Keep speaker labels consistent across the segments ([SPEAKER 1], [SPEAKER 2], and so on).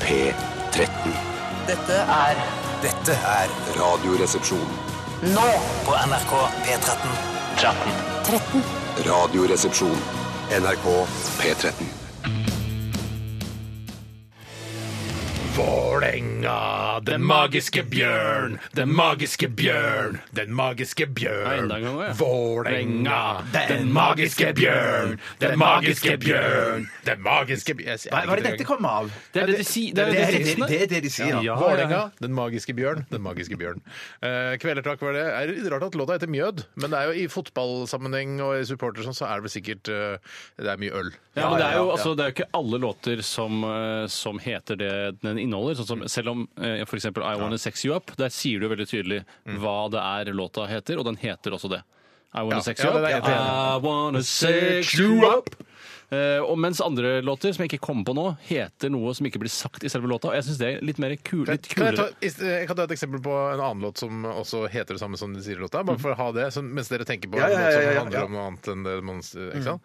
[SPEAKER 1] P13.
[SPEAKER 2] Dette er
[SPEAKER 3] Dette er
[SPEAKER 1] Radioresepsjon.
[SPEAKER 2] nå
[SPEAKER 3] på NRK P13.
[SPEAKER 1] Radioresepsjon. NRK P13.
[SPEAKER 4] Vålerenga, den magiske bjørn, den magiske bjørn, den magiske bjørn.
[SPEAKER 5] enda en gang også, ja.
[SPEAKER 4] Vålerenga, den magiske bjørn, den magiske bjørn, den magiske bjørn.
[SPEAKER 6] Hva hva er det dette kommer av?
[SPEAKER 5] Det er det de sier. Det
[SPEAKER 6] Det er
[SPEAKER 5] er det de
[SPEAKER 6] det,
[SPEAKER 5] sier.
[SPEAKER 6] det, er det de sier.
[SPEAKER 4] Ja,
[SPEAKER 6] Ja.
[SPEAKER 4] Vålerenga, den magiske bjørn, den magiske bjørn. Eh, kvelertak var det. Er det litt rart at låta heter Mjød, men det er jo i fotballsammenheng og i supporter sånn, så er det vel sikkert eh, Det er mye øl.
[SPEAKER 5] Ja, men det er, jo, altså, det er jo ikke alle låter som, eh, som heter det den inneholder. Sånn som, selv om eh, for eksempel I Wanna Sex You Up, der sier du veldig tydelig hva det er låta heter, og den heter også det. I Wanna
[SPEAKER 4] Ja.
[SPEAKER 5] Sex
[SPEAKER 4] Ja,
[SPEAKER 5] You Up.
[SPEAKER 4] det er det jeg
[SPEAKER 5] I Wanna Sex You Up. Eh, og mens andre låter som jeg ikke kommer på nå, heter noe som ikke blir sagt i selve låta. Og jeg syns det er litt, mer kul, litt
[SPEAKER 4] Kan jeg,
[SPEAKER 5] kulere.
[SPEAKER 4] ta, is- eh, jeg kan ta et eksempel på en annen låt som også heter det samme som de sier i låta. Bare for å ha det, så, mens dere tenker på
[SPEAKER 6] Mm. Ja, ja,
[SPEAKER 4] en låt som
[SPEAKER 6] ja, Mm. ja,
[SPEAKER 4] handler
[SPEAKER 6] ja.
[SPEAKER 4] om noe annet enn det man s- ikke sant?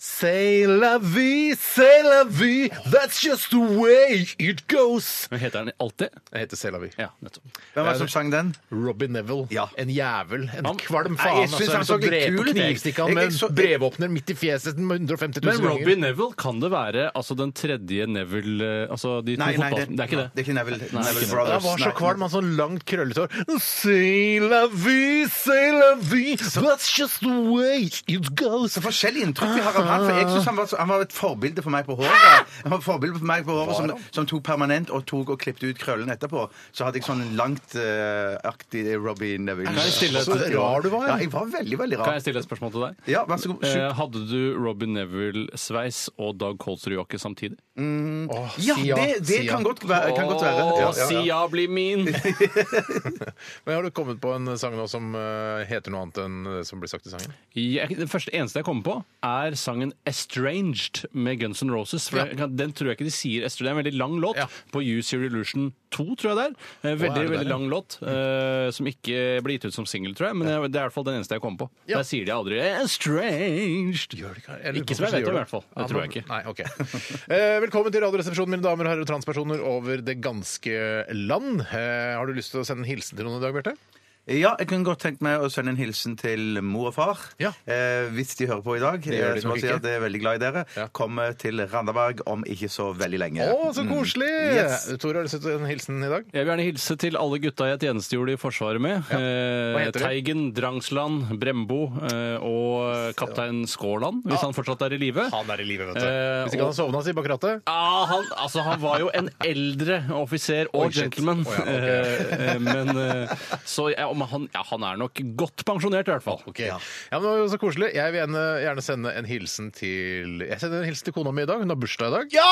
[SPEAKER 4] Say la vie, say la vie, that's just the way it goes.
[SPEAKER 5] Men heter den alltid?
[SPEAKER 4] Jeg heter Say la vie.
[SPEAKER 5] Ja, nettopp.
[SPEAKER 6] Hvem var det som sang den?
[SPEAKER 4] Robbie Neville.
[SPEAKER 6] Ja.
[SPEAKER 4] En jævel. En
[SPEAKER 5] Han-
[SPEAKER 4] kvalm
[SPEAKER 6] Nei,
[SPEAKER 4] faen. altså, sånn
[SPEAKER 6] jeg synes han så litt kul ut, jeg.
[SPEAKER 4] knivstikker han
[SPEAKER 6] Jeg- jeg
[SPEAKER 4] med
[SPEAKER 6] så-
[SPEAKER 4] en brevåpner midt i fjeset med 150 000
[SPEAKER 5] Men Robbie Neville, kan det være altså, den tredje Neville eh, Altså de to
[SPEAKER 6] Nei, nei, det,
[SPEAKER 5] fotballspillerne? Det er ikke det.
[SPEAKER 6] Det er ikke Neville, Neville
[SPEAKER 5] ikke
[SPEAKER 6] Brothers.
[SPEAKER 4] Han var så
[SPEAKER 6] nei.
[SPEAKER 4] kvalm, han sånn langt krøllete hår. Say la vie, say la vie, that's just the way it goes.
[SPEAKER 6] Så forskjellige inntrykk vi har av han, for jeg synes han var, så- han var et forbilde for meg på håret. Han var et forbilde for meg på håret som, som tok permanent og tok og klippte ut krøllen etterpå. Så hadde jeg sånn langt eh, aktig Robbie Neville.
[SPEAKER 5] jeg stille et-
[SPEAKER 6] Så
[SPEAKER 4] rar du var, ja.
[SPEAKER 6] Ja, jeg var veldig, veldig
[SPEAKER 5] Kan jeg
[SPEAKER 6] rar.
[SPEAKER 5] stille et spørsmål til deg?
[SPEAKER 6] Ja, vær så god.
[SPEAKER 5] Eh,
[SPEAKER 6] Shoot.
[SPEAKER 5] hadde du Robin Neville-sveis og Dag Kolsrud-jakke samtidig?
[SPEAKER 4] Åh,
[SPEAKER 6] Ja,
[SPEAKER 4] si ja,
[SPEAKER 6] det,
[SPEAKER 4] si
[SPEAKER 6] det
[SPEAKER 4] ja.
[SPEAKER 6] kan godt være. Kan godt være. Ja,
[SPEAKER 5] Å,
[SPEAKER 6] ja,
[SPEAKER 5] si
[SPEAKER 6] ja.
[SPEAKER 5] ja, bli min!
[SPEAKER 4] Men Har du kommet på en sang nå som eh, heter noe annet enn det som blir sagt i sangen?
[SPEAKER 5] Jeg, den første eneste jeg kommer på, er sangen 'Estranged' med Guns N' Roses. For
[SPEAKER 4] Ja.
[SPEAKER 5] jeg, den tror jeg ikke de sier Estranged. Det er en veldig lang låt
[SPEAKER 4] Ja.
[SPEAKER 5] på Use Your Illusion 2, tror jeg det er. Eh,
[SPEAKER 4] er
[SPEAKER 5] Veldig
[SPEAKER 4] det
[SPEAKER 5] veldig
[SPEAKER 4] der, ja?
[SPEAKER 5] lang låt, eh, som ikke ble gitt ut som singel, tror jeg. Men jeg- det er i hvert fall den eneste jeg kommer på. Der sier de aldri 'Estranged'. Ikke som jeg vet om, i hvert fall. Det tror jeg ikke.
[SPEAKER 4] Nei, ok. Eh, Velkommen til Radioresepsjonen, mine damer og herrer og transpersoner over det ganske land. Eh, Har du lyst til å sende en hilsen til noen i dag, Bjarte?
[SPEAKER 6] Ja, jeg kunne godt tenkt meg å sende en hilsen til mor og far.
[SPEAKER 4] Ja.
[SPEAKER 6] Eh, hvis de hører på i dag.
[SPEAKER 4] gjør
[SPEAKER 6] eh,
[SPEAKER 4] de
[SPEAKER 6] som
[SPEAKER 4] nok
[SPEAKER 6] jeg sier,
[SPEAKER 4] ikke.
[SPEAKER 6] at jeg er veldig glad i dere.
[SPEAKER 4] Ja.
[SPEAKER 6] Kommer til Randaberg om ikke så veldig lenge.
[SPEAKER 4] Å, så koselig!
[SPEAKER 6] Yes.
[SPEAKER 4] Tore, har du lyst til en hilsen i dag?
[SPEAKER 5] Jeg vil gjerne hilse til alle gutta jeg tjenestegjorde i Forsvaret med.
[SPEAKER 4] Hva
[SPEAKER 5] Eh,
[SPEAKER 4] heter de?
[SPEAKER 5] Teigen, Drangsland, Brembo eh, og kaptein Skårland, hvis han fortsatt er i live.
[SPEAKER 4] Han er i live, vet
[SPEAKER 5] du.
[SPEAKER 4] Hvis ikke han har sovna, si bak rattet.
[SPEAKER 5] Ah, han, altså, han var jo en eldre offiser og
[SPEAKER 4] Oi, shit.
[SPEAKER 5] gentleman.
[SPEAKER 4] Å, ja, ok.
[SPEAKER 5] Eh, eh, Men eh, så ja, om han, ja, han er nok godt pensjonert, i hvert fall.
[SPEAKER 4] Ok. Ja. men det var jo så koselig. Jeg vil gjerne, gjerne sende en hilsen til Jeg sender en hilsen til kona mi i dag. Hun har bursdag i dag. Ja!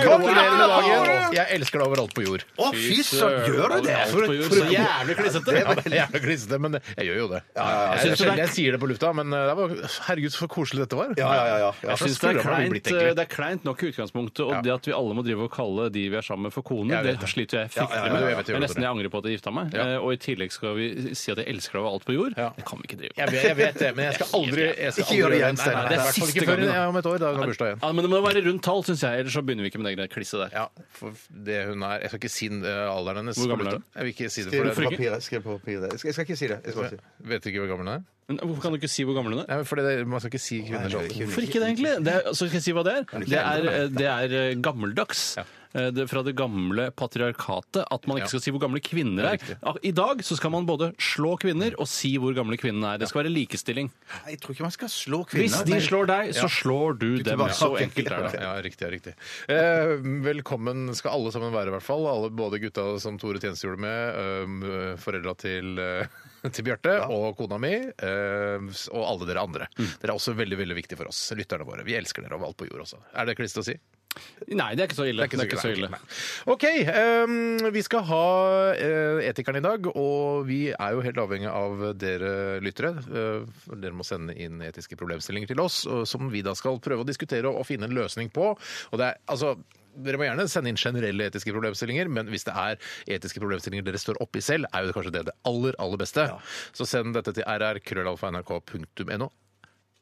[SPEAKER 4] Gratulerer med dagen! Jeg elsker deg overalt på jord.
[SPEAKER 6] Å, fy søren! Gjør du det?
[SPEAKER 5] Alt på jord, så jævlig klissete!
[SPEAKER 4] Ja, det er jævlig klissete, men jeg gjør jo det. Jeg,
[SPEAKER 5] Syns du det er-
[SPEAKER 4] jeg, jeg sier det på lufta, men eh, det var, herregud, så koselig dette var.
[SPEAKER 6] Ja, ja, ja, ja.
[SPEAKER 5] Jeg
[SPEAKER 4] så
[SPEAKER 5] synes det, er
[SPEAKER 4] skulle han ha
[SPEAKER 5] kleint, eh,
[SPEAKER 4] blitt, egentlig.
[SPEAKER 5] det er kleint nok i utgangspunktet, og
[SPEAKER 4] Ja.
[SPEAKER 5] det at vi alle må drive og kalle de vi er sammen med, for kone,
[SPEAKER 4] Jeg vet
[SPEAKER 5] det
[SPEAKER 4] det.
[SPEAKER 5] sliter
[SPEAKER 4] Ja,
[SPEAKER 5] jeg
[SPEAKER 4] ja,
[SPEAKER 5] fryktelig
[SPEAKER 4] ja,
[SPEAKER 5] med.
[SPEAKER 4] jeg vet det, jeg vet
[SPEAKER 5] Det er
[SPEAKER 4] det.
[SPEAKER 5] nesten jeg angrer på at jeg gifta meg.
[SPEAKER 4] Ja.
[SPEAKER 5] Eh, Og i tillegg skal vi si at jeg elsker deg over alt på jord.
[SPEAKER 4] Ja.
[SPEAKER 5] Det kan vi ikke drive
[SPEAKER 4] Jeg
[SPEAKER 5] med.
[SPEAKER 4] vet, jeg vet det, men jeg skal aldri jeg skal
[SPEAKER 6] Ikke gjør det
[SPEAKER 4] aldri-
[SPEAKER 6] igjen, Steinar.
[SPEAKER 4] Nei, nei,
[SPEAKER 6] Det er
[SPEAKER 4] det er i hvert fall
[SPEAKER 5] siste
[SPEAKER 4] ikke før
[SPEAKER 5] gangen, da.
[SPEAKER 4] ja, om et år, da hun har bursdag igjen.
[SPEAKER 5] Ja, men det må være rundt tall, syns jeg, ellers så begynner vi ikke med det greia klisset der.
[SPEAKER 4] Ja, for det hun er Jeg skal ikke si eh, alderen hennes.
[SPEAKER 5] Hvor
[SPEAKER 4] på
[SPEAKER 5] gammel er hun?
[SPEAKER 4] lufta. Jeg vil ikke si det,
[SPEAKER 6] Skriv
[SPEAKER 4] for
[SPEAKER 6] det på
[SPEAKER 4] det
[SPEAKER 6] papiret. Skriv det på papiret. Jeg skal, jeg skal ikke si det. Jeg skal bare si det.
[SPEAKER 4] Vet ikke hvor gammel hun er?
[SPEAKER 5] Men hvorfor kan du ikke si hvor gammel hun er?
[SPEAKER 4] Nei, men fordi det, man skal ikke si kvinners alder.
[SPEAKER 5] Hvorfor ikke det, egentlig? Det er, så skal jeg si hva det er. Det er, eh, det er eh, gammeldags. Eh, Det, fra det gamle patriarkatet. At man
[SPEAKER 4] Ja.
[SPEAKER 5] ikke skal si hvor gamle kvinner er. Ah, I dag så skal man både slå kvinner og si hvor gamle kvinnene er. Det skal være likestilling.
[SPEAKER 6] Nei, Jeg tror ikke man skal slå kvinner.
[SPEAKER 5] Hvis de
[SPEAKER 6] Nei.
[SPEAKER 5] slår deg, så slår du dem.
[SPEAKER 6] tilbake.
[SPEAKER 5] Så enkelt er det.
[SPEAKER 4] Ja, riktig. ja, riktig. Eh, velkommen skal alle sammen være, i hvert fall. Alle, både gutta som Tore tjenestegjorde med, um, foreldra til eh, til Bjarte og kona mi, eh, og alle dere andre. Dere er også veldig veldig viktige for oss, lytterne våre. Vi elsker dere overalt på jord også. Er det klissete å si?
[SPEAKER 5] Nei, det er ikke så ille. Det er ikke så ille.
[SPEAKER 4] nei, OK. ehm, vi skal ha eh, Etikeren i dag, og vi er jo helt avhengig av dere lyttere. Eh, for dere må sende inn etiske problemstillinger til oss, og som vi da skal prøve å diskutere og, og finne en løsning på. Og det er, altså... Dere må gjerne sende inn generelle etiske problemstillinger, men hvis det er etiske problemstillinger dere står oppi selv, er jo det kanskje det det aller, aller beste. Så send dette til rrkrøllalfa.nrk.no.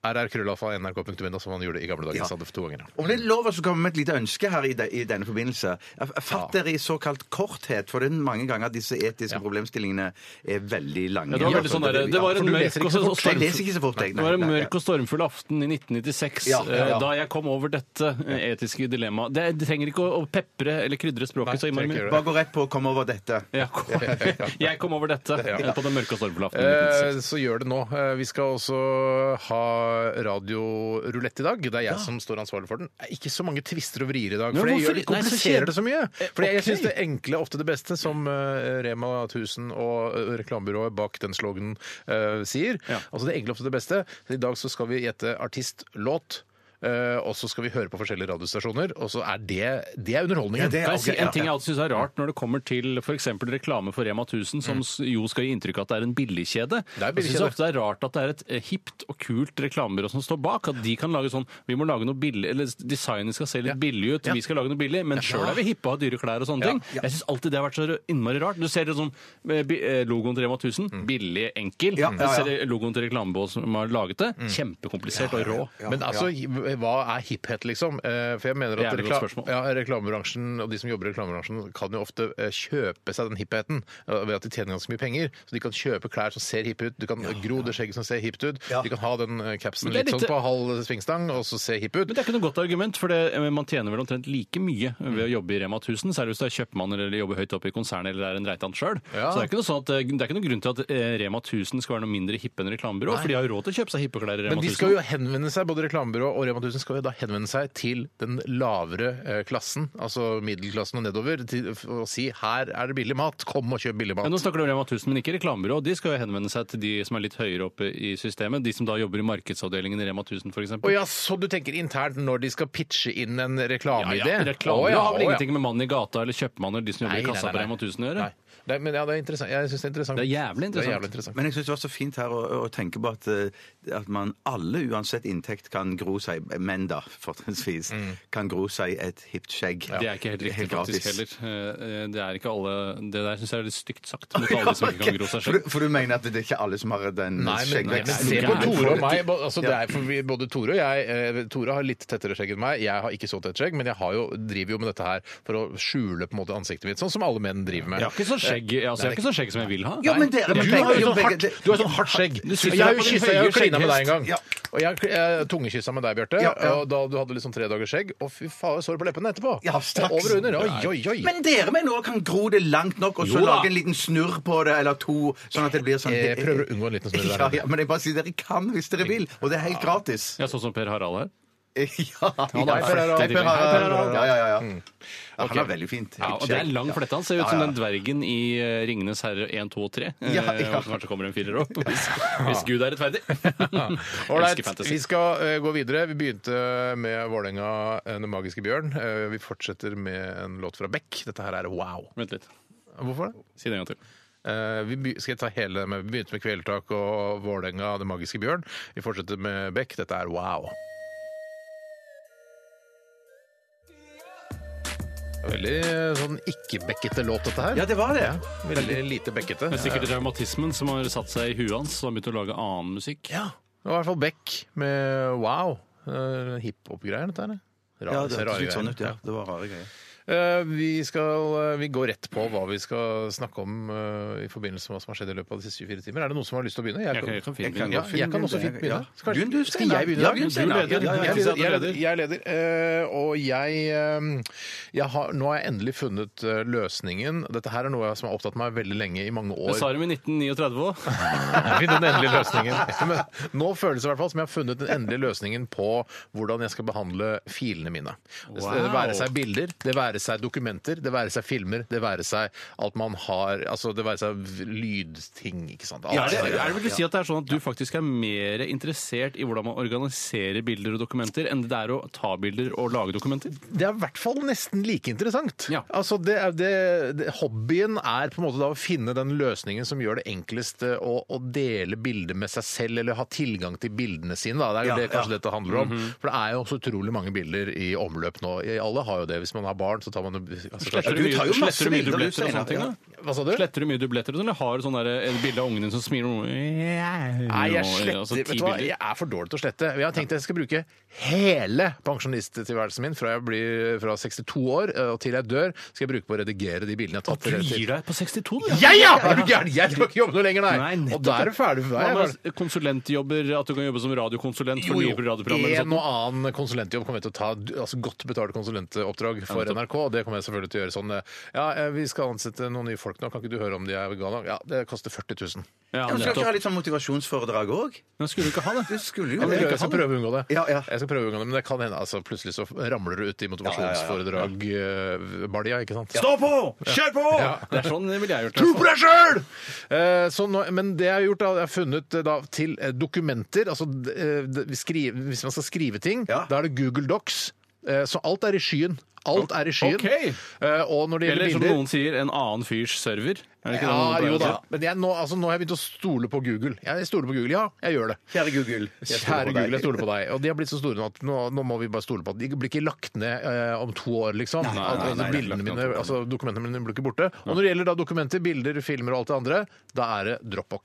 [SPEAKER 4] rrkrøllalfa.nrk.no, som han gjorde i gamle dager.
[SPEAKER 6] Ja.
[SPEAKER 4] Jeg sa det for to ganger.
[SPEAKER 6] Om det er lov å så komme med et lite ønske her i, de, i denne forbindelse. Fatt dere i såkalt korthet, for det er mange ganger at disse etiske problemstillingene er veldig lange.
[SPEAKER 5] Ja, det var veldig sånn der, det var
[SPEAKER 6] Ja,
[SPEAKER 5] en
[SPEAKER 4] du
[SPEAKER 5] mørk
[SPEAKER 4] leser ikke
[SPEAKER 5] og
[SPEAKER 4] så
[SPEAKER 5] så-
[SPEAKER 4] fort.
[SPEAKER 5] storm-
[SPEAKER 6] Jeg leser ikke så fort, jeg.
[SPEAKER 5] Det var en
[SPEAKER 6] Nei, nei,
[SPEAKER 5] mørk og stormfull aften i 1996
[SPEAKER 6] Ja, ja, ja.
[SPEAKER 5] eh, da jeg kom over dette eh, etiske dilemmaet. Det, det trenger ikke å, å pepre eller krydre
[SPEAKER 4] Nei,
[SPEAKER 5] språket så
[SPEAKER 4] trenger
[SPEAKER 5] innmari
[SPEAKER 4] ikke
[SPEAKER 5] mye.
[SPEAKER 4] gjøre
[SPEAKER 6] Bare gå rett på å komme over dette.
[SPEAKER 5] Ja, kom- jeg kom over dette eh, på den mørke og stormfulle aftenen. i 1996.
[SPEAKER 4] Eh, Så gjør det nå. Eh, Vi skal også ha radiorulett i dag. Det er jeg som står ansvarlig for den. Det er Ikke så mange tvister og vrier i dag,
[SPEAKER 5] Men
[SPEAKER 4] for det
[SPEAKER 5] hvorfor-
[SPEAKER 4] gjør det
[SPEAKER 5] Nei, så
[SPEAKER 4] kompliserer
[SPEAKER 5] kjedelig.
[SPEAKER 4] det så mye.
[SPEAKER 5] Eh,
[SPEAKER 4] Fordi jeg
[SPEAKER 5] ok.
[SPEAKER 4] syns det enkle er ofte det beste, som eh, Rema 1000 og eh, reklamebyrået bak den sloganen eh, sier.
[SPEAKER 5] Ja.
[SPEAKER 4] Altså det enkle er ofte det beste. Så I dag så skal vi gjette artist, låt. eh, og så skal vi høre på forskjellige radiostasjoner, og så er det, det er underholdningen.
[SPEAKER 6] det er
[SPEAKER 5] Kan jeg si
[SPEAKER 6] ok,
[SPEAKER 5] en
[SPEAKER 6] ja.
[SPEAKER 5] ting jeg alltid syns er rart når det kommer til f.eks. reklame for Rema 1000,
[SPEAKER 6] Mm.
[SPEAKER 5] som s- jo skal gi inntrykk av at det er en billigkjede.
[SPEAKER 4] er en
[SPEAKER 5] Jeg syns
[SPEAKER 4] billigkjede.
[SPEAKER 5] ofte det er rart at det er et eh, hipt og kult reklamebyrå som står bak. At de kan lage sånn Vi må lage noe billig Eller designet skal se litt billig ut, vi skal lage noe billig, men sjøl er vi hippe og har dyre klær og sånne ting. Jeg syns alltid det har vært så innmari rart. Du ser det sånn eh, bi- eh, logoen til Rema 1000. Billig, enkel.
[SPEAKER 6] Mm. Ja, ja, Mm. ja.
[SPEAKER 5] Du ser logoen til reklamebyrået som har laget det. Kjempekomplisert og rå.
[SPEAKER 4] Men altså, hva er hipphet, liksom? Eh, For jeg mener at
[SPEAKER 5] Jævlig godt
[SPEAKER 4] rekla-
[SPEAKER 5] spørsmål.
[SPEAKER 4] ja, reklamebransjen og de som jobber i reklamebransjen, kan jo ofte eh, kjøpe seg den hippheten eh, ved at de tjener ganske mye penger. Så de kan kjøpe klær som ser hippe ut, du kan gro det skjegget som ser hipt ut,
[SPEAKER 6] Ja.
[SPEAKER 4] de kan ha den eh, capsen
[SPEAKER 5] Men det
[SPEAKER 4] litt
[SPEAKER 5] er
[SPEAKER 4] sånn
[SPEAKER 5] litt-
[SPEAKER 4] på halv svingstang og så se hipp ut.
[SPEAKER 5] Men det er ikke noe godt argument, for det, eh, man tjener vel omtrent like mye ved å jobbe i Rema 1000, særlig hvis du er kjøpmann eller jobber høyt oppe i konsernet eller er en Reitan sjøl.
[SPEAKER 4] Ja.
[SPEAKER 5] Så det er, ikke noe sånn at, det er ikke noe grunn til at eh, Rema 1000 skal være noe mindre hippe enn reklamebyrå, for de har jo råd til å kjøpe seg hippe klær i Rema
[SPEAKER 4] Men
[SPEAKER 5] 1000.
[SPEAKER 4] de skal jo henvende seg, både reklamebyrå og Rema 1000 skal jo da henvende seg til den lavere eh, klassen, altså middelklassen og nedover, til, og si her er det billig mat, kom og kjøp billig
[SPEAKER 5] Ja,
[SPEAKER 4] mat.
[SPEAKER 5] nå snakker du om Rema 1000, men ikke reklamebyrå. De skal jo henvende seg til de som er litt høyere oppe i systemet. De som da jobber i markedsavdelingen i Rema 1000 f.eks.
[SPEAKER 4] Å ja, så du tenker internt når de skal pitche inn en
[SPEAKER 5] Ja,
[SPEAKER 4] reklameidé?
[SPEAKER 5] ja. Reklame
[SPEAKER 4] Å ja,
[SPEAKER 5] har vel
[SPEAKER 4] å ja.
[SPEAKER 5] ingenting med mannen i gata eller kjøpmannen eller de som jobber
[SPEAKER 4] Nei,
[SPEAKER 5] i kassa
[SPEAKER 4] nei, nei,
[SPEAKER 5] på
[SPEAKER 4] nei.
[SPEAKER 5] Rema 1000 å gjøre.
[SPEAKER 4] Nei. Det, er- men ja, det er interessant. Jeg syns det er interessant.
[SPEAKER 5] Det er jævlig interessant.
[SPEAKER 4] Det er jævlig interessant.
[SPEAKER 6] Men jeg syns det var så fint her å, å tenke på at, eh, at man alle, uansett inntekt, kan gro seg Menn, da, fortrinnsvis.
[SPEAKER 4] Mm.
[SPEAKER 6] Kan gro seg et hipt skjegg.
[SPEAKER 5] Det er ikke helt riktig
[SPEAKER 6] gratis.
[SPEAKER 5] faktisk heller. Eh, eh, Det er ikke alle Det der syns jeg er litt stygt sagt mot alle de som ikke kan gro seg
[SPEAKER 6] For,
[SPEAKER 5] selv.
[SPEAKER 6] du, for du mener at det er ikke alle som har den
[SPEAKER 4] Nei, men, nei, men
[SPEAKER 6] skjeggveksten?
[SPEAKER 4] se
[SPEAKER 5] det er
[SPEAKER 4] på
[SPEAKER 5] noe gærent.
[SPEAKER 4] Tore og meg. Bo- Altså, det er for vi, både Tore og jeg eh, Tore har litt tettere skjegg enn meg. Jeg har ikke så tett skjegg, men jeg har jo, driver jo med dette her for å skjule på en måte ansiktet mitt, sånn som alle menn driver med.
[SPEAKER 5] Jeg har ikke så skjegg, altså, jeg har ikke så skjegg som jeg vil ha.
[SPEAKER 6] Ja, men dere,
[SPEAKER 4] Du
[SPEAKER 6] men
[SPEAKER 4] har jo
[SPEAKER 6] begge-
[SPEAKER 4] sånn hardt,
[SPEAKER 6] begge-
[SPEAKER 4] du har sånn hardt skjegg.
[SPEAKER 5] Du sitter
[SPEAKER 4] Og Jeg har
[SPEAKER 5] på
[SPEAKER 4] jo
[SPEAKER 5] din
[SPEAKER 4] kyssa, jeg har jo
[SPEAKER 5] høye
[SPEAKER 4] klina med deg en gang.
[SPEAKER 5] skjegghest.
[SPEAKER 6] Ja.
[SPEAKER 4] Og jeg har eh, tungekyssa med deg, Bjarte,
[SPEAKER 6] Ja, ja.
[SPEAKER 4] og da du hadde litt sånn tre dagers skjegg. Og fy faen, sår på leppene etterpå.
[SPEAKER 6] Ja, straks.
[SPEAKER 4] Over og under. Oi, oi, oi.
[SPEAKER 6] Men dere mener òg kan gro det langt nok og så
[SPEAKER 5] Jo da.
[SPEAKER 6] lage en liten snurr på det eller to, sånn at det blir sånn
[SPEAKER 4] Jeg prøver å Eh, unngå en liten snurr der.
[SPEAKER 6] Ja, ja, men jeg bare sier dere kan hvis dere vil, og det er helt gratis.
[SPEAKER 5] Jeg er sånn som Per Harald her.
[SPEAKER 6] Ja,
[SPEAKER 5] er
[SPEAKER 6] ja.
[SPEAKER 5] flott.
[SPEAKER 6] Hei, Per Harald. Ja, ja, ja. Ja,
[SPEAKER 5] Ok.
[SPEAKER 6] Han er veldig fint.
[SPEAKER 5] Ja, og det er lang flette. Han ser ut som den dvergen i eh, 'Ringenes herre 1, 2 og 3'. eh,
[SPEAKER 6] Ja, ja.
[SPEAKER 5] Og så kanskje kommer en firer opp, hvis, hvis Gud er rettferdig. Elsker
[SPEAKER 4] Ålreit,
[SPEAKER 5] fantasy.
[SPEAKER 4] vi skal eh, gå videre. Vi begynte med Vålerenga, eh, Den magiske bjørn. Eh, vi fortsetter med en låt fra Beck. Dette her er wow.
[SPEAKER 5] Vent litt.
[SPEAKER 4] Hvorfor det?
[SPEAKER 5] Si det en gang til.
[SPEAKER 4] Eh, vi be- skal jeg ta hele med, vi begynte med Kvelertak og Vålerenga, Den magiske bjørn. Vi fortsetter med Beck. Dette er wow. Veldig eh, sånn ikke-bekkete låt, dette her.
[SPEAKER 6] Ja, det var det.
[SPEAKER 4] Veldig lite bekkete.
[SPEAKER 5] Det er sikkert traumatismen som har satt seg i huet hans, så han begynte å lage annen musikk.
[SPEAKER 4] Ja, det var i hvert fall Beck med Wow. Uh, Hiphop-greier, dette her. Rare,
[SPEAKER 6] Ja, det
[SPEAKER 4] rare
[SPEAKER 6] hørtes litt sånn
[SPEAKER 4] greier.
[SPEAKER 6] ut, ja. Det var rare greier.
[SPEAKER 4] Eh, vi, skal, eh, vi går rett på hva vi skal snakke om eh, i forbindelse med hva som har skjedd i løpet av de siste 24 timer. Er det noen som har lyst til å begynne?
[SPEAKER 5] Jeg kan, jeg kan fint
[SPEAKER 6] Jeg kan
[SPEAKER 5] begynne.
[SPEAKER 4] ja, jeg kan også fint begynne.
[SPEAKER 6] Ja.
[SPEAKER 4] Skal,
[SPEAKER 6] Begynn du,
[SPEAKER 4] skal
[SPEAKER 6] Steinar.
[SPEAKER 4] jeg begynne?
[SPEAKER 6] Ja, begynn, Steinar.
[SPEAKER 4] Jeg leder.
[SPEAKER 5] Ja, ja, ja.
[SPEAKER 4] Jeg leder. Jeg
[SPEAKER 5] Du
[SPEAKER 4] leder.
[SPEAKER 5] leder.
[SPEAKER 4] Jeg leder. Eh, og jeg, eh, jeg har, Nå har jeg endelig funnet eh, løsningen. Dette her er noe som har opptatt meg veldig lenge, i mange
[SPEAKER 5] Det
[SPEAKER 4] år.
[SPEAKER 5] sa de i 1939 òg.
[SPEAKER 4] Jeg finner den endelige løsningen. Men nå føles det i hvert fall som jeg har funnet den endelige løsningen på hvordan jeg skal behandle filene mine. Det
[SPEAKER 5] Wow.
[SPEAKER 4] være seg bilder, det være seg dokumenter, det være seg filmer, det være seg alt man har Altså det være seg v- lydting, ikke sant. Alt
[SPEAKER 5] Ja, er, det,
[SPEAKER 4] det der.
[SPEAKER 5] er det vel å si at det er sånn at du faktisk er mer interessert i hvordan man organiserer bilder og dokumenter, enn det er å ta bilder og lage dokumenter?
[SPEAKER 4] Det er i hvert fall nesten like interessant.
[SPEAKER 5] Ja.
[SPEAKER 4] Altså det er det, det, hobbyen er på en måte da å finne den løsningen som gjør det enklest eh, å, å dele bilder med seg selv, eller ha tilgang til bildene sine. Da. Det er jo
[SPEAKER 6] Ja,
[SPEAKER 4] det kanskje
[SPEAKER 6] ja.
[SPEAKER 4] dette handler om. For det er jo så utrolig mange bilder i omløp nå. Alle har jo det. Hvis man har barn, så tar man jo- altså,
[SPEAKER 5] Sletter
[SPEAKER 4] kanskje-
[SPEAKER 5] du
[SPEAKER 6] du tar
[SPEAKER 5] mye-
[SPEAKER 6] jo masse
[SPEAKER 5] sletter du mye
[SPEAKER 6] bilder, du,
[SPEAKER 5] dubletter og
[SPEAKER 6] Steinar.
[SPEAKER 5] sånne ting?
[SPEAKER 6] Ja.
[SPEAKER 5] da?
[SPEAKER 4] Hva sa du?
[SPEAKER 5] Sletter du mye dubletter og sånn, eller har du sånn der, et bilde av ungen din som smiler Nei, altså,
[SPEAKER 4] Nei, jeg sletter Vet du hva, jeg er for dårlig til å slette. Jeg har tenkt at jeg skal bruke hele pensjonisttilværelsen min fra jeg blir fra 62 år eh, og til jeg dør, skal jeg bruke på å redigere de bildene jeg har tatt.
[SPEAKER 5] Du
[SPEAKER 4] til-
[SPEAKER 5] gir deg på 62, du!
[SPEAKER 4] Jeg, ja! Er du gæren? Jeg skal ikke jobbe noe lenger, nei!
[SPEAKER 5] Nei, nettopp.
[SPEAKER 4] og da er du ferdig for
[SPEAKER 5] Hva
[SPEAKER 4] meg.
[SPEAKER 5] med konsulentjobber? At du kan jobbe som radiokonsulent for nye radioprogrammer?
[SPEAKER 4] En
[SPEAKER 5] eller
[SPEAKER 4] og annen konsulentjobb kommer jeg til å ta, du- altså godt betalte konsulentoppdrag for
[SPEAKER 5] nettopp.
[SPEAKER 4] NRK. og Det kommer jeg selvfølgelig til å gjøre sånn eh, Ja, eh, vi skal ansette noen nye folk nå, kan ikke du høre om de er veganer? Ja, det koster 40 000.
[SPEAKER 5] sånt? Ja,
[SPEAKER 6] Du skal ikke ha
[SPEAKER 5] nettopp.
[SPEAKER 6] litt sånn motivasjonsforedrag òg?
[SPEAKER 5] Men skulle du ikke ha det?
[SPEAKER 6] Du skulle jo
[SPEAKER 4] Jeg
[SPEAKER 6] det.
[SPEAKER 4] jeg skal prøve å unngå det.
[SPEAKER 6] Ja, ja.
[SPEAKER 4] Jeg skal prøve å unngå det, Men det kan hende altså, plutselig så ramler du ut i motivasjonsforedrag-balja, ikke sant?
[SPEAKER 5] Stå på! Kjør på! Det er sånn ville jeg gjort.
[SPEAKER 4] Tro
[SPEAKER 5] det.
[SPEAKER 4] på deg sjøl! Eh, så nå- men det jeg har gjort, da, jeg har funnet eh, da, til eh, dokumenter altså, d- eh, d- vi skriver- Hvis man skal skrive ting,
[SPEAKER 6] Ja.
[SPEAKER 4] da er det Google Docs. Eh, så alt er i skyen. Alt er i skyen.
[SPEAKER 5] Ok.
[SPEAKER 4] Eh, og når det gjelder
[SPEAKER 5] Eller som
[SPEAKER 4] bilder
[SPEAKER 5] noen sier, en annen fyrs server. Er det ikke det
[SPEAKER 4] ja,
[SPEAKER 5] noen pleier
[SPEAKER 4] jo
[SPEAKER 5] å si?
[SPEAKER 4] da. Men jeg, nå, altså, nå har jeg begynt å stole på Google. Jeg stoler på Google, ja. Jeg gjør det.
[SPEAKER 6] Kjære Google. jeg stoler
[SPEAKER 4] Kjære
[SPEAKER 6] på deg.
[SPEAKER 4] Google, jeg stoler på deg. Og de har blitt så store nå at nå, nå må vi bare stole på at de blir ikke lagt ned eh, om to år, liksom.
[SPEAKER 5] nei,
[SPEAKER 4] At-
[SPEAKER 5] nei,
[SPEAKER 4] altså,
[SPEAKER 5] nei, nei,
[SPEAKER 4] bildene
[SPEAKER 5] lagt ned
[SPEAKER 4] mine,
[SPEAKER 5] om to år.
[SPEAKER 4] altså Dokumentene mine blir ikke borte. Og når det gjelder da dokumenter, bilder, filmer og alt det andre, da er det Dropbox.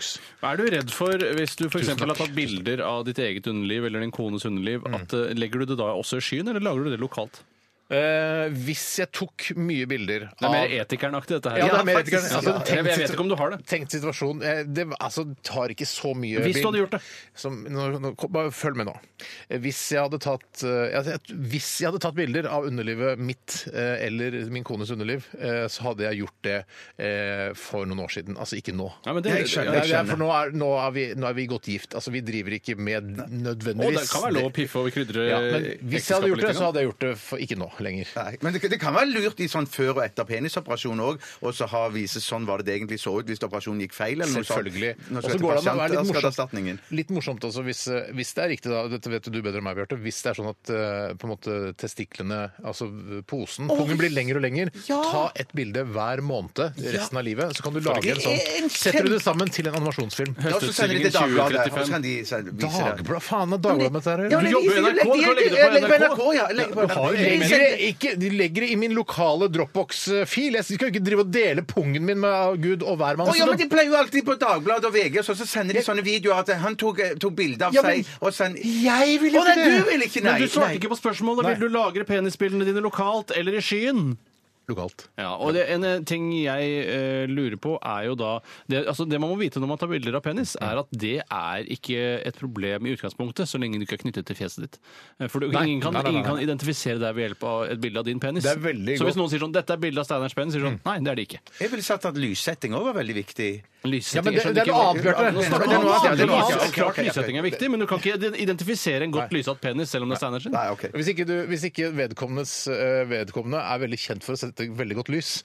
[SPEAKER 5] Er du redd for, hvis du f.eks.
[SPEAKER 4] Tusen takk. Mm.
[SPEAKER 5] har tatt bilder av ditt eget underliv eller din kones underliv, at eh, legger du det da også i skyen, eller lager du det lokalt?
[SPEAKER 4] Eh, hvis jeg tok mye bilder
[SPEAKER 5] Det er mer etikernaktig, dette her.
[SPEAKER 4] Ja, det er mer
[SPEAKER 5] faktisk.
[SPEAKER 4] etikeren. Altså,
[SPEAKER 5] Ja,
[SPEAKER 4] tenkt-
[SPEAKER 5] jeg, jeg vet ikke om du har det.
[SPEAKER 4] Tenkt situasjon eh, Det altså, tar ikke så mye
[SPEAKER 5] Hvis du
[SPEAKER 4] bild-
[SPEAKER 5] hadde gjort det.
[SPEAKER 4] Som, nå, nå, kom- bare følg med nå. Eh, Hvis jeg hadde tatt eh, jeg- jeg- Hvis jeg hadde tatt bilder av underlivet mitt eh, eller min kones underliv, eh, så hadde jeg gjort det eh, for noen år siden. Altså ikke nå.
[SPEAKER 5] Ja, men det,
[SPEAKER 6] Jeg skjønner,
[SPEAKER 5] ja,
[SPEAKER 4] Det er- for nå er, nå, er vi, nå er vi godt gift. Altså, vi driver ikke med
[SPEAKER 5] Og
[SPEAKER 4] nødvendigvis
[SPEAKER 5] det kan være lov å piffe og krydre
[SPEAKER 4] Ja, men hvis jeg hadde gjort det, så
[SPEAKER 5] ekteskapet litt.
[SPEAKER 4] hadde jeg gjort det for, ikke nå lenger.
[SPEAKER 6] Nei, Men det, det kan være lurt i sånn før og etter penisoperasjon òg, og så ha vise sånn var det det egentlig så ut hvis operasjonen gikk feil. Eller
[SPEAKER 4] Selvfølgelig.
[SPEAKER 6] Noe sånt. Nå
[SPEAKER 4] Og
[SPEAKER 6] skal
[SPEAKER 4] så
[SPEAKER 6] jeg
[SPEAKER 4] går det
[SPEAKER 6] til
[SPEAKER 4] an å være
[SPEAKER 6] pasient, da skal jeg
[SPEAKER 4] litt
[SPEAKER 6] til
[SPEAKER 4] morsomt,
[SPEAKER 6] erstatningen.
[SPEAKER 4] litt morsomt også, hvis, eh, hvis det er riktig, da, dette vet du bedre enn meg, Bjarte, hvis det er sånn at eh, på en måte testiklene, altså eh, posen, pungen blir lengre og lengre, ta et bilde hver måned resten av livet, så kan du lage en sånn. Setter du det sammen til en
[SPEAKER 5] Ikke
[SPEAKER 4] animasjonsfilm.
[SPEAKER 5] sant?
[SPEAKER 6] Ja, så sender de til
[SPEAKER 5] Høstutstillingen
[SPEAKER 6] Dagbladet, og så
[SPEAKER 5] 2035.
[SPEAKER 6] kan de sende- vise det.
[SPEAKER 4] Dagbladet, faen er Dagbladet med dette her? å
[SPEAKER 6] Ja,
[SPEAKER 4] gjøre?
[SPEAKER 5] Du
[SPEAKER 6] men
[SPEAKER 5] jobber i
[SPEAKER 6] jeg-
[SPEAKER 5] NRK, du kan
[SPEAKER 6] jeg-
[SPEAKER 5] legge det på
[SPEAKER 6] jeg- jeg-
[SPEAKER 5] NRK.
[SPEAKER 6] ja, jeg legger på
[SPEAKER 5] Du har
[SPEAKER 6] NRK.
[SPEAKER 5] jo
[SPEAKER 4] Jeg
[SPEAKER 5] men-
[SPEAKER 4] legger det ikke, de legger det i min lokale Dropbox-fil. Jeg skal jo ikke drive og dele pungen min med Gud og hver mann.
[SPEAKER 6] Å, ja, men De pleier jo alltid på Dagbladet og VG, så, så sender de sånne videoer at han tok, eh, tok bilde av
[SPEAKER 4] Ja, men-
[SPEAKER 6] seg og sendte
[SPEAKER 4] Jeg vil
[SPEAKER 6] Å, nei,
[SPEAKER 4] ikke det!
[SPEAKER 6] du vil ikke, nei!
[SPEAKER 5] Men du svarte
[SPEAKER 6] nei.
[SPEAKER 5] ikke på spørsmålet. Vil du lagre penisbildene dine lokalt eller i skyen?
[SPEAKER 4] Lokalt.
[SPEAKER 5] Ja, og det, En eh, ting jeg eh, lurer på, er jo da det, altså det man må vite når man tar bilder av penis, er at det er ikke et problem i utgangspunktet, så lenge du ikke er knyttet til fjeset ditt. Eh, For du,
[SPEAKER 4] Nei,
[SPEAKER 5] ingen, kan,
[SPEAKER 4] nei, nei, nei.
[SPEAKER 5] ingen kan identifisere deg ved hjelp av et bilde av din penis.
[SPEAKER 4] Det er veldig
[SPEAKER 5] så
[SPEAKER 4] godt. Mm.
[SPEAKER 5] hvis noen sier sånn 'dette er bilde av Steiners penis', sier du sånn 'nei, det er det ikke'.
[SPEAKER 6] Jeg ville sagt at lyssetting òg var veldig viktig.
[SPEAKER 4] Ja, men
[SPEAKER 5] Lyssetting
[SPEAKER 4] det, det er noe annet, Bjarte.
[SPEAKER 5] Nå
[SPEAKER 4] Det
[SPEAKER 5] snakker
[SPEAKER 4] er
[SPEAKER 5] vi om
[SPEAKER 4] noe
[SPEAKER 5] noe
[SPEAKER 4] annet.
[SPEAKER 5] annet.
[SPEAKER 4] Det er noe
[SPEAKER 5] Ja,
[SPEAKER 4] annet.
[SPEAKER 5] så Klart lyssetting er viktig, men du kan ikke identifisere en godt lysatt penis selv om det er Steiners sin.
[SPEAKER 6] Nei, ok.
[SPEAKER 4] Hvis ikke, du, hvis ikke vedkommendes, eh, vedkommende er veldig kjent for å sette veldig godt lys.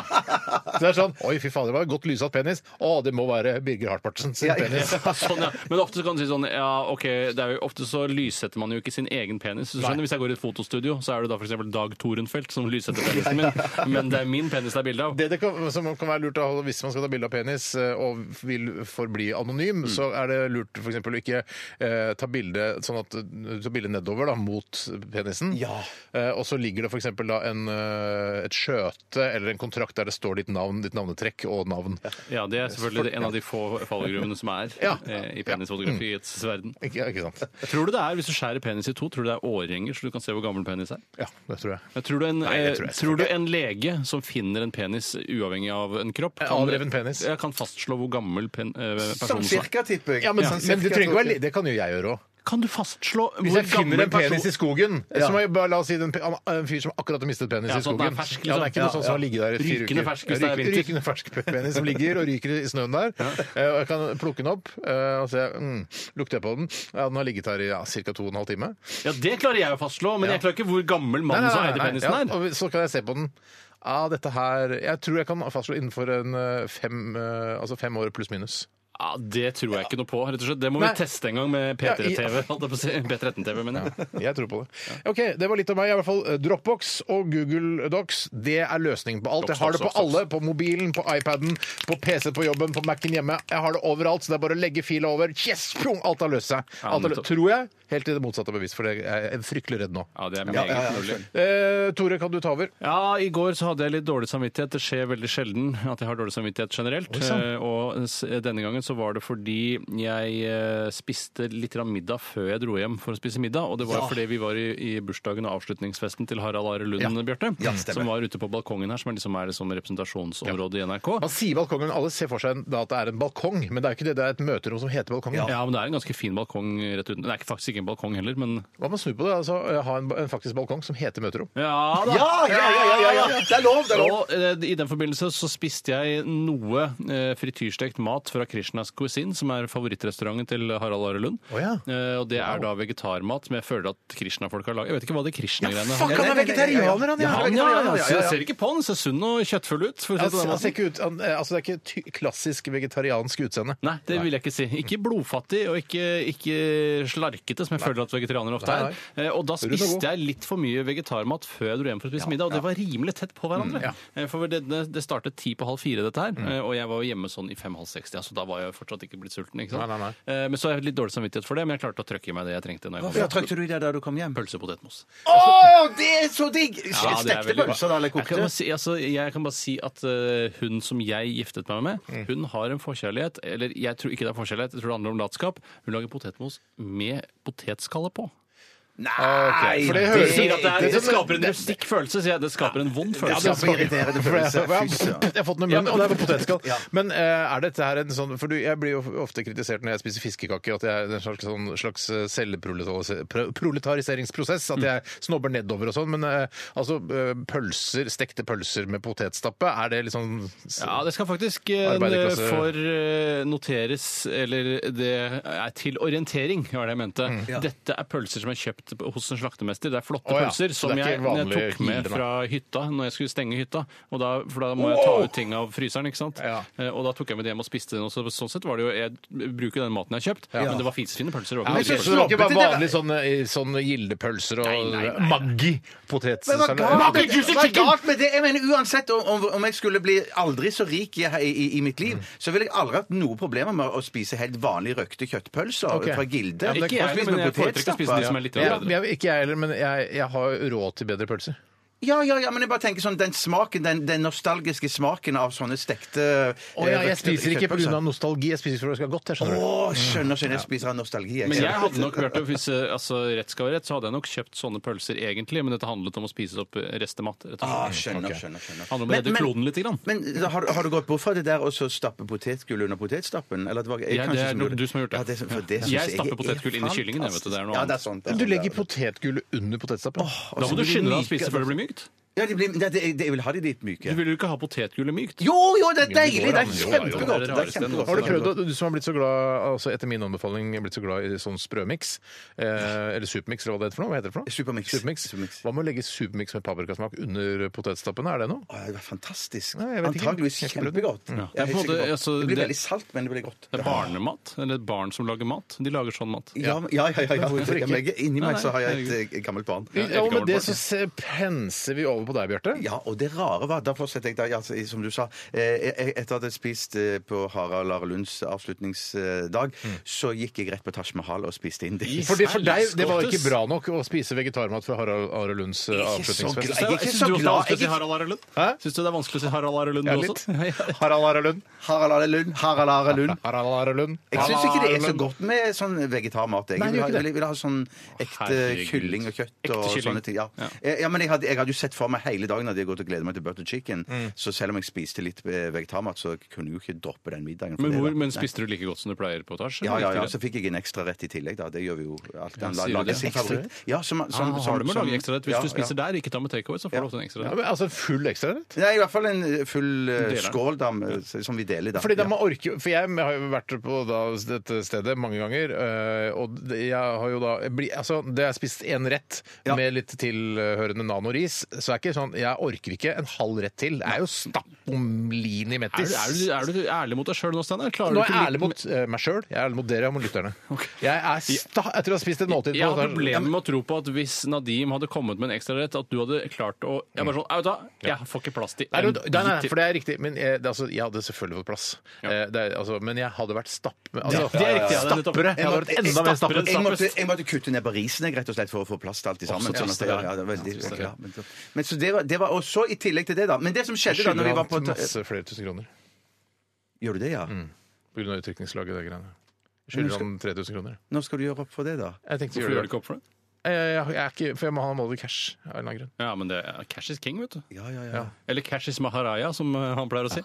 [SPEAKER 4] Så det er sånn Oi, fy fader, det var godt lysatt penis. Å, det må være Birger Hartpartsen sin penis.
[SPEAKER 5] Sånn, ja. Men ofte så kan du si sånn Ja, OK, det er jo, ofte så lyssetter man jo ikke sin egen penis. Så skjønner, du, hvis jeg går i et fotostudio, så er det da f.eks. Dag Torenfeldt som lyssetter penisen min, men det er min penis det er bilde av.
[SPEAKER 4] Det, det kan, som kan være lurt å ha hvis man skal ta bilde av penis eh, og vil forbli anonym, så er det lurt f.eks. å ikke eh, ta bilde sånn at du tar bilde nedover da, mot penisen.
[SPEAKER 6] Ja.
[SPEAKER 4] Eh, og så ligger det f.eks. da en, eh, et skjøte eller en kontrakt der det står ditt navn, ditt navnetrekk og navn.
[SPEAKER 5] Ja, det er selvfølgelig en av de få fallgruvene som er
[SPEAKER 4] Ja. Mm.
[SPEAKER 5] eh, i penisfotografiets verden.
[SPEAKER 4] Ikke, ikke sant?
[SPEAKER 5] Tror du det er, Hvis du skjærer penis i to, tror du det er årringer, så du kan se hvor gammel penis er?
[SPEAKER 4] Ja, det tror jeg.
[SPEAKER 5] Jeg tror, du en,
[SPEAKER 4] Nei, det tror
[SPEAKER 5] tror,
[SPEAKER 4] jeg
[SPEAKER 5] tror du en lege som finner en penis uavhengig av en kropp,
[SPEAKER 4] avreven Eh, penis.
[SPEAKER 5] Ja, kan fastslå hvor gammel pen, eh,
[SPEAKER 6] Sånn
[SPEAKER 5] personen er?
[SPEAKER 6] cirka, tipper jeg.
[SPEAKER 4] Ja, men,
[SPEAKER 6] Sånn
[SPEAKER 4] men det
[SPEAKER 6] cirka,
[SPEAKER 4] trenger ikke
[SPEAKER 6] tror
[SPEAKER 4] være li- Det kan jo jeg gjøre òg.
[SPEAKER 5] Kan du fastslå
[SPEAKER 4] Hvis
[SPEAKER 5] hvor
[SPEAKER 4] jeg finner en
[SPEAKER 5] person-
[SPEAKER 4] penis i skogen som er, bare, La oss si det er en, pe- han- en fyr som akkurat har mistet penis
[SPEAKER 5] Ja,
[SPEAKER 4] i
[SPEAKER 5] sånn
[SPEAKER 4] skogen.
[SPEAKER 5] at den er fersk,
[SPEAKER 4] ja, det er
[SPEAKER 5] liksom.
[SPEAKER 4] ikke noe sånn som har ligget der i fire
[SPEAKER 5] Rykende
[SPEAKER 4] uker.
[SPEAKER 5] fersk hvis det er
[SPEAKER 4] Ryk-
[SPEAKER 5] vinter.
[SPEAKER 4] Rykende fersk penis som ligger og ryker i snøen der. Eh, Og jeg kan plukke den opp eh, og se mm, Lukter jeg på den? Ja, den har ligget her i ja, ca. to og en halv time.
[SPEAKER 5] Ja, det klarer jeg å fastslå, men jeg klarer ikke hvor gammel mannen som eide penisen
[SPEAKER 4] ja,
[SPEAKER 5] er.
[SPEAKER 4] og så kan jeg se på den. Ja, dette her Jeg tror jeg kan fastslå innenfor en eh, fem, eh, altså fem år pluss minus.
[SPEAKER 5] Ja, det tror jeg ikke noe på, rett og slett. Det må
[SPEAKER 4] Nei.
[SPEAKER 5] vi teste en gang med P3-TV. holdt jeg på å si. P13-TV, mener jeg.
[SPEAKER 4] Jeg tror på det. OK, det var litt av meg. I hvert fall Eh, Dropbox og Google Docs det er løsningen på alt. Jeg har det på alle. På mobilen, på iPaden, på PC på jobben, på Mac-en hjemme. Jeg har det overalt, så det er bare å legge fila over. Yes! Pjong! Alt har løst seg.
[SPEAKER 5] Ja,
[SPEAKER 4] Alt har løst,
[SPEAKER 5] nettopp.
[SPEAKER 4] tror jeg. Helt til det motsatte er bevis, for jeg er fryktelig redd nå.
[SPEAKER 5] Ja, det er meget mulig.
[SPEAKER 4] Eh, Tore, kan du ta over?
[SPEAKER 5] Ja, i går så hadde jeg litt dårlig samvittighet. Det skjer veldig sjelden at jeg har dårlig samvittighet generelt.
[SPEAKER 4] sann.
[SPEAKER 5] Eh, Og s- denne gangen så var det fordi jeg eh, spiste litt grann middag før jeg dro hjem for å spise middag. Og det var fordi vi var i, i bursdagen og avslutningsfesten til Harald Are Lund, Bjarte. som var ute på balkongen her, som er liksom er det som representasjonsområde i NRK.
[SPEAKER 4] Man sier balkongen, alle ser for seg da at det er en balkong, men det er jo ikke det. Det er et møterom som heter balkongen.
[SPEAKER 5] Ja, men det er en ganske fin balkong rett uten. Det er ikke- faktisk ikke en balkong heller, men
[SPEAKER 4] Hva om man snur på det? altså eh, Ha en, en faktisk balkong som heter møterom.
[SPEAKER 5] Ja da!
[SPEAKER 6] Ja, ja, ja, ja, ja, ja. Det er lov, det er lov!
[SPEAKER 5] Og eh, I den forbindelse så spiste jeg noe eh, frityrstekt mat fra Krishnas Cuisine, som er favorittrestauranten til Harald Are Lund.
[SPEAKER 4] Å ja.
[SPEAKER 5] Eh, og det er da vegetarmat, men jeg føler at Krishna-folk har laget Jeg vet ikke hva det Krishna-greiene
[SPEAKER 4] Fuck, han
[SPEAKER 6] nei,
[SPEAKER 4] er
[SPEAKER 6] nei, nei,
[SPEAKER 4] vegetarianer, han!
[SPEAKER 5] Ja,
[SPEAKER 4] Ja,
[SPEAKER 5] han, ja,
[SPEAKER 6] vegetarianer, ja, ja, ja.
[SPEAKER 5] Jeg ser ikke på han, ser sunn og kjøttfull ut. For å si det på
[SPEAKER 4] Altså,
[SPEAKER 5] den
[SPEAKER 4] han ser
[SPEAKER 5] måten.
[SPEAKER 4] ikke ut, han, eh, altså, det er ikke ty klassisk vegetariansk utseende.
[SPEAKER 5] Nei, det vil jeg ikke si. Ikke blodfattig og ikke, ikke slarkete, som jeg føler at vegetarianere ofte
[SPEAKER 4] Nei,
[SPEAKER 5] er. Eh, Og da
[SPEAKER 4] er god.
[SPEAKER 5] spiste jeg litt for mye vegetarmat før jeg dro hjem for å spise middag, og det var rimelig tett på
[SPEAKER 4] Mm,
[SPEAKER 5] hverandre. Eh, For det, det det startet ti på halv fire, dette her, eh, og jeg var jo hjemme sånn i fem-halv seks, ja, så da var jeg fortsatt ikke blitt sulten. ikke sant?
[SPEAKER 4] Nei, nei,
[SPEAKER 5] Eh, Men så har jeg litt dårlig samvittighet for det, men jeg klarte å trøkke i meg det jeg trengte. når jeg
[SPEAKER 6] Hvorfor
[SPEAKER 5] kom hjem.
[SPEAKER 6] trykte du i det da du kom hjem?
[SPEAKER 5] Pølse og potetmos.
[SPEAKER 6] Å, det er så digg!
[SPEAKER 5] Altså, Ja, det er
[SPEAKER 6] Stekte
[SPEAKER 5] veldig bra.
[SPEAKER 6] pølser da, eller
[SPEAKER 5] Jeg kan,
[SPEAKER 6] kokte?
[SPEAKER 5] bare si, altså, jeg kan bare si at eh, hun som jeg giftet meg med,
[SPEAKER 6] Mm.
[SPEAKER 5] hun har en forkjærlighet Eller jeg tror ikke det er forkjærlighet, jeg tror det handler om latskap. Hun lager potetmos med potetskalle på.
[SPEAKER 6] Nei,
[SPEAKER 4] for det
[SPEAKER 5] Det,
[SPEAKER 4] høres
[SPEAKER 5] sier at det, er,
[SPEAKER 4] det-
[SPEAKER 5] det skaper en rustikk følelse, sier jeg. Det skaper en vond
[SPEAKER 6] Ja,
[SPEAKER 5] følelse.
[SPEAKER 6] det er så irriterende
[SPEAKER 4] For jeg,
[SPEAKER 6] følelse.
[SPEAKER 4] for jeg,
[SPEAKER 6] Fy søren.
[SPEAKER 4] jeg har fått den i munnen, og det er på potetskall. Men eh, er dette her en sånn For du, jeg blir jo ofte kritisert når jeg spiser fiskekaker, at jeg er en slags, sånn, slags selvproletariseringsprosess. At jeg snobber nedover og sånn. Men eh, altså, eh, pølser, stekte pølser med potetstappe, er det liksom
[SPEAKER 5] Ja, det skal faktisk eh,
[SPEAKER 4] Arbeiderklasse-
[SPEAKER 5] for eh, noteres, eller det er til orientering, var det jeg mente. Dette er pølser som er kjøpt hos en slaktemester. Det er flotte
[SPEAKER 4] Mm. Å ja,
[SPEAKER 5] pølser
[SPEAKER 4] så
[SPEAKER 5] som
[SPEAKER 4] det er ikke
[SPEAKER 5] jeg, jeg
[SPEAKER 4] vanlige
[SPEAKER 5] tok med
[SPEAKER 4] kilder,
[SPEAKER 5] fra hytta når jeg skulle stenge hytta. Og da, for da må jeg ta ut ting av fryseren, ikke sant.
[SPEAKER 4] Ja.
[SPEAKER 5] Eh, Og da tok jeg med det hjem og spiste den. Og så, sånn sett var det jo Jeg bruker den maten jeg har kjøpt, men det var fisefine pølser. det
[SPEAKER 4] Ja,
[SPEAKER 5] var ikke
[SPEAKER 4] men sånn
[SPEAKER 5] noe
[SPEAKER 6] synes
[SPEAKER 4] så
[SPEAKER 5] pølser.
[SPEAKER 4] smaker bare
[SPEAKER 6] det der-
[SPEAKER 4] vanlig sånn, eh, sånn gildepølser og
[SPEAKER 5] nei, nei,
[SPEAKER 6] Men hva
[SPEAKER 5] sånn-
[SPEAKER 4] Maggi-potetsalat.
[SPEAKER 6] galt- hva galt med det? Jeg mener Uansett om, om- om jeg skulle bli aldri så rik i, i, i mitt liv,
[SPEAKER 5] Mm.
[SPEAKER 6] så ville jeg aldri hatt noe problemer med å spise helt vanlige røkte kjøttpølser
[SPEAKER 4] Ok.
[SPEAKER 6] fra Gilde.
[SPEAKER 5] Ikke jeg,
[SPEAKER 6] Og spise
[SPEAKER 5] men
[SPEAKER 6] med
[SPEAKER 5] jeg foretrekker å spise de
[SPEAKER 6] potetstappe.
[SPEAKER 5] som er litt
[SPEAKER 4] Ja,
[SPEAKER 5] bedre.
[SPEAKER 4] jeg, ikke jeg heller, men jeg, jeg har råd til bedre pølser.
[SPEAKER 6] Ja, ja, ja, men jeg bare tenker sånn, den smaken, den, den nostalgiske smaken av sånne stekte eh,
[SPEAKER 4] Å ja, jeg spiser ikke pga. nostalgi, jeg spiser for det skal være godt. Jeg
[SPEAKER 6] Å,
[SPEAKER 4] skjønner du.
[SPEAKER 6] skjønner, skjønner. Jeg spiser av nostalgi.
[SPEAKER 5] Men jeg hadde nok Bjarte, hvis eh, altså, rett skal være rett, så hadde jeg nok kjøpt sånne pølser egentlig, men dette handlet om å spise opp eh, restemat. Rett og slett.
[SPEAKER 6] Ah, skjønner, skjønner, skjønner.
[SPEAKER 5] handler om å
[SPEAKER 6] Men-
[SPEAKER 5] redde
[SPEAKER 6] men-
[SPEAKER 5] kloden litt. Grann.
[SPEAKER 6] Men da har, har du gått bort fra det der og så stappe potetgull under potetstappen? Eller det var, jeg,
[SPEAKER 5] Ja,
[SPEAKER 6] kanskje
[SPEAKER 5] det er
[SPEAKER 6] som gjorde
[SPEAKER 5] du som har gjort det.
[SPEAKER 6] Ja, det, er- for det synes
[SPEAKER 5] Jeg
[SPEAKER 6] er
[SPEAKER 5] stapper potetgull inn i kyllingen, jeg, vet du, det er
[SPEAKER 6] fantastisk.
[SPEAKER 5] noe
[SPEAKER 6] Ja,
[SPEAKER 5] annet.
[SPEAKER 6] det er sant. det er
[SPEAKER 4] Du
[SPEAKER 6] sant, det
[SPEAKER 4] legger
[SPEAKER 6] er sant.
[SPEAKER 4] potetgullet under potetstappen.
[SPEAKER 6] Og så
[SPEAKER 5] Da må du
[SPEAKER 6] blir de
[SPEAKER 5] skynde deg å
[SPEAKER 6] myke,
[SPEAKER 5] spise før det blir mykt.
[SPEAKER 6] Ja, de blir, det, det, jeg vil ha de litt myke.
[SPEAKER 5] Du vil jo ikke ha potetgullet mykt.
[SPEAKER 6] Jo, jo, det er deilig! Det er
[SPEAKER 5] Jo, jo, jo, det er
[SPEAKER 6] kjempegodt.
[SPEAKER 5] det
[SPEAKER 6] Det er
[SPEAKER 5] rareste
[SPEAKER 6] kjempegodt.
[SPEAKER 5] noe.
[SPEAKER 4] Har du prøvd, å- du som har blitt så glad, altså etter min anbefaling, blitt så glad i sånn sprømiks, eh, eller supermix, eller hva det heter for noe? Hva heter det for noe?
[SPEAKER 6] Supermix.
[SPEAKER 4] Supermix.
[SPEAKER 6] Supermix.
[SPEAKER 4] Hva med å legge supermix med paprikasmak under potetstappene, er det noe?
[SPEAKER 6] Å, Det var fantastisk.
[SPEAKER 4] Nei, jeg vet ikke.
[SPEAKER 6] Antageligvis
[SPEAKER 4] Jeg har ikke prøvd det.
[SPEAKER 6] kjempegodt.
[SPEAKER 5] Ja.
[SPEAKER 6] Jeg er
[SPEAKER 5] Det er på en
[SPEAKER 6] helt
[SPEAKER 5] måte,
[SPEAKER 6] sikker på.
[SPEAKER 5] altså,
[SPEAKER 6] det blir
[SPEAKER 5] det-
[SPEAKER 6] veldig salt, men det blir godt.
[SPEAKER 5] Det er barnemat, eller barn som lager mat. De lager sånn mat.
[SPEAKER 6] Ja, ja, ja. ja, ja.
[SPEAKER 4] hvorfor ikke?
[SPEAKER 6] Ja, men jeg- Inni meg
[SPEAKER 5] Nei,
[SPEAKER 6] så har jeg
[SPEAKER 5] herregud.
[SPEAKER 6] et eh, gammelt barn.
[SPEAKER 4] Ja, og med det så se- penser vi over på deg, Bjarte.
[SPEAKER 6] Ja, og det rare var Da fortsetter jeg, da, altså, som du sa eh, jeg- Etter at jeg spiste eh, på Harald Are Lunds avslutningsdag,
[SPEAKER 4] Mm.
[SPEAKER 6] så gikk jeg rett på Taj Mahal og spiste indisk.
[SPEAKER 4] Fordi for deg det var ikke bra nok å spise vegetarmat fra Harald Are Lunds eh,
[SPEAKER 6] Ikke så
[SPEAKER 4] avslutningsfest.
[SPEAKER 6] glad. Jeg er ikke
[SPEAKER 5] Syns
[SPEAKER 6] så
[SPEAKER 5] du også det er
[SPEAKER 6] glad.
[SPEAKER 5] vanskelig å si
[SPEAKER 6] Jeg er-
[SPEAKER 5] Harald Are Lund?
[SPEAKER 4] Hæ?
[SPEAKER 5] Syns du det er vanskelig å si Harald Are Lund
[SPEAKER 4] Ja,
[SPEAKER 5] du
[SPEAKER 4] litt.
[SPEAKER 5] også? Ja, ja.
[SPEAKER 4] Harald Are Lund.
[SPEAKER 6] Harald Are Lund, Harald Are Lund.
[SPEAKER 4] Harald Are Lund.
[SPEAKER 6] Jeg syns ikke det er så godt med sånn vegetarmat. Jeg
[SPEAKER 4] Nei, det
[SPEAKER 6] vil
[SPEAKER 4] er
[SPEAKER 6] ha,
[SPEAKER 4] ikke det.
[SPEAKER 6] vil, vil ha sånn ekte
[SPEAKER 5] Herregud.
[SPEAKER 6] kylling og kjøtt
[SPEAKER 5] Ekte
[SPEAKER 6] og
[SPEAKER 5] kylling.
[SPEAKER 6] sånne ting. Ja.
[SPEAKER 5] Ja.
[SPEAKER 6] Eh, ja, men jeg hadde, jeg hadde jo sett for meg hele dagen at jeg gått og gledet meg til butter chicken.
[SPEAKER 4] Mm.
[SPEAKER 6] Så selv om jeg spiste litt eh, vegetarmat, så kunne jeg jo ikke droppe den middagen. for
[SPEAKER 5] Men,
[SPEAKER 6] det,
[SPEAKER 5] hvor,
[SPEAKER 6] da.
[SPEAKER 5] men
[SPEAKER 6] Nei.
[SPEAKER 5] spiste du like godt som du pleier på Taj?
[SPEAKER 6] ja, ja, ja, så fikk jeg en ekstra rett i tillegg, da. Det gjør vi jo alltid. Han
[SPEAKER 5] sier du
[SPEAKER 6] lager
[SPEAKER 5] det?
[SPEAKER 6] sin
[SPEAKER 5] Ekstra
[SPEAKER 6] favoritt. Ja, som,
[SPEAKER 5] Ah,
[SPEAKER 6] som, som,
[SPEAKER 5] har du med å lage ekstrarett? Hvis
[SPEAKER 6] ja,
[SPEAKER 5] du spiser
[SPEAKER 6] ja.
[SPEAKER 5] der, ikke ta med takeaway, så får du ofte en
[SPEAKER 4] Ja,
[SPEAKER 5] ekstrarett.
[SPEAKER 4] men altså full ekstrarett?
[SPEAKER 6] Nei, i hvert fall en eh, full eh,
[SPEAKER 5] Deler.
[SPEAKER 6] skål da, med- som vi deler, da.
[SPEAKER 4] Fordi da
[SPEAKER 6] Ja.
[SPEAKER 4] må orke, for jeg har jo vært på da, dette stedet mange ganger, øh, og det- jeg har jo da bli, altså, Det har jeg spist én rett
[SPEAKER 6] Ja.
[SPEAKER 4] med litt tilhørende nanoris, så er er ikke sånn 'jeg orker ikke en halv rett til'. Det er jo stappomlini
[SPEAKER 5] Er du,
[SPEAKER 4] mettis.
[SPEAKER 5] er, du, er du ærlig mot deg sjøl nå, Steinar? Klarer
[SPEAKER 4] Nå
[SPEAKER 5] du
[SPEAKER 4] er jeg
[SPEAKER 5] ikke
[SPEAKER 4] ærlig mot eh, meg sjøl, jeg er ærlig mot dere og mot lytterne. Jeg er sta etter å ha spist et måltid
[SPEAKER 5] Jeg har
[SPEAKER 4] på
[SPEAKER 5] problemer med å tro på at hvis Nadim hadde kommet med en ekstrarett, at du hadde klart å Jeg bare sånn, «Au, vet du hva, jeg får ikke plass til
[SPEAKER 4] Nei,
[SPEAKER 5] en
[SPEAKER 4] men- nei, nei,
[SPEAKER 5] bit til».
[SPEAKER 4] for det er riktig. Men jeg, det, er altså, jeg hadde selvfølgelig fått plass.
[SPEAKER 5] Ja.
[SPEAKER 4] Eh, det er, altså, men jeg hadde vært stapp... Altså,
[SPEAKER 5] Ja, det er riktig, ja, det er nettopp-
[SPEAKER 4] Stappere. Jeg hadde vært enda mer
[SPEAKER 5] Stappere.
[SPEAKER 4] stappere.
[SPEAKER 6] Jeg måtte, jeg måtte kutte ned på risen jeg, rett og slett, for å få plass til alt i sammen.
[SPEAKER 5] Å, så
[SPEAKER 6] Sånn at
[SPEAKER 5] trist det
[SPEAKER 6] jeg-
[SPEAKER 5] er.
[SPEAKER 6] ja, det var veldig- ja, men så- men så det var, det var, Og så i tillegg til det, da. Men det som skjedde da når vi
[SPEAKER 4] Skylder
[SPEAKER 6] var
[SPEAKER 4] han
[SPEAKER 6] på
[SPEAKER 4] masse Mm. flere tusen kroner
[SPEAKER 6] Gjør du det, ja?
[SPEAKER 4] på grunn av utrykningslaget og de greiene. Skylder han 3000 kroner.
[SPEAKER 6] Når skal du gjøre opp for det, da?
[SPEAKER 4] Jeg tenkte
[SPEAKER 5] Hvorfor gjør du ikke opp for det?
[SPEAKER 4] Jeg, jeg, jeg er ikke, for jeg må ha målet cash av en eller annen grunn.
[SPEAKER 5] Ja, men det er cash is king, vet du.
[SPEAKER 6] Ja, ja, ja.
[SPEAKER 5] Eller cash is maharaja, som eh, han pleier å si.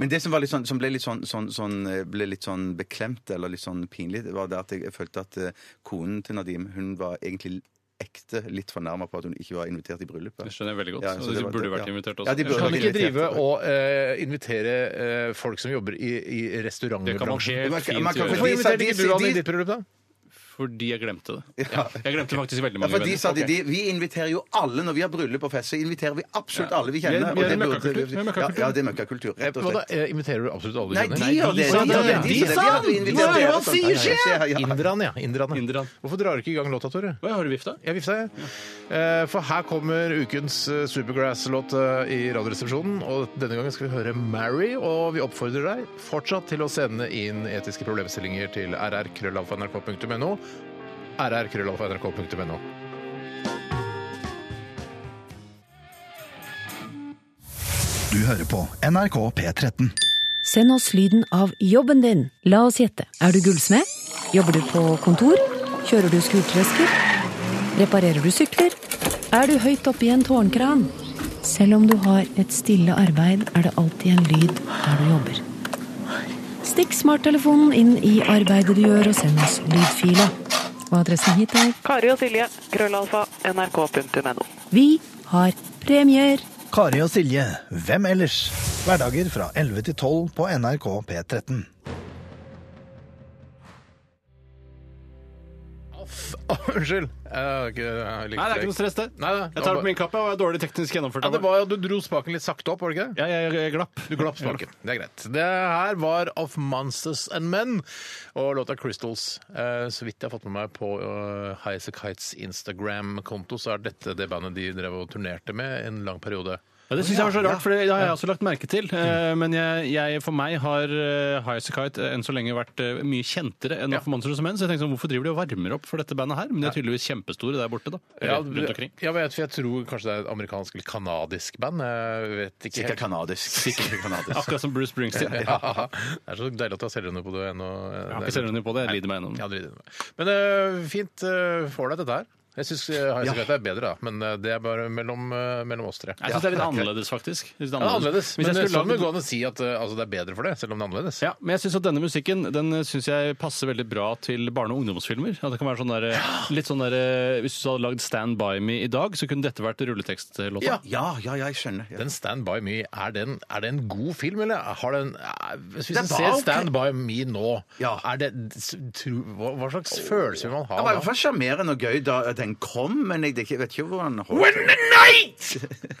[SPEAKER 6] Men det som, var litt sånn, som ble, litt sånn, sånn, sånn, eh, ble litt sånn beklemt eller litt sånn pinlig, det var det at jeg følte at eh, konen til Nadim hun var egentlig ekte litt fornærma på at hun ikke var invitert i bryllupet.
[SPEAKER 5] Det skjønner jeg veldig godt.
[SPEAKER 6] Ja, så
[SPEAKER 5] så
[SPEAKER 6] det
[SPEAKER 5] de
[SPEAKER 6] var-
[SPEAKER 5] burde
[SPEAKER 6] ja.
[SPEAKER 5] vært invitert også.
[SPEAKER 6] Ja, de burde
[SPEAKER 5] Jeg
[SPEAKER 4] Kan
[SPEAKER 5] skjønner
[SPEAKER 4] vi
[SPEAKER 5] ikke.
[SPEAKER 4] ikke drive og eh, invitere eh, folk som jobber i, i
[SPEAKER 5] Det kan man
[SPEAKER 4] restaurantbransjen?
[SPEAKER 5] helt
[SPEAKER 6] Man kan- man kan-
[SPEAKER 5] fint gjøre.
[SPEAKER 4] Hvorfor
[SPEAKER 6] De sa-
[SPEAKER 4] inviterte
[SPEAKER 6] de-
[SPEAKER 4] ikke du han
[SPEAKER 6] de-
[SPEAKER 4] i ditt bryllup, da?
[SPEAKER 5] Fordi jeg glemte det.
[SPEAKER 6] Ja.
[SPEAKER 5] Ja, jeg glemte faktisk veldig
[SPEAKER 6] Ja,
[SPEAKER 5] mange
[SPEAKER 6] for de
[SPEAKER 5] venner.
[SPEAKER 6] sa de, de, Vi inviterer jo alle når vi har bryllup og fest. Så inviterer vi absolutt alle vi
[SPEAKER 5] Vi er-
[SPEAKER 6] kjenner.
[SPEAKER 5] vi er
[SPEAKER 6] og det
[SPEAKER 5] en
[SPEAKER 6] burde-
[SPEAKER 5] møkkakultur. Vi er en møkkakultur.
[SPEAKER 6] Ja, ja, det er møkkakultur, rett og
[SPEAKER 4] Hva da?
[SPEAKER 6] slett.
[SPEAKER 4] Eh, Inviterer du absolutt
[SPEAKER 6] Nei,
[SPEAKER 4] alle du
[SPEAKER 6] de
[SPEAKER 4] kjenner?
[SPEAKER 6] gjør det! de
[SPEAKER 4] sa
[SPEAKER 6] gjør
[SPEAKER 4] det,
[SPEAKER 6] det,
[SPEAKER 4] ja.
[SPEAKER 6] de sa det, de hadde vi invitert
[SPEAKER 5] Nei,
[SPEAKER 6] til.
[SPEAKER 5] hva sier
[SPEAKER 6] Ja, ja, ja.
[SPEAKER 4] Inderne, ja. Inderne.
[SPEAKER 5] Inderne.
[SPEAKER 4] Hvorfor drar du ikke i gang låta, Tore?
[SPEAKER 5] Hva, har du vifta?
[SPEAKER 4] Jeg vifta, jeg. Eh, For her kommer ukens eh, Supergrass-låt eh, i Radioresepsjonen. Og denne gangen skal vi høre Mary, og vi oppfordrer deg fortsatt til å sende inn etiske problemstillinger til rrkrøllalfa.nrk.no. rrkrøllalfa.nrk.no.
[SPEAKER 7] Du hører på NRK P13.
[SPEAKER 8] Send oss lyden av jobben din. La oss gjette. Er du gullsmed? Jobber du på kontor? Kjører du skurtresker? Reparerer du sykler? Er du høyt oppe i en tårnkran? Selv om du har et stille arbeid, er det alltid en lyd der du jobber. Stikk smarttelefonen inn i arbeidet du gjør, og send oss lydfila. Og adressen hit er
[SPEAKER 2] Kari og Silje, krøllalfa, nrk.no.
[SPEAKER 8] Vi har premier!
[SPEAKER 7] Kari og Silje, hvem ellers? Hverdager fra 11 til 12 på NRK P13.
[SPEAKER 4] Unnskyld. Jeg, jeg,
[SPEAKER 5] Nei, det er ikke noe stress, det.
[SPEAKER 4] Nei, nei.
[SPEAKER 5] Jeg tar det på min kappe og er dårlig teknisk gjennomført.
[SPEAKER 4] Ja,
[SPEAKER 5] av
[SPEAKER 4] det
[SPEAKER 5] meg.
[SPEAKER 4] var jo, Du dro spaken litt sakte opp, var det ikke det?
[SPEAKER 5] Ja, jeg, jeg, jeg glapp.
[SPEAKER 4] Du glapp spaken. Det er greit. Det her var Of Monsters and Men og låta Crystals. Eh, så vidt jeg har fått med meg på eh, High As A Kites Instagram-konto, så er dette det bandet de drev og turnerte med en lang periode.
[SPEAKER 5] Ja, det syns jeg var så rart, for det har jeg også lagt merke til. Eh, Men jeg, jeg, for meg har eh, High As A Kite eh, enn så lenge vært eh, mye kjentere enn Off Monsters og Menn, så jeg tenkte sånn, hvorfor driver de og varmer opp for dette bandet her? Men de er tydeligvis kjempestore der borte, da.
[SPEAKER 4] Ja,
[SPEAKER 5] Eller rundt omkring.
[SPEAKER 4] jeg, vet, for jeg tror kanskje det er et amerikansk eller kanadisk band. Jeg vet ikke
[SPEAKER 6] Sikkert
[SPEAKER 4] helt.
[SPEAKER 6] kanadisk. Sikkert kanadisk.
[SPEAKER 5] Akkurat som Bruce Springsteen. Jeg
[SPEAKER 4] Ja. Det er så deilig at du har selgerne på det ennå.
[SPEAKER 5] har ikke selgerne på det, jeg lider meg gjennom.
[SPEAKER 4] Ja, det lider du med. Men eh, fint uh, får deg dette her. Jeg syns uh, High As A Kite er bedre, da. Men eh, det er bare mellom, eh, mellom oss tre.
[SPEAKER 5] Jeg syns det er litt annerledes, faktisk. Jeg synes det er
[SPEAKER 4] Ja, det er annerledes.
[SPEAKER 5] Hvis
[SPEAKER 4] Men
[SPEAKER 5] jeg
[SPEAKER 4] det
[SPEAKER 5] skulle
[SPEAKER 4] sånn
[SPEAKER 5] lagd-
[SPEAKER 4] må gå an å si at eh, altså, det er bedre for det, selv om det er annerledes.
[SPEAKER 5] Ja, men jeg synes at denne musikken den synes jeg passer veldig bra til barne- og ungdomsfilmer. At det kan være sånn der, litt sånn der, Hvis du hadde lagd Stand By Me i dag, så kunne dette vært rulletekstlåta.
[SPEAKER 4] Ja.
[SPEAKER 6] Ja, ja, ja, jeg skjønner. Ja.
[SPEAKER 4] Den Stand By Me, er, den, er det en god film, eller har den eh, Hvis
[SPEAKER 6] Den
[SPEAKER 4] vi
[SPEAKER 6] var
[SPEAKER 4] ser
[SPEAKER 6] ok.
[SPEAKER 4] Stand By Me nå,
[SPEAKER 6] Ja.
[SPEAKER 4] er det, tro, hva, hva slags følelse vil man
[SPEAKER 6] Det var i
[SPEAKER 4] ha
[SPEAKER 6] hvert
[SPEAKER 4] da?
[SPEAKER 6] fall sjarmerende og gøy da den kom, men jeg det er ikke- vet ikke hvor han
[SPEAKER 4] When
[SPEAKER 6] holdt.
[SPEAKER 4] the night!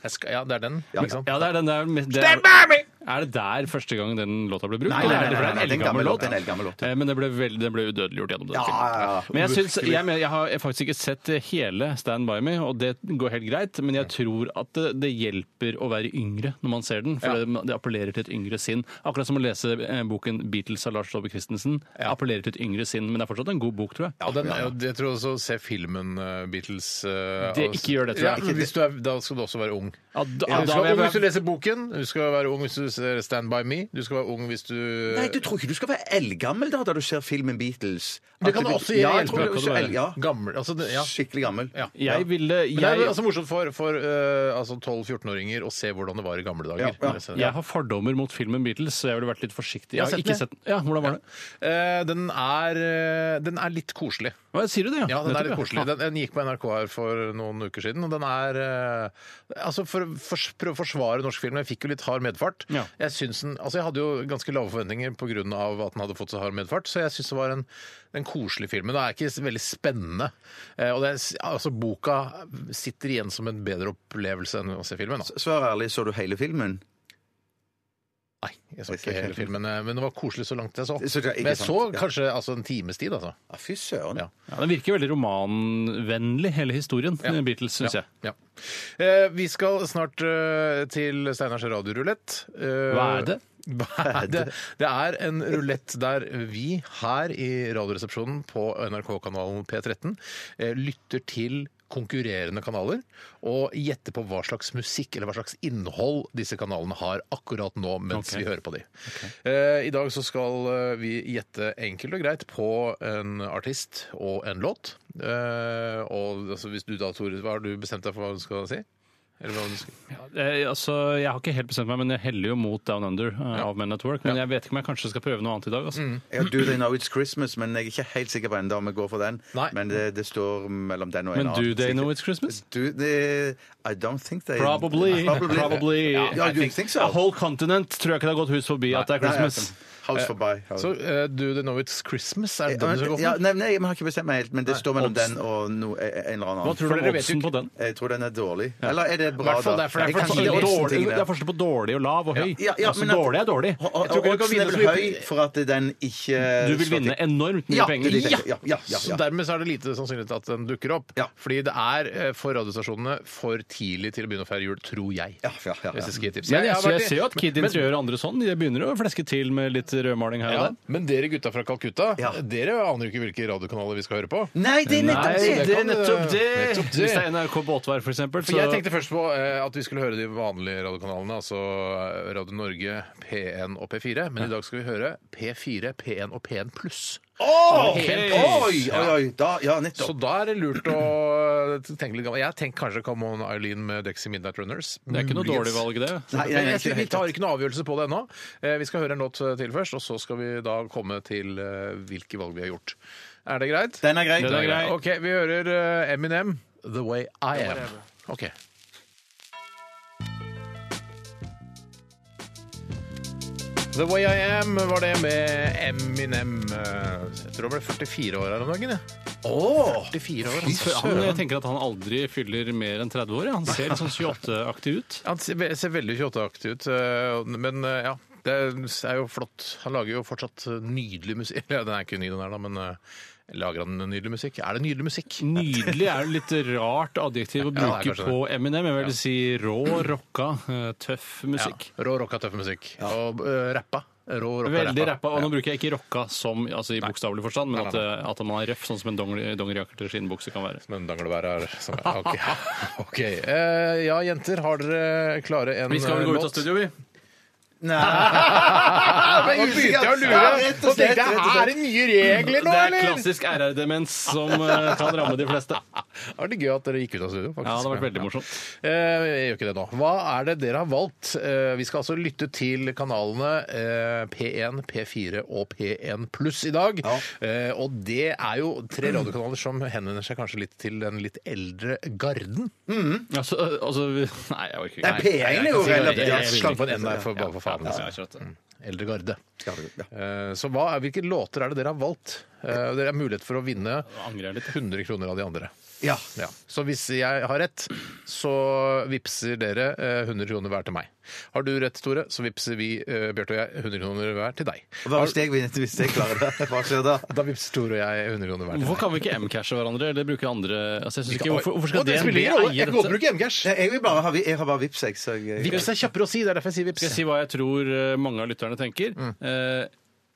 [SPEAKER 4] Jeg skal, ja, det er den.
[SPEAKER 6] Ja.
[SPEAKER 4] Ikke sant?
[SPEAKER 5] Ja, det er den der det er,
[SPEAKER 4] Stand by me!
[SPEAKER 5] er det der første gang den låta ble brukt?
[SPEAKER 6] Nei,
[SPEAKER 5] eller
[SPEAKER 6] nei,
[SPEAKER 5] er
[SPEAKER 6] nei,
[SPEAKER 5] det- for det er
[SPEAKER 6] nei,
[SPEAKER 5] en
[SPEAKER 6] det er en gammel
[SPEAKER 5] eldgammel
[SPEAKER 6] låt, det
[SPEAKER 5] låt.
[SPEAKER 6] er en eldgammel låt.
[SPEAKER 5] Eh, Men det ble, vel- den ble udødeliggjort gjennom den
[SPEAKER 6] Ja,
[SPEAKER 5] filmen.
[SPEAKER 6] ja, ja.
[SPEAKER 5] Men jeg, syns, jeg, men jeg har faktisk ikke sett hele Stand By Me, og det går helt greit. Men jeg tror at det, det hjelper å være yngre når man ser den, for det, det appellerer til et yngre sinn. Akkurat som å lese eh, boken 'Beatles' av Lars Saabye Christensen. Appellerer til et yngre sinn, men det er fortsatt en god bok, tror jeg.
[SPEAKER 4] Ja, den, er jo- Jeg tror også se filmen eh, Beatles eh,
[SPEAKER 5] Det-
[SPEAKER 4] og-
[SPEAKER 5] ikke gjør det, tror jeg.
[SPEAKER 4] Ja,
[SPEAKER 5] Ikke det.
[SPEAKER 4] hvis du er, da skal du også være ung.
[SPEAKER 5] Ja, da,
[SPEAKER 4] Ja, du skal
[SPEAKER 5] da vil
[SPEAKER 4] være
[SPEAKER 5] jeg
[SPEAKER 4] ung hvis du
[SPEAKER 5] være-
[SPEAKER 4] leser boken, du skal være ung hvis du ser Stand By Me, du skal være ung hvis du
[SPEAKER 6] Nei, du tror ikke du skal være eldgammel da, da du ser filmen Beatles?
[SPEAKER 4] Det
[SPEAKER 6] At
[SPEAKER 4] kan
[SPEAKER 6] du-
[SPEAKER 4] også
[SPEAKER 6] ja,
[SPEAKER 4] hjelpe
[SPEAKER 6] jeg tror
[SPEAKER 4] eh, at
[SPEAKER 6] det
[SPEAKER 4] du
[SPEAKER 6] også
[SPEAKER 4] er
[SPEAKER 6] el- ja.
[SPEAKER 4] gammel. Altså, det, ja.
[SPEAKER 6] Skikkelig gammel.
[SPEAKER 4] Ja.
[SPEAKER 5] Jeg ville
[SPEAKER 4] Men det er jo
[SPEAKER 5] jeg,
[SPEAKER 4] altså morsomt for, for eh, altså 12-14-åringer å se hvordan det var i gamle
[SPEAKER 6] Ja,
[SPEAKER 4] dager.
[SPEAKER 6] ja.
[SPEAKER 4] Så-
[SPEAKER 5] jeg har fordommer mot filmen Beatles, så jeg ville vært litt forsiktig. Jeg
[SPEAKER 4] har
[SPEAKER 5] har
[SPEAKER 4] sett den,
[SPEAKER 5] ikke
[SPEAKER 4] jeg.
[SPEAKER 5] sett den. Ja, hvordan var det?
[SPEAKER 4] Eh, den, er, eh, den er litt koselig.
[SPEAKER 5] Hva, sier du det,
[SPEAKER 4] Ja, den er litt
[SPEAKER 5] Nettopp,
[SPEAKER 4] koselig. Den, den gikk på NRK her for noen uker siden, og den er eh, Altså, for å fors- prøve å forsvare norsk film, jeg fikk jo litt hard medfart,
[SPEAKER 5] Ja. Ja.
[SPEAKER 4] Jeg syns den, altså jeg hadde jo ganske lave forventninger pga. at den hadde fått så hard medfart, så jeg syns det var en, en koselig film. Men det er ikke s- veldig spennende. Eh, Og det er, s- altså boka sitter igjen som en bedre opplevelse enn å se filmen. Da.
[SPEAKER 6] Svar ærlig, så du hele filmen?
[SPEAKER 4] Nei, jeg så ikke hele filmen, eh, men det var koselig så langt jeg så.
[SPEAKER 6] Så det er ikke
[SPEAKER 4] Men jeg så
[SPEAKER 6] sant, ja.
[SPEAKER 4] kanskje altså, en times tid, altså.
[SPEAKER 6] Ja, fy søren.
[SPEAKER 4] Ja.
[SPEAKER 5] Ja, den virker veldig romanvennlig, hele historien. Beatles, syns jeg.
[SPEAKER 4] Ja. Eh, vi skal snart eh, til Steinars radiorulett. Eh,
[SPEAKER 5] Hva er det?
[SPEAKER 4] Hva er det? Det er en rulett der vi her i Radioresepsjonen på NRK-kanalen P13 eh, lytter til konkurrerende kanaler og gjetter på hva slags musikk eller hva slags innhold disse kanalene har akkurat nå mens
[SPEAKER 5] Ok.
[SPEAKER 4] vi hører på de. Eh, I dag så skal eh, vi gjette enkelt og greit på en artist og en låt. Eh, og altså, hvis du da, Tore, hva har du bestemt deg for hva du skal si? Eller hva du skal...
[SPEAKER 5] Eh, altså, jeg har ikke helt bestemt meg, men jeg heller jo mot Down Under eh, av Men At Work. Men jeg vet ikke om jeg kanskje skal prøve noe annet i dag. Altså.
[SPEAKER 6] Jeg har Do They Know It's Christmas, men jeg er ikke helt sikker på ennå om jeg går for den.
[SPEAKER 4] Nei.
[SPEAKER 6] Men det, det står mellom den og en
[SPEAKER 5] Men
[SPEAKER 6] annen.
[SPEAKER 5] Do They Know It's Christmas?
[SPEAKER 6] Do they, I don't think they
[SPEAKER 5] Probably.
[SPEAKER 6] Probably.
[SPEAKER 5] Probably.
[SPEAKER 6] Ja, you think so?
[SPEAKER 5] A whole continent tror jeg ikke det har gått hus forbi at det er
[SPEAKER 6] Nei, jeg-
[SPEAKER 5] Christmas.
[SPEAKER 6] House for by.
[SPEAKER 4] Så eh, Do They Know It's Christmas? Er det
[SPEAKER 6] Ja,
[SPEAKER 4] den du skal gå
[SPEAKER 6] men-
[SPEAKER 4] for?
[SPEAKER 6] Eh, ja, nei, nei, jeg har ikke bestemt meg helt, men det står mellom
[SPEAKER 5] Oddsen.
[SPEAKER 6] den og no, e- en eller annen.
[SPEAKER 5] Hva
[SPEAKER 4] For
[SPEAKER 5] tror du
[SPEAKER 4] dere
[SPEAKER 5] om
[SPEAKER 4] vet jo
[SPEAKER 5] oddsen på den?
[SPEAKER 6] Jeg tror den er dårlig. Eller er det bra,
[SPEAKER 4] Hvertfall
[SPEAKER 6] da?
[SPEAKER 4] derfor det er
[SPEAKER 6] Jeg
[SPEAKER 4] for-
[SPEAKER 6] kan
[SPEAKER 4] for-
[SPEAKER 5] Det
[SPEAKER 6] ikke
[SPEAKER 5] er,
[SPEAKER 6] lese
[SPEAKER 5] dårlig,
[SPEAKER 6] tingene.
[SPEAKER 5] det er forskjell på dårlig og lav og høy.
[SPEAKER 6] Ja, ja,
[SPEAKER 5] altså,
[SPEAKER 6] men at-
[SPEAKER 5] dårlig er dårlig.
[SPEAKER 6] Og- og-
[SPEAKER 5] Jeg tror ikke
[SPEAKER 6] og
[SPEAKER 5] jeg
[SPEAKER 6] oddsen er
[SPEAKER 5] vinner så
[SPEAKER 6] vel
[SPEAKER 5] mye.
[SPEAKER 6] høy for at den ikke
[SPEAKER 5] Du vil vinne enormt mye
[SPEAKER 6] ja,
[SPEAKER 5] penger.
[SPEAKER 6] Ja, ja, ja, ja,
[SPEAKER 4] Så dermed så er det lite sannsynlighet at den dukker opp.
[SPEAKER 6] Ja.
[SPEAKER 4] Fordi det er eh, for radiostasjonene for tidlig til å begynne å feire jul, tror jeg.
[SPEAKER 6] Ja, ja, ja, ja.
[SPEAKER 4] Hvis jeg skal gi tips.
[SPEAKER 5] Men jeg,
[SPEAKER 4] har
[SPEAKER 5] så
[SPEAKER 4] vært i-
[SPEAKER 5] jeg ser jo at Kid
[SPEAKER 4] men-
[SPEAKER 5] Interiør og andre sånn, de begynner å fleske til med litt rødmaling her og
[SPEAKER 4] ja,
[SPEAKER 5] der.
[SPEAKER 4] men dere gutta fra Calcutta,
[SPEAKER 6] Ja.
[SPEAKER 4] dere aner jo ikke hvilke radiokanaler vi skal høre på.
[SPEAKER 6] Nei, det er nettopp
[SPEAKER 5] Nei,
[SPEAKER 6] det!
[SPEAKER 5] det er
[SPEAKER 4] kan-
[SPEAKER 5] nettopp det!
[SPEAKER 4] nettopp det.
[SPEAKER 5] Hvis det er NRK Båtvær, for eksempel,
[SPEAKER 4] For
[SPEAKER 5] så
[SPEAKER 4] jeg tenkte først på eh, at vi skulle høre de vanlige radiokanalene, altså eh, Radio Norge, P1 og P4. Men i dag skal vi høre P4, P1 og P1 pluss.
[SPEAKER 6] Åh!
[SPEAKER 5] Helt
[SPEAKER 6] Oi, oi, oi! Da, ja, nettopp.
[SPEAKER 4] Så da er det lurt å eh, tenke litt gammel. Jeg tenker kanskje Come On Eileen med Dexy Midnight Runners.
[SPEAKER 5] Det er ikke noe
[SPEAKER 4] Muligens.
[SPEAKER 5] dårlig valg, det.
[SPEAKER 6] Nei, nei,
[SPEAKER 4] Men
[SPEAKER 6] nei,
[SPEAKER 4] jeg,
[SPEAKER 6] ikke
[SPEAKER 4] vi
[SPEAKER 6] helt.
[SPEAKER 4] tar ikke noe avgjørelse på det ennå. Eh, Vi skal høre en låt til først, og så skal vi da komme til eh, hvilke valg vi har gjort. Er det greit?
[SPEAKER 6] Den er grei.
[SPEAKER 5] Den er grei.
[SPEAKER 4] Ok, vi hører eh, Eminem, 'The Way I Am'. Ok. The Way I Am var det med Eminem. Eh, Jeg tror han ble 44 år her om dagen. jeg.
[SPEAKER 6] Åh!
[SPEAKER 4] 44 år,
[SPEAKER 5] Fy
[SPEAKER 4] altså.
[SPEAKER 5] søren, jeg tenker at han aldri fyller mer enn 30 år. ja. Han ser litt sånn 28-aktig ut.
[SPEAKER 4] Han ser ve- ser veldig 28-aktig ut, eh, men eh, ja. Det er jo flott. Han lager jo fortsatt eh, nydelig musikk. Eller, Den er ikke ny, den her, da, men eh, lager han nydelig musikk? Er det nydelig musikk?
[SPEAKER 5] Nydelig er jo litt rart
[SPEAKER 4] Ja,
[SPEAKER 5] adjektiv å
[SPEAKER 4] det er
[SPEAKER 5] bruke
[SPEAKER 4] kanskje
[SPEAKER 5] på Eminem. Jeg vil si rå, rocka, eh, tøff
[SPEAKER 4] Ja.
[SPEAKER 5] musikk.
[SPEAKER 4] Rå rocka tøff musikk. Og eh, rappa. Rå rocka
[SPEAKER 5] Veldig
[SPEAKER 4] rappa.
[SPEAKER 5] rappa. Og nå bruker jeg ikke rocka som, altså i bokstavelig forstand, men
[SPEAKER 4] Nei,
[SPEAKER 5] at,
[SPEAKER 4] nei,
[SPEAKER 5] eh, at man er røff, sånn som en dongeri- dongerijakke til skinnbukse kan være.
[SPEAKER 4] Men dangleværet er sånn. ja, OK. Ok. Eh, ja, jenter, har dere klare en
[SPEAKER 5] Vi skal vel
[SPEAKER 4] eh,
[SPEAKER 5] gå ut av
[SPEAKER 4] låt? Ah,
[SPEAKER 5] studio, vi.
[SPEAKER 4] Nå begynte jeg å lure!
[SPEAKER 6] Ja, rett og
[SPEAKER 4] Nå
[SPEAKER 6] slett,
[SPEAKER 4] tenkte jeg,
[SPEAKER 6] rett og slett.
[SPEAKER 4] Er det nye regler nå,
[SPEAKER 5] Det er
[SPEAKER 4] eller?
[SPEAKER 5] klassisk RR-demens som eh, kan ramme de fleste.
[SPEAKER 4] Det var litt gøy at dere gikk ut av studio, faktisk.
[SPEAKER 5] Ja, det har vært veldig morsomt.
[SPEAKER 4] Eh, Jeg gjør ikke det nå. Hva er det dere har valgt? Eh, Vi skal altså lytte til kanalene eh, P1, P4 og P1 pluss i dag. Eh, Og det er jo tre radiokanaler som henvender seg kanskje litt til den litt eldre garden.
[SPEAKER 5] Altså, eh, altså vi- Nei, jeg orker
[SPEAKER 6] Nei,
[SPEAKER 5] ikke.
[SPEAKER 6] P1 er jo relativt
[SPEAKER 5] jeg- jeg- jeg-
[SPEAKER 4] Altså, Slang på en N der, for, bare for faen. liksom.
[SPEAKER 5] Ja, jeg skjønner det.
[SPEAKER 4] Eldre garde.
[SPEAKER 6] Ja, ja.
[SPEAKER 4] Eh, Så hva er, hvilke låter er det dere har valgt? Eh, Dere har mulighet for å vinne
[SPEAKER 5] angrer jeg litt.
[SPEAKER 4] 100 kroner av de andre.
[SPEAKER 6] Ja.
[SPEAKER 4] Ja. Så hvis jeg har rett, så vipser dere eh, 100 kroner hver til meg. Har du rett, Tore, så vipser vi, eh, Bjarte og jeg, 100 kroner hver til deg.
[SPEAKER 6] Hva hvis jeg vinner hvis jeg klarer det? Hva skjer da?
[SPEAKER 4] Da vipser Tore og jeg 100 kroner hver til
[SPEAKER 5] Hvorfor
[SPEAKER 4] deg.
[SPEAKER 5] kan vi ikke M-cashe hverandre eller bruke andre altså, jeg synes ikke, hvorfor, hvorfor skal
[SPEAKER 4] Å, det
[SPEAKER 5] DNB
[SPEAKER 4] spiller ingen rolle.
[SPEAKER 5] eie
[SPEAKER 4] Jeg kan godt
[SPEAKER 5] dette?
[SPEAKER 4] bruke M-cash.
[SPEAKER 6] Jeg vil bare ha, jeg har bare vips, jeg. Så jeg
[SPEAKER 4] Vips er kjappere å si, det er derfor jeg sier vips.
[SPEAKER 5] Skal jeg si hva jeg tror eh, mange av lytterne tenker?
[SPEAKER 4] Mm.
[SPEAKER 5] Eh,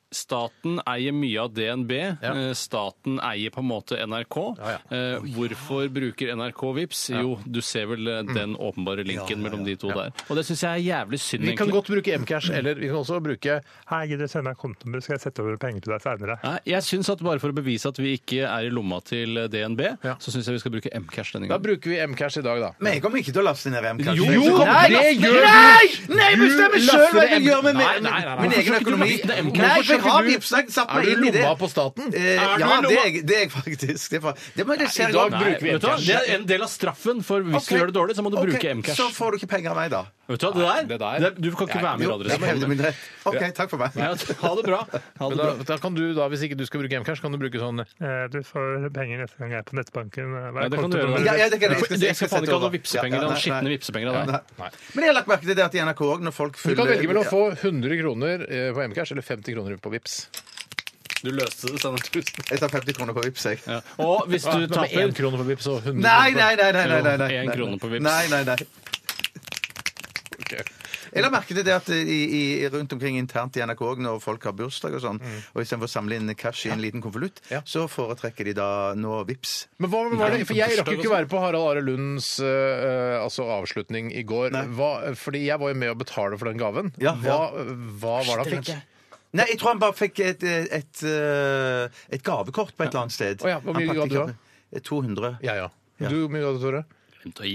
[SPEAKER 5] Staten eier mye av DNB.
[SPEAKER 4] Ja.
[SPEAKER 5] Eh, Staten eier på en måte NRK.
[SPEAKER 4] Ja, ja.
[SPEAKER 5] Eh, Hvorfor bruker NRK Vips? Jo, du ser vel eh, den åpenbare linken mellom de to der. Og det syns jeg er jævlig synd,
[SPEAKER 4] Vi kan
[SPEAKER 5] egentlig.
[SPEAKER 4] godt bruke M-cash, eller vi kan også bruke
[SPEAKER 9] Hei, gidder du sende meg kontonummer, så skal jeg sette over penger til deg seinere.
[SPEAKER 5] Nei, jeg syns at bare for å bevise at vi ikke er i lomma til eh, DNB,
[SPEAKER 4] Ja.
[SPEAKER 5] så syns jeg vi skal bruke M-cash denne
[SPEAKER 4] Da
[SPEAKER 5] gangen.
[SPEAKER 4] bruker vi M-cash i dag, da.
[SPEAKER 6] Men jeg kommer ikke til å laste ned rem, kanskje.
[SPEAKER 5] Jo,
[SPEAKER 6] Jeg-
[SPEAKER 5] jo,
[SPEAKER 6] Nei,
[SPEAKER 4] det gjør du!
[SPEAKER 6] Nei! Nei, jeg bestemmer
[SPEAKER 4] Du
[SPEAKER 6] selv hva
[SPEAKER 4] laster
[SPEAKER 6] jeg
[SPEAKER 4] ned
[SPEAKER 6] gjør med
[SPEAKER 4] Nei,
[SPEAKER 6] min,
[SPEAKER 4] nei, nei, nei.
[SPEAKER 6] min egen
[SPEAKER 5] Hvorfor skal ikke du
[SPEAKER 6] økonomi.
[SPEAKER 5] laste ned
[SPEAKER 6] Nei,
[SPEAKER 5] M-kort?
[SPEAKER 6] for jeg har vipsnakket satt
[SPEAKER 4] Er
[SPEAKER 6] meg
[SPEAKER 4] du
[SPEAKER 6] inn i det.
[SPEAKER 4] lomma på staten?
[SPEAKER 6] Eh, ja,
[SPEAKER 5] Er du i lomma?
[SPEAKER 6] det er, jeg- det er jeg faktisk. Det er, fa- det må jeg se.
[SPEAKER 4] i dag
[SPEAKER 5] Nei,
[SPEAKER 4] bruker vi
[SPEAKER 5] vet du hva?
[SPEAKER 4] M-cash.
[SPEAKER 5] Det er en del av straffen, for hvis
[SPEAKER 6] Ok.
[SPEAKER 5] du gjør det dårlig, så må du
[SPEAKER 6] Ok,
[SPEAKER 5] bruke M-cash.
[SPEAKER 6] Så får du ikke penger av meg, da.
[SPEAKER 5] Vet du hva, det der,
[SPEAKER 4] det der-
[SPEAKER 5] det er- Du kan ikke
[SPEAKER 4] Nei,
[SPEAKER 5] være med i
[SPEAKER 6] Jo, jeg hevder
[SPEAKER 5] Radioresepsjonen.
[SPEAKER 6] min rett. OK, takk for meg.
[SPEAKER 5] Ja, Ha det bra.
[SPEAKER 4] Men
[SPEAKER 5] Ha det
[SPEAKER 4] da,
[SPEAKER 5] bra.
[SPEAKER 4] da kan du da, Hvis ikke du skal bruke M-cash, kan du bruke sånn
[SPEAKER 9] Eh, Du får penger neste gang jeg er på nettbanken. Hva
[SPEAKER 5] Ja,
[SPEAKER 9] er
[SPEAKER 5] det kan du gjøre.
[SPEAKER 9] kontonummer?
[SPEAKER 6] Ja, ja, det kan jeg.
[SPEAKER 5] Du får-
[SPEAKER 6] Jeg
[SPEAKER 5] Jeg skal faen
[SPEAKER 6] sette
[SPEAKER 5] ikke ha
[SPEAKER 6] over.
[SPEAKER 5] noen
[SPEAKER 6] Ja,
[SPEAKER 5] vipsepenger av
[SPEAKER 6] ja,
[SPEAKER 5] deg.
[SPEAKER 6] nei,
[SPEAKER 5] Skitne vipsepenger av deg.
[SPEAKER 6] nei. Men jeg har lagt merke til det at i NRK òg, når folk
[SPEAKER 4] Du
[SPEAKER 6] fyller
[SPEAKER 4] kan velge mellom å
[SPEAKER 6] Ja.
[SPEAKER 4] få 100 kroner eh, på M-cash eller 50 kroner på Vips.
[SPEAKER 5] Du løste det, Steinar. Tusen
[SPEAKER 6] Jeg tar 50 kroner på Vipps, jeg.
[SPEAKER 5] Ja. Og hvis du taper
[SPEAKER 4] én krone på Vips og 100
[SPEAKER 6] Nei, nei, nei. nei, nei, nei, nei.
[SPEAKER 5] Jo, en krone på Vipps.
[SPEAKER 6] Nei, nei, nei.
[SPEAKER 4] Ok.
[SPEAKER 6] Jeg la merke til det at i, i, rundt omkring internt i NRK også, når folk har bursdag og sånn, og istedenfor å samle inn cash i en liten konvolutt,
[SPEAKER 4] Mm. Ja.
[SPEAKER 6] så foretrekker de da nå Vipps.
[SPEAKER 4] Men hva var det? For jeg rakk jo
[SPEAKER 5] bursdag
[SPEAKER 4] ikke
[SPEAKER 5] og
[SPEAKER 4] være på Harald Are Lunds eh, altså avslutning i går. Hva, fordi jeg var jo med å betale for den gaven.
[SPEAKER 6] Ja,
[SPEAKER 4] hva,
[SPEAKER 6] ja.
[SPEAKER 4] hva var det han fikk?
[SPEAKER 6] Nei, jeg tror han bare fikk et, et, et, eh, et gavekort på et eller annet sted.
[SPEAKER 4] Å ja, hvor mye
[SPEAKER 6] Han
[SPEAKER 4] ga du da?
[SPEAKER 6] praktikant- 200.
[SPEAKER 4] Ja, ja. Du, hvor mye hadde du, Tore?
[SPEAKER 5] Rundt og i.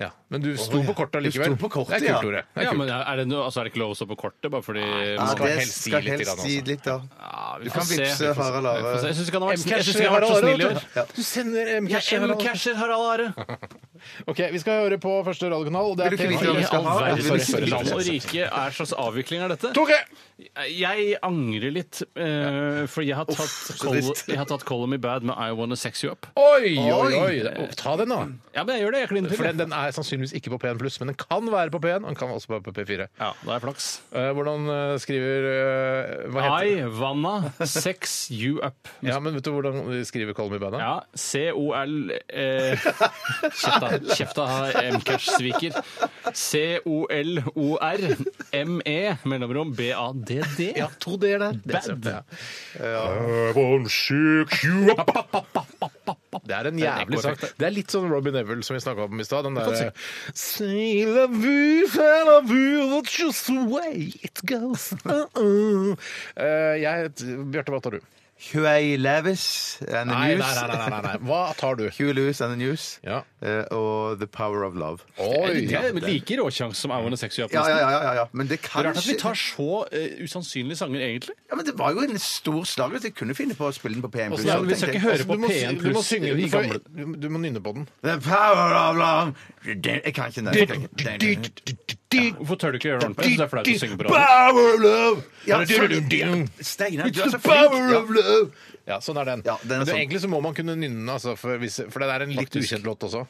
[SPEAKER 4] Ja. Men du sto på kortet
[SPEAKER 6] Du
[SPEAKER 4] likevel.
[SPEAKER 6] sto på kortet,
[SPEAKER 4] det er
[SPEAKER 6] ja.
[SPEAKER 4] kult, Tore. Det er
[SPEAKER 5] Ja,
[SPEAKER 4] kult.
[SPEAKER 5] men er det, noe, altså, er det ikke lov å stå på kortet bare fordi
[SPEAKER 6] Ja,
[SPEAKER 5] man skal-
[SPEAKER 6] det
[SPEAKER 4] helst si
[SPEAKER 6] skal
[SPEAKER 4] litt til
[SPEAKER 6] helst
[SPEAKER 4] han,
[SPEAKER 6] si
[SPEAKER 4] altså.
[SPEAKER 6] litt, da.
[SPEAKER 5] Ja,
[SPEAKER 6] Du
[SPEAKER 5] vi får
[SPEAKER 6] kan
[SPEAKER 5] se.
[SPEAKER 6] vipse
[SPEAKER 5] Vi får se.
[SPEAKER 6] Harald
[SPEAKER 5] Jeg får se.
[SPEAKER 6] Are.
[SPEAKER 5] Jeg syns ikke han har vært snill- jeg
[SPEAKER 4] M-cash
[SPEAKER 5] synes ikke han har vært så snill i
[SPEAKER 4] Harald
[SPEAKER 5] år.
[SPEAKER 4] Are. vet du. Du sender
[SPEAKER 5] Ja,
[SPEAKER 4] M-cash Harald Are.
[SPEAKER 5] M-casher Harald Are.
[SPEAKER 4] Ok, vi skal høre på første radiokanal. og Det
[SPEAKER 6] Vil du ikke vite
[SPEAKER 5] I
[SPEAKER 6] hva vi skal
[SPEAKER 5] all
[SPEAKER 6] ha?
[SPEAKER 5] verden,
[SPEAKER 6] Vil du ikke vite-
[SPEAKER 5] land og rike er slags avvikling av dette.
[SPEAKER 4] Tore!
[SPEAKER 5] Jeg angrer litt, eh, for jeg har tatt
[SPEAKER 6] så
[SPEAKER 5] Call-
[SPEAKER 6] trist.
[SPEAKER 5] jeg har tatt Call Me Bad med I Wanna Sex You Up.
[SPEAKER 4] Oi, oi, oi! Oh, Ta den, da.
[SPEAKER 5] Ja, men jeg gjør det. Jeg kliner
[SPEAKER 4] For den,
[SPEAKER 5] til.
[SPEAKER 4] den er sannsynligvis ikke på P1 pluss, men den kan være på P1. og Den kan også være på P4.
[SPEAKER 5] Ja, da er jeg flaks.
[SPEAKER 4] Eh, hvordan eh, skriver eh, Hva heter det?
[SPEAKER 5] I Wanna Sex You Up.
[SPEAKER 4] Ja, men vet du hvordan de skriver Call Me Bandet?
[SPEAKER 5] Ja, COL eh, Kjefta, kjefta M-cash-sviker. C-O-L-O-R-M-E E, mellomrom B-A-D-D. Ja, to D-er der. Bad.
[SPEAKER 4] Eh, Det er en jævlig
[SPEAKER 5] ekkoeffekt,
[SPEAKER 4] sang.
[SPEAKER 5] det.
[SPEAKER 4] Det er litt sånn Robin Neville som vi snakka om i stad. Den eh, derre Say love you, say love you, that's just the way it goes. Uh -uh. Eh, jeg heter Bjarte, hva tar du?
[SPEAKER 6] Huey Lewis and the
[SPEAKER 4] Nei, nei,
[SPEAKER 6] News.
[SPEAKER 4] nei, nei, nei, nei. Hva tar du?
[SPEAKER 6] Huey Lewis and the News.
[SPEAKER 4] Ja.
[SPEAKER 6] Eh, og The Power of Love.
[SPEAKER 4] Oi!
[SPEAKER 5] Det er like råsjanse som I Wanna Sex You Up.
[SPEAKER 6] Ja, ja,
[SPEAKER 5] nesten.
[SPEAKER 6] ja, ja, ja. Men det kan
[SPEAKER 5] Rart at vi tar så eh, usannsynlige sanger, egentlig.
[SPEAKER 6] Ja, men det var jo en stor slager. så Jeg kunne finne på å spille den på P1
[SPEAKER 5] Hvordan er det vi skal ikke høre
[SPEAKER 4] altså, Du
[SPEAKER 5] på
[SPEAKER 4] må,
[SPEAKER 5] P1
[SPEAKER 4] du må
[SPEAKER 5] pluss
[SPEAKER 4] synge
[SPEAKER 5] de
[SPEAKER 4] den.
[SPEAKER 5] gamle
[SPEAKER 4] for- Du må nynne på den.
[SPEAKER 6] The power of love Jeg kan ikke den. Jeg kan ikke den.
[SPEAKER 5] Hvorfor tør du ikke gjøre det ordentlig? Jeg synes Det er flaut å synge på radio.
[SPEAKER 4] Power of love!
[SPEAKER 6] Ja,
[SPEAKER 4] Ja,
[SPEAKER 6] Steinar, du er så
[SPEAKER 4] The
[SPEAKER 6] flink!
[SPEAKER 4] power
[SPEAKER 6] Ja.
[SPEAKER 4] of love! Ja, sånn er den.
[SPEAKER 6] Ja, den er
[SPEAKER 4] men det,
[SPEAKER 6] sånn.
[SPEAKER 4] egentlig så må man kunne nynne, altså, for, hvis, for det er en litt
[SPEAKER 5] Faktisk.
[SPEAKER 4] ukjent låt også.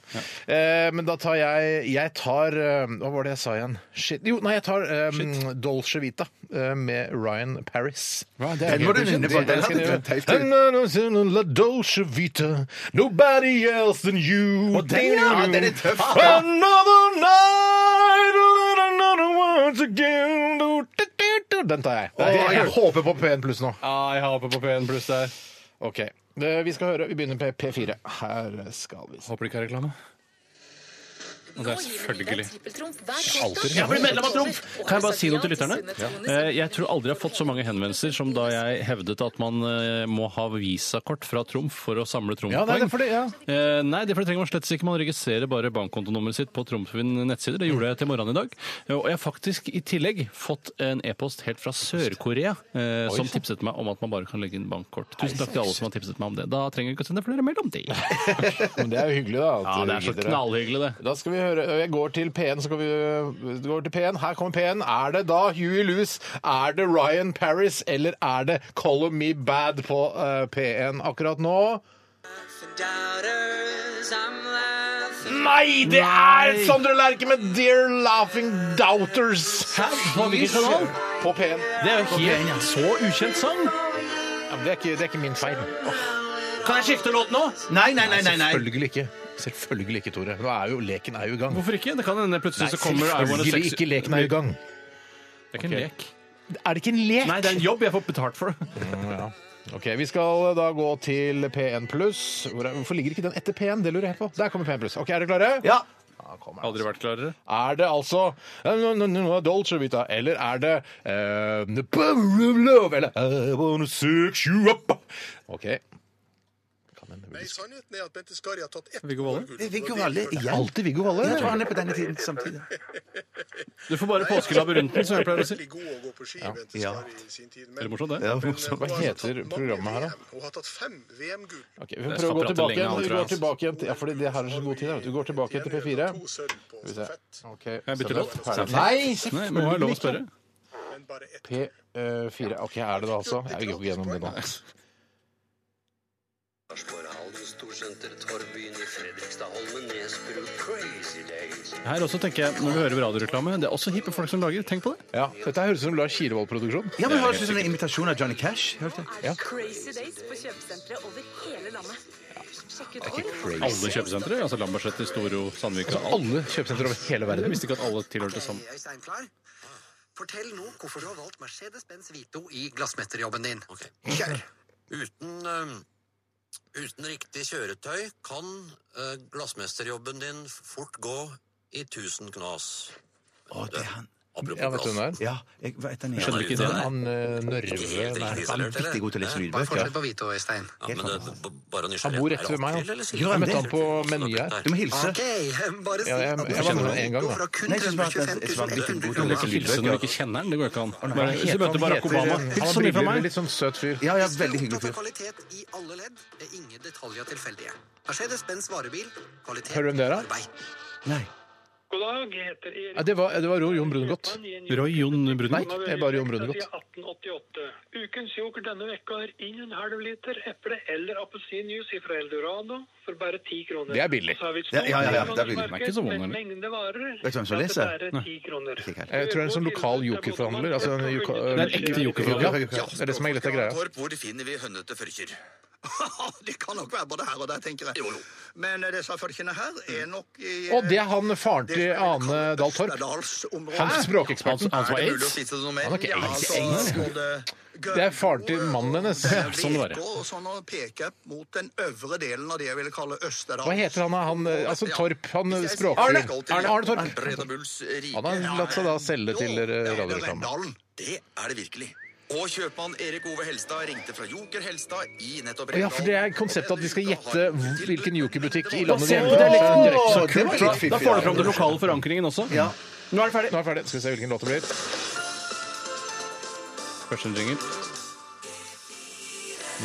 [SPEAKER 4] Eh, men da tar jeg Jeg tar eh, Hva var det jeg sa igjen? Shit. Jo, nei, jeg tar eh, Dolce Vita eh, med Ryan Paris.
[SPEAKER 6] Den må du nynne på. Den hadde du teit ut.
[SPEAKER 4] La Dolce Vita, nobody else than you.
[SPEAKER 6] Og den, ja, den er tøff,
[SPEAKER 4] Ah.
[SPEAKER 6] ja.
[SPEAKER 4] Another night, another once again. Du, du, du, du. Den tar jeg.
[SPEAKER 6] Oi.
[SPEAKER 4] jeg håper på P1 pluss nå.
[SPEAKER 5] Ja, jeg håper på P1 pluss der.
[SPEAKER 4] Ok, Eh, vi skal høre. Vi begynner med P4. Her skal vi se.
[SPEAKER 5] Håper det ikke er reklame. Og det er selvfølgelig
[SPEAKER 10] Alltid.
[SPEAKER 5] Jeg blir medlem av Trumf! Kan jeg bare si noe til lytterne? Eh, Jeg tror aldri jeg har fått så mange henvendelser som da jeg hevdet at man eh, må ha visakort fra Trumf for å samle
[SPEAKER 4] Ja, nei, det er
[SPEAKER 5] Trumf-poeng.
[SPEAKER 4] fordi, ja.
[SPEAKER 5] Eh, Nei, det for det trenger man slett ikke. Man registrerer bare bankkontonummeret sitt på Trumf sin nettsider. Det gjorde jeg til morgenen i dag. Eh, Og jeg har faktisk i tillegg fått en e-post helt fra Sør-Korea eh, som tipset meg om at man bare kan legge inn bankkort. Tusen takk til alle som har tipset meg om det. Da trenger jeg ikke å sende flere mail om det. Ja,
[SPEAKER 4] Men det er jo hyggelig, da. at
[SPEAKER 5] det er
[SPEAKER 4] du
[SPEAKER 5] så
[SPEAKER 4] gidder det.
[SPEAKER 5] knallhyggelig, det.
[SPEAKER 4] Da skal vi høre Jeg går til P1, så skal vi vi går til P1. Her kommer P1. Er det da Huey Lewis, er det Ryan Paris, eller er det Color Me Bad på eh, P1 akkurat nå? Nei, det er Sondre Lerche med Dear Laughing Doubters.
[SPEAKER 5] På hvilken kanal?
[SPEAKER 4] På P1.
[SPEAKER 5] Det er jo helt så ukjent sang.
[SPEAKER 4] Ja, men det, er ikke, det er ikke min feil.
[SPEAKER 5] Kan jeg skifte låt nå?
[SPEAKER 6] Nei, nei, nei, nei, nei.
[SPEAKER 4] Selvfølgelig ikke. Selvfølgelig ikke, Tore. Nå er jo leken er jo i gang.
[SPEAKER 5] Hvorfor ikke? Det kan hende plutselig så kommer I Wanna
[SPEAKER 4] Selvfølgelig
[SPEAKER 5] Sex
[SPEAKER 4] ikke leken er i gang.
[SPEAKER 5] Det er ikke en lek.
[SPEAKER 4] Er det ikke en lek?
[SPEAKER 5] Nei, det er en jobb jeg får betalt for.
[SPEAKER 4] Ok, Vi skal eh, da gå til P1 pluss. Hvor er- Hvorfor ligger ikke den etter P1? Det lurer jeg på. Der kommer P1 pluss. Ok, Er dere klare?
[SPEAKER 6] Ja.
[SPEAKER 5] Aldri vært klarere.
[SPEAKER 4] Er det altså no, no, no, no, Dolce Vita, eller er det eh, The Power of Love, eller I Wanna Sex You Up? OK. Kan hende vi-
[SPEAKER 10] Sannheten er at Bente Skari har tatt ett
[SPEAKER 5] Viggo Valle.
[SPEAKER 6] Det er Viggo Valle igjen.
[SPEAKER 4] Alltid Viggo Valle.
[SPEAKER 6] Jeg tror han er på denne tiden samtidig.
[SPEAKER 5] Du får bare påskelabyrinten, som jeg pleier å si.
[SPEAKER 10] god og gå på ski, Bente Skari, i sin tid.
[SPEAKER 5] Er det morsomt, det?
[SPEAKER 6] Ja,
[SPEAKER 10] men,
[SPEAKER 6] morsomt.
[SPEAKER 10] eh, nå
[SPEAKER 4] Hva
[SPEAKER 10] har hun
[SPEAKER 4] heter
[SPEAKER 10] tatt mange
[SPEAKER 4] programmet her, da?
[SPEAKER 10] VM, Hun har tatt fem VM-gull.
[SPEAKER 4] Ok, vi
[SPEAKER 5] Jeg
[SPEAKER 4] prøver å gå
[SPEAKER 5] skal prate
[SPEAKER 4] tilbake
[SPEAKER 5] lenge,
[SPEAKER 4] igjen.
[SPEAKER 5] han,
[SPEAKER 4] Vi
[SPEAKER 5] tror
[SPEAKER 4] går
[SPEAKER 5] jeg,
[SPEAKER 4] tilbake igjen, til- ja, fordi det her er så god tid. da, vet Du Vi går tilbake igjen til P4.
[SPEAKER 10] To sølv på
[SPEAKER 4] vi se.
[SPEAKER 10] stafett,
[SPEAKER 4] Ok,
[SPEAKER 5] bytter
[SPEAKER 4] så
[SPEAKER 5] låt.
[SPEAKER 4] det er ferdig. Nei,
[SPEAKER 5] Nei, men må jeg lov å spørre?
[SPEAKER 10] men bare ett
[SPEAKER 4] P4. Eh, Ok, er det det altså? Jeg går ikke gjennom det nå.
[SPEAKER 5] Her også tenker jeg, når vi hører radioreklame, det er også hippe folk som lager. Tenk på det.
[SPEAKER 4] Ja, dette her høres ut som Lars Kirevold-produksjon.
[SPEAKER 6] Ja, men det Høres ut som en invitasjon av Johnny Cash. Hørte jeg.
[SPEAKER 11] Crazy Days på kjøpesentre over hele landet. Sjekk ut vår
[SPEAKER 5] Alle kjøpesentre, altså Lambertseter, Storo, Sandvika, alt.
[SPEAKER 4] Alle kjøpesentre over hele
[SPEAKER 5] Jeg
[SPEAKER 4] verden.
[SPEAKER 5] visste ikke at alle tilhørte sammen.
[SPEAKER 3] Jeg er steinklar. Fortell nå hvorfor du har valgt Mercedes-Benz Vito i glassmesterjobben din. Kjør!
[SPEAKER 11] Uten, ehm, uten riktig kjøretøy kan eh, glassmesterjobben din fort gå i tusen knas.
[SPEAKER 6] Å, det er han.
[SPEAKER 11] Apropos
[SPEAKER 4] Ja, vet du hvem det er?
[SPEAKER 6] Ja, jeg vet han
[SPEAKER 5] Skjønner ikke ideen.
[SPEAKER 4] Han eh, Nørve
[SPEAKER 11] Helt
[SPEAKER 4] Nei.
[SPEAKER 11] riktig,
[SPEAKER 6] Han er
[SPEAKER 11] isolert, eller?
[SPEAKER 6] viktig god til å lese lydbøker.
[SPEAKER 3] Forskjell på Vito og Øystein.
[SPEAKER 11] Ja, men det, det, b- bare
[SPEAKER 4] Han bor rett ved meg, han.
[SPEAKER 6] Gjør han
[SPEAKER 4] Jeg møtte han på Meny her.
[SPEAKER 6] Du må hilse.
[SPEAKER 3] bare si
[SPEAKER 4] Ja, jeg- jeg var med han en gang, da.
[SPEAKER 3] fra kun
[SPEAKER 6] Nei, jeg synes bare at
[SPEAKER 3] 325
[SPEAKER 6] han- jeg synes han
[SPEAKER 3] 000
[SPEAKER 6] er viktig god til å
[SPEAKER 5] Du kan
[SPEAKER 6] lese
[SPEAKER 5] ikke hilse
[SPEAKER 6] lydbøker.
[SPEAKER 5] når du ikke kjenner den. Det går jo ikke an.
[SPEAKER 6] nei,
[SPEAKER 5] Bare, hvis du møter Barack Obama Hils så mye fra meg!
[SPEAKER 4] litt sånn søt fyr.
[SPEAKER 6] Ja, ja, veldig hyggelig fyr.
[SPEAKER 3] kvalitet i alle ledd med ingen detaljer tilfeldige. Mercedes-Benz varebil, kvalitet
[SPEAKER 4] Hører du hvem det er, da?
[SPEAKER 3] arbeid.
[SPEAKER 6] Nei.
[SPEAKER 9] God dag, heter
[SPEAKER 4] Ja, det var, det var Jon Brungot.
[SPEAKER 5] Roy Jon
[SPEAKER 4] Nei,
[SPEAKER 5] Brunegård.
[SPEAKER 4] det er bare Jon Brungot.
[SPEAKER 9] 1888. Ukens yoghurt denne vekka er inn en halv liter eple eller appelsinjuice fra Eldorado for bare ti kroner.
[SPEAKER 4] Det er billig.
[SPEAKER 9] Så har vi et
[SPEAKER 6] Ja, ja, ja, ja,
[SPEAKER 9] stort
[SPEAKER 6] det er billig. Den
[SPEAKER 5] er ikke så vond,
[SPEAKER 9] med
[SPEAKER 5] eller?
[SPEAKER 9] mengde varer.
[SPEAKER 6] Vet du hvem som
[SPEAKER 9] til
[SPEAKER 6] leser?
[SPEAKER 9] Bare eh, ti kroner.
[SPEAKER 6] Ikke her.
[SPEAKER 4] Jeg tror det er en sånn lokal jokerforhandler. Altså en joka,
[SPEAKER 5] Det er ekte
[SPEAKER 4] ja,
[SPEAKER 5] jokerforhandler.
[SPEAKER 4] det er det som er litt av greia.
[SPEAKER 11] Hvor finner vi hønnete førker? De kan nok være både her og der, tenker jeg.
[SPEAKER 10] Men eh, disse folkene her er
[SPEAKER 11] Mm.
[SPEAKER 10] nok i
[SPEAKER 4] Og det er han faren til Ane Dahl Torp. Han
[SPEAKER 5] Han,
[SPEAKER 4] språkeksperten.
[SPEAKER 5] han som var aids?
[SPEAKER 11] si til noe mer?
[SPEAKER 4] Han har ikke
[SPEAKER 10] altså,
[SPEAKER 4] aids. aids. Det er faren til mannen hennes.
[SPEAKER 5] Sånn det var.
[SPEAKER 10] og sånn å peke mot den øvre delen av det jeg ville kalle Østerdal.
[SPEAKER 4] Hva heter han? da? han eh, altså Torp, han eh, språkfyren. Arne, Arne Torp.
[SPEAKER 11] Reda Bulls rike.
[SPEAKER 4] Han har latt seg da selge til eh, radioreklame.
[SPEAKER 11] Rendalen. Det er det virkelig. Og kjøpmann Erik Ove Helstad ringte fra Joker Helstad i nettopp
[SPEAKER 4] Ja, for det er konseptet at de skal gjette hvor- hvilken jokerbutikk i landet de er.
[SPEAKER 5] Basert på dialekten.
[SPEAKER 4] Direkt.
[SPEAKER 6] det
[SPEAKER 5] Så
[SPEAKER 6] var
[SPEAKER 5] kult. Da,
[SPEAKER 6] litt fiffig,
[SPEAKER 5] da får du
[SPEAKER 6] ja.
[SPEAKER 5] fram den lokale forankringen også.
[SPEAKER 6] Ja.
[SPEAKER 5] Nå er det ferdig.
[SPEAKER 4] Nå er jeg ferdig. Skal vi se hvilken låt det blir.
[SPEAKER 5] Første jingle.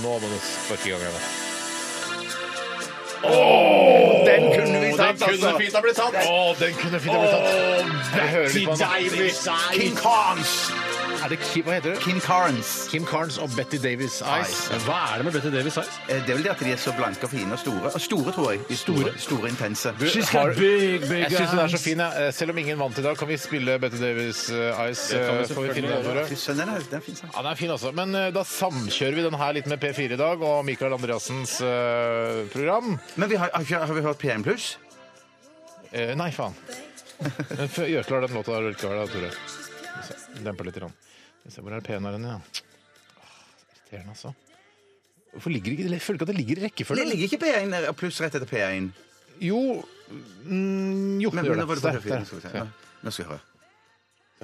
[SPEAKER 4] Nå må du sparke i gang igjen.
[SPEAKER 6] Den kunne vi
[SPEAKER 4] Den
[SPEAKER 6] tatt,
[SPEAKER 4] kunne
[SPEAKER 6] altså!
[SPEAKER 4] fint ha blitt tatt! Å, den kunne fint ha blitt tatt. Jeg hører litt på den.
[SPEAKER 6] King Carnes!
[SPEAKER 4] Er det Kim, hva heter det?
[SPEAKER 6] King Carnes.
[SPEAKER 4] Kim Carnes og Betty Davis Eyes.
[SPEAKER 5] Hva er det med Betty Davis her?
[SPEAKER 6] Eh, Det er vel det at de er så blanke og fine og store. Og store, tror jeg. De er store, store intense.
[SPEAKER 4] She's got Jeg syns den er så fin. jeg. Eh, Selv om ingen vant i dag, kan vi spille Betty Davis eh, Eyes.
[SPEAKER 5] Det kan vi
[SPEAKER 4] eh, Får vi finne den for
[SPEAKER 6] Fy
[SPEAKER 4] det?
[SPEAKER 6] søren, den er- den er fin sånn. sang.
[SPEAKER 4] Ja, den er fin, altså. Men eh, da samkjører vi den her litt med P4 i dag og Michael Andreassens eh, program.
[SPEAKER 6] Men vi har, har, ikke- har vi hørt P1 Pluss?
[SPEAKER 4] Eh, nei, faen. Men f- Gjør klar den låta der, gjør klar, da, Tore. Demper litt. Grann. Skal vi se, Hvor er penaren, ja? Åh, irriterende, altså. Hvorfor ligger det ikke, jeg føler ikke at det ligger i
[SPEAKER 6] Det
[SPEAKER 4] rekkefølge.
[SPEAKER 6] ligger ikke P1 der, og pluss rett etter P1.
[SPEAKER 4] Jo mm, Jo,
[SPEAKER 6] Men,
[SPEAKER 4] det
[SPEAKER 6] men
[SPEAKER 4] gjør
[SPEAKER 6] nå var
[SPEAKER 4] det.
[SPEAKER 6] det på
[SPEAKER 4] Der,
[SPEAKER 6] P4.
[SPEAKER 4] der,
[SPEAKER 6] Skal vi se.
[SPEAKER 4] der.
[SPEAKER 6] Ja, Nå skal vi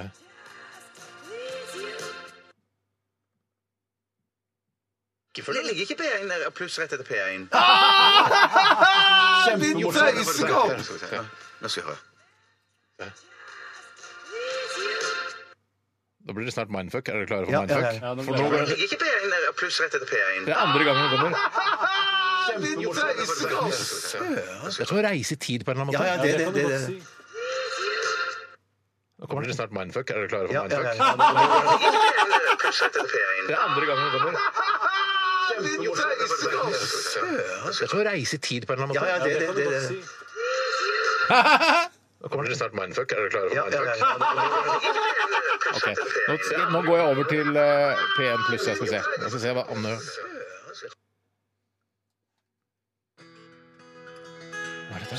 [SPEAKER 6] høre. Det ligger ikke P1 der, og pluss rett etter P1. Kjempemorsomt. Nå skal vi se. Ja, nå skal vi høre.
[SPEAKER 4] Da blir det snart mindfuck. Er dere klare
[SPEAKER 6] Ja,
[SPEAKER 4] for
[SPEAKER 6] ja,
[SPEAKER 4] mindfuck?
[SPEAKER 5] ja.
[SPEAKER 4] For nå går det,
[SPEAKER 6] ligger ikke P1 der, og pluss rett etter P1.
[SPEAKER 4] det er andre gangen det kommer.
[SPEAKER 6] Kjempemorsomt.
[SPEAKER 4] Det er som å reise i tid på en eller annen
[SPEAKER 6] Ja,
[SPEAKER 4] måte.
[SPEAKER 6] ja, det, det, det, det.
[SPEAKER 4] Nå kommer det snart mindfuck. Er dere klare for
[SPEAKER 6] Ja, ja, ja,
[SPEAKER 4] mindfuck?
[SPEAKER 6] ja.
[SPEAKER 4] Det er andre gangen det kommer. Det er som å reise i tid på en eller annen
[SPEAKER 6] Ja,
[SPEAKER 4] måte.
[SPEAKER 6] ja, det, det, det, det.
[SPEAKER 4] Nå kommer det snart mindfuck. Er dere klare for
[SPEAKER 6] Ja, ja,
[SPEAKER 4] mindfuck?
[SPEAKER 6] ja.
[SPEAKER 4] Ok, Nå, nå går jeg over til eh, P1 pluss. Jeg skal se. Jeg skal se hva Anne Hva er dette?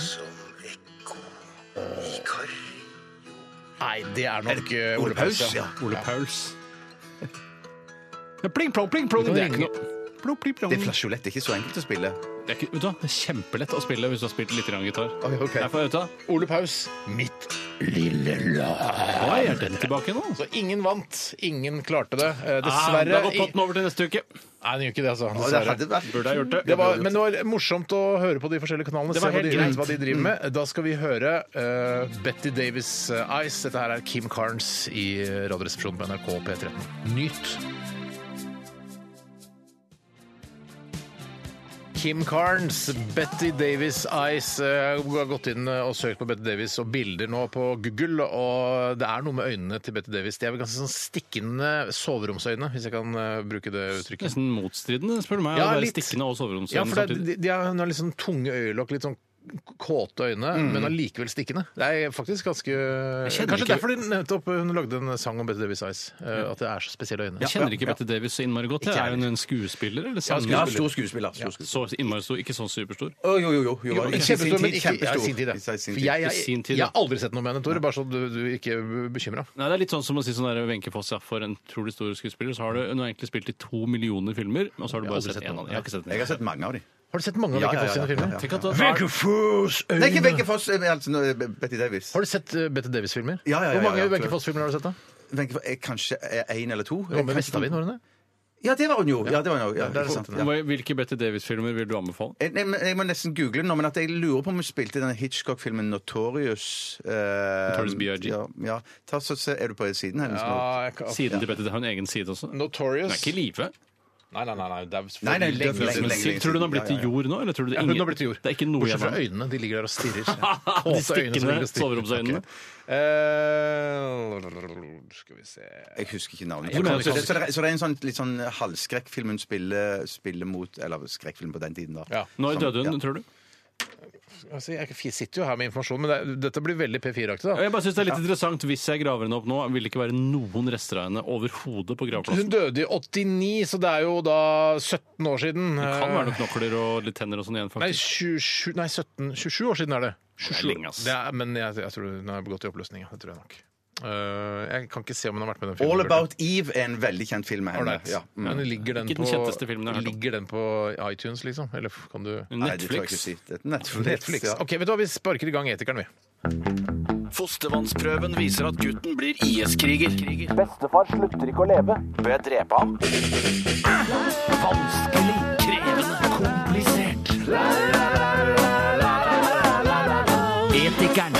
[SPEAKER 4] Nei, det er nok eh, Ole Paus. Ja.
[SPEAKER 5] Ole Pauls. Ja, pling plong, pling plong.
[SPEAKER 4] Du kan
[SPEAKER 5] Det er ikke
[SPEAKER 4] ringe.
[SPEAKER 5] noe Plong, pling, plong.
[SPEAKER 6] Det er flasjolett, det er ikke så enkelt å spille.
[SPEAKER 5] Det er, ikke, vet du, hva, det er kjempelett å spille hvis du har spilt litt grann gitar.
[SPEAKER 6] Ok, ok.
[SPEAKER 5] Derfor, vet du, hva,
[SPEAKER 4] Ole Paus, mitt lille lar.
[SPEAKER 5] Oi, er den tilbake nå? altså.
[SPEAKER 4] Så ingen vant. Ingen klarte det. Eh,
[SPEAKER 5] Ah,
[SPEAKER 4] Dessverre.
[SPEAKER 5] da går potten over til neste uke.
[SPEAKER 4] Nei, den gjør ikke det, altså.
[SPEAKER 6] Og det
[SPEAKER 4] Dessverre.
[SPEAKER 6] hadde vært
[SPEAKER 5] Burde jeg gjort det?
[SPEAKER 4] Det var, men det var morsomt å høre på de forskjellige kanalene.
[SPEAKER 5] Det
[SPEAKER 4] Se
[SPEAKER 5] var
[SPEAKER 4] hva de,
[SPEAKER 5] helt greit.
[SPEAKER 4] hva de driver med. Da skal vi høre eh, Betty Davis eh, Ice. Dette her er Kim Carnes i eh, Radioresepsjonen på NRK P13. Nyt. Kim Carnes, Betty Davis Ice. Eh, Jeg har gått inn og søkt på Betty Davis og bilder nå på Google, og det er noe med øynene til Betty Davis. De er vel ganske sånn stikkende soveromsøyne, hvis jeg kan eh, bruke det uttrykket.
[SPEAKER 5] Nesten sånn motstridende, spør du meg.
[SPEAKER 4] Ja,
[SPEAKER 5] å være
[SPEAKER 4] litt.
[SPEAKER 5] stikkende og
[SPEAKER 4] Ja,
[SPEAKER 5] soveromsøyne
[SPEAKER 4] for det, er-
[SPEAKER 5] samtidig.
[SPEAKER 4] de, de har, hun har liksom tunge øyelokk, litt sånn kåte øyne, men allikevel stikkende. Det er faktisk ganske
[SPEAKER 5] Mm. kjenner
[SPEAKER 4] Kanskje
[SPEAKER 5] ikke-
[SPEAKER 4] derfor de nevnte opp hun lagde en sang om Betty Davis Eyes. eh, At det er så spesielle øyne.
[SPEAKER 5] Jeg kjenner ikke Bette Davis så innmari godt. jeg. Er hun en skuespiller eller sanger?
[SPEAKER 6] Ja, stor
[SPEAKER 4] altså,
[SPEAKER 6] skuespiller. Stor skuespiller.
[SPEAKER 5] Så innmari stor, ikke sånn superstor.
[SPEAKER 6] Å, jo, jo, jo. jo.
[SPEAKER 4] Ikke
[SPEAKER 6] Ikke
[SPEAKER 4] Kjempestor, men ikke ja, i sin
[SPEAKER 6] Kjempestor.
[SPEAKER 4] tid. ja.
[SPEAKER 6] I sin
[SPEAKER 4] For
[SPEAKER 6] tid.
[SPEAKER 4] jeg,
[SPEAKER 5] I sin tid,
[SPEAKER 4] jeg, jeg
[SPEAKER 5] ja.
[SPEAKER 4] har aldri sett noe med henne, Tore, bare så du, du ikke er bekymra.
[SPEAKER 5] Nei, Det er litt sånn som å si sånn der, Wenche Foss ja, for en trolig stor skuespiller. Så har du, hun har egentlig spilt i to millioner filmer, og så har du bare
[SPEAKER 4] aldri
[SPEAKER 5] sett
[SPEAKER 4] sett
[SPEAKER 5] én av
[SPEAKER 4] noen.
[SPEAKER 5] dem. Jeg har ikke sett den.
[SPEAKER 6] Jeg har sett mange av dem.
[SPEAKER 4] Har du sett mange av Wenche Foss sine filmer?
[SPEAKER 5] Tenk at da,
[SPEAKER 6] Nei, ikke Wenche Foss. eh, Altså, nå, eh, Betty Davis.
[SPEAKER 4] Har du sett eh, Betty Davis-filmer?
[SPEAKER 6] Ja, ja, ja,
[SPEAKER 4] Hvor mange
[SPEAKER 6] ja, ja.
[SPEAKER 4] Wenche Foss-filmer har du sett, da?
[SPEAKER 6] Wenche Foss, eh, Kanskje én eller to?
[SPEAKER 4] Jo, med Vestavind, var hun det?
[SPEAKER 6] Ja, det var hun jo. Ja, det var hun jo. Ja,
[SPEAKER 4] det er sant.
[SPEAKER 6] Ja.
[SPEAKER 5] Hva- Hvilke Betty Davis-filmer vil du anbefale?
[SPEAKER 6] Jeg, jeg, jeg må nesten google nå, men at jeg lurer på om hun spilte denne Hitchcock-filmen Notorious. eh,
[SPEAKER 5] Notorious B.I.G..
[SPEAKER 6] Ja, ja. Ta, så, se- er du på siden hennes nå?
[SPEAKER 4] jeg kan-
[SPEAKER 5] Siden til Betty Davis. Har hun egen side også? Hun
[SPEAKER 4] Notorious
[SPEAKER 5] er ikke i live.
[SPEAKER 4] Nei, nei, nei. nei, det er
[SPEAKER 6] Nei, nei,
[SPEAKER 4] lenge
[SPEAKER 6] det er-
[SPEAKER 4] siden.
[SPEAKER 5] Men
[SPEAKER 6] lenge
[SPEAKER 5] Siv, tror du hun har blitt
[SPEAKER 6] siden.
[SPEAKER 5] til jord nå? Eller tror du det,
[SPEAKER 4] Ja,
[SPEAKER 5] er
[SPEAKER 4] hun
[SPEAKER 5] ingen-
[SPEAKER 4] har blitt til jord.
[SPEAKER 5] det er ikke noe
[SPEAKER 4] Bortsett
[SPEAKER 5] igjen
[SPEAKER 4] fra
[SPEAKER 5] av henne.
[SPEAKER 4] øynene. De ligger der og stirrer.
[SPEAKER 5] De stikkende soveromsøynene.
[SPEAKER 4] Okay. Eh, Skal vi se
[SPEAKER 6] Jeg husker ikke navnet.
[SPEAKER 5] Jeg kan
[SPEAKER 6] så, det,
[SPEAKER 5] ikke-
[SPEAKER 6] så, det, er- så det er en sånn, litt sånn halvskrekkfilm hun spiller, spiller mot Eller skrekkfilm på den tiden, da.
[SPEAKER 4] Ja.
[SPEAKER 5] Når
[SPEAKER 6] Som-
[SPEAKER 5] døde hun,
[SPEAKER 6] ja.
[SPEAKER 5] tror du?
[SPEAKER 4] altså, Jeg sitter jo her med informasjon, men det, er- dette blir veldig P4-aktig. da.
[SPEAKER 5] Jeg bare synes det er litt interessant Hvis jeg graver henne opp nå, vil det ikke være noen rester av henne overhodet på
[SPEAKER 4] Hun
[SPEAKER 5] gravplassen.
[SPEAKER 4] døde i 89, så det er jo da 17 år siden. Eh,
[SPEAKER 5] Det
[SPEAKER 6] eh,
[SPEAKER 5] kan være noen knokler og litt tenner og sånn igjen,
[SPEAKER 4] Nei,
[SPEAKER 5] faktisk.
[SPEAKER 4] 27, nei 17, 27 år siden er det. 27.
[SPEAKER 5] Det er lenge, ass.
[SPEAKER 4] Det er, men jeg, jeg tror hun har gått i oppløsning. ja. Det tror jeg nok. Eh, jeg kan ikke se om hun har vært med i den filmen.
[SPEAKER 6] All About Eve er en veldig kjent film med henne.
[SPEAKER 4] Alright.
[SPEAKER 6] Ja. Mm.
[SPEAKER 4] Men ligger den,
[SPEAKER 5] Ikke den kjenteste filmen jeg
[SPEAKER 4] på,
[SPEAKER 5] har hørt om.
[SPEAKER 4] ligger den på iTunes, liksom? Eller kan du
[SPEAKER 6] Nei, det tror jeg ikke
[SPEAKER 5] Netflix.
[SPEAKER 6] si. Det er Netflix.
[SPEAKER 4] Netflix.
[SPEAKER 6] Ja.
[SPEAKER 4] Ok, vet du hva, Vi sparker i gang etikeren, vi.
[SPEAKER 12] Fostervannsprøven viser at gutten blir IS-kriger.
[SPEAKER 11] Bestefar slutter ikke å leve. Bør jeg drepe ham?
[SPEAKER 12] Vanskelig, krevende, komplisert. Etikeren.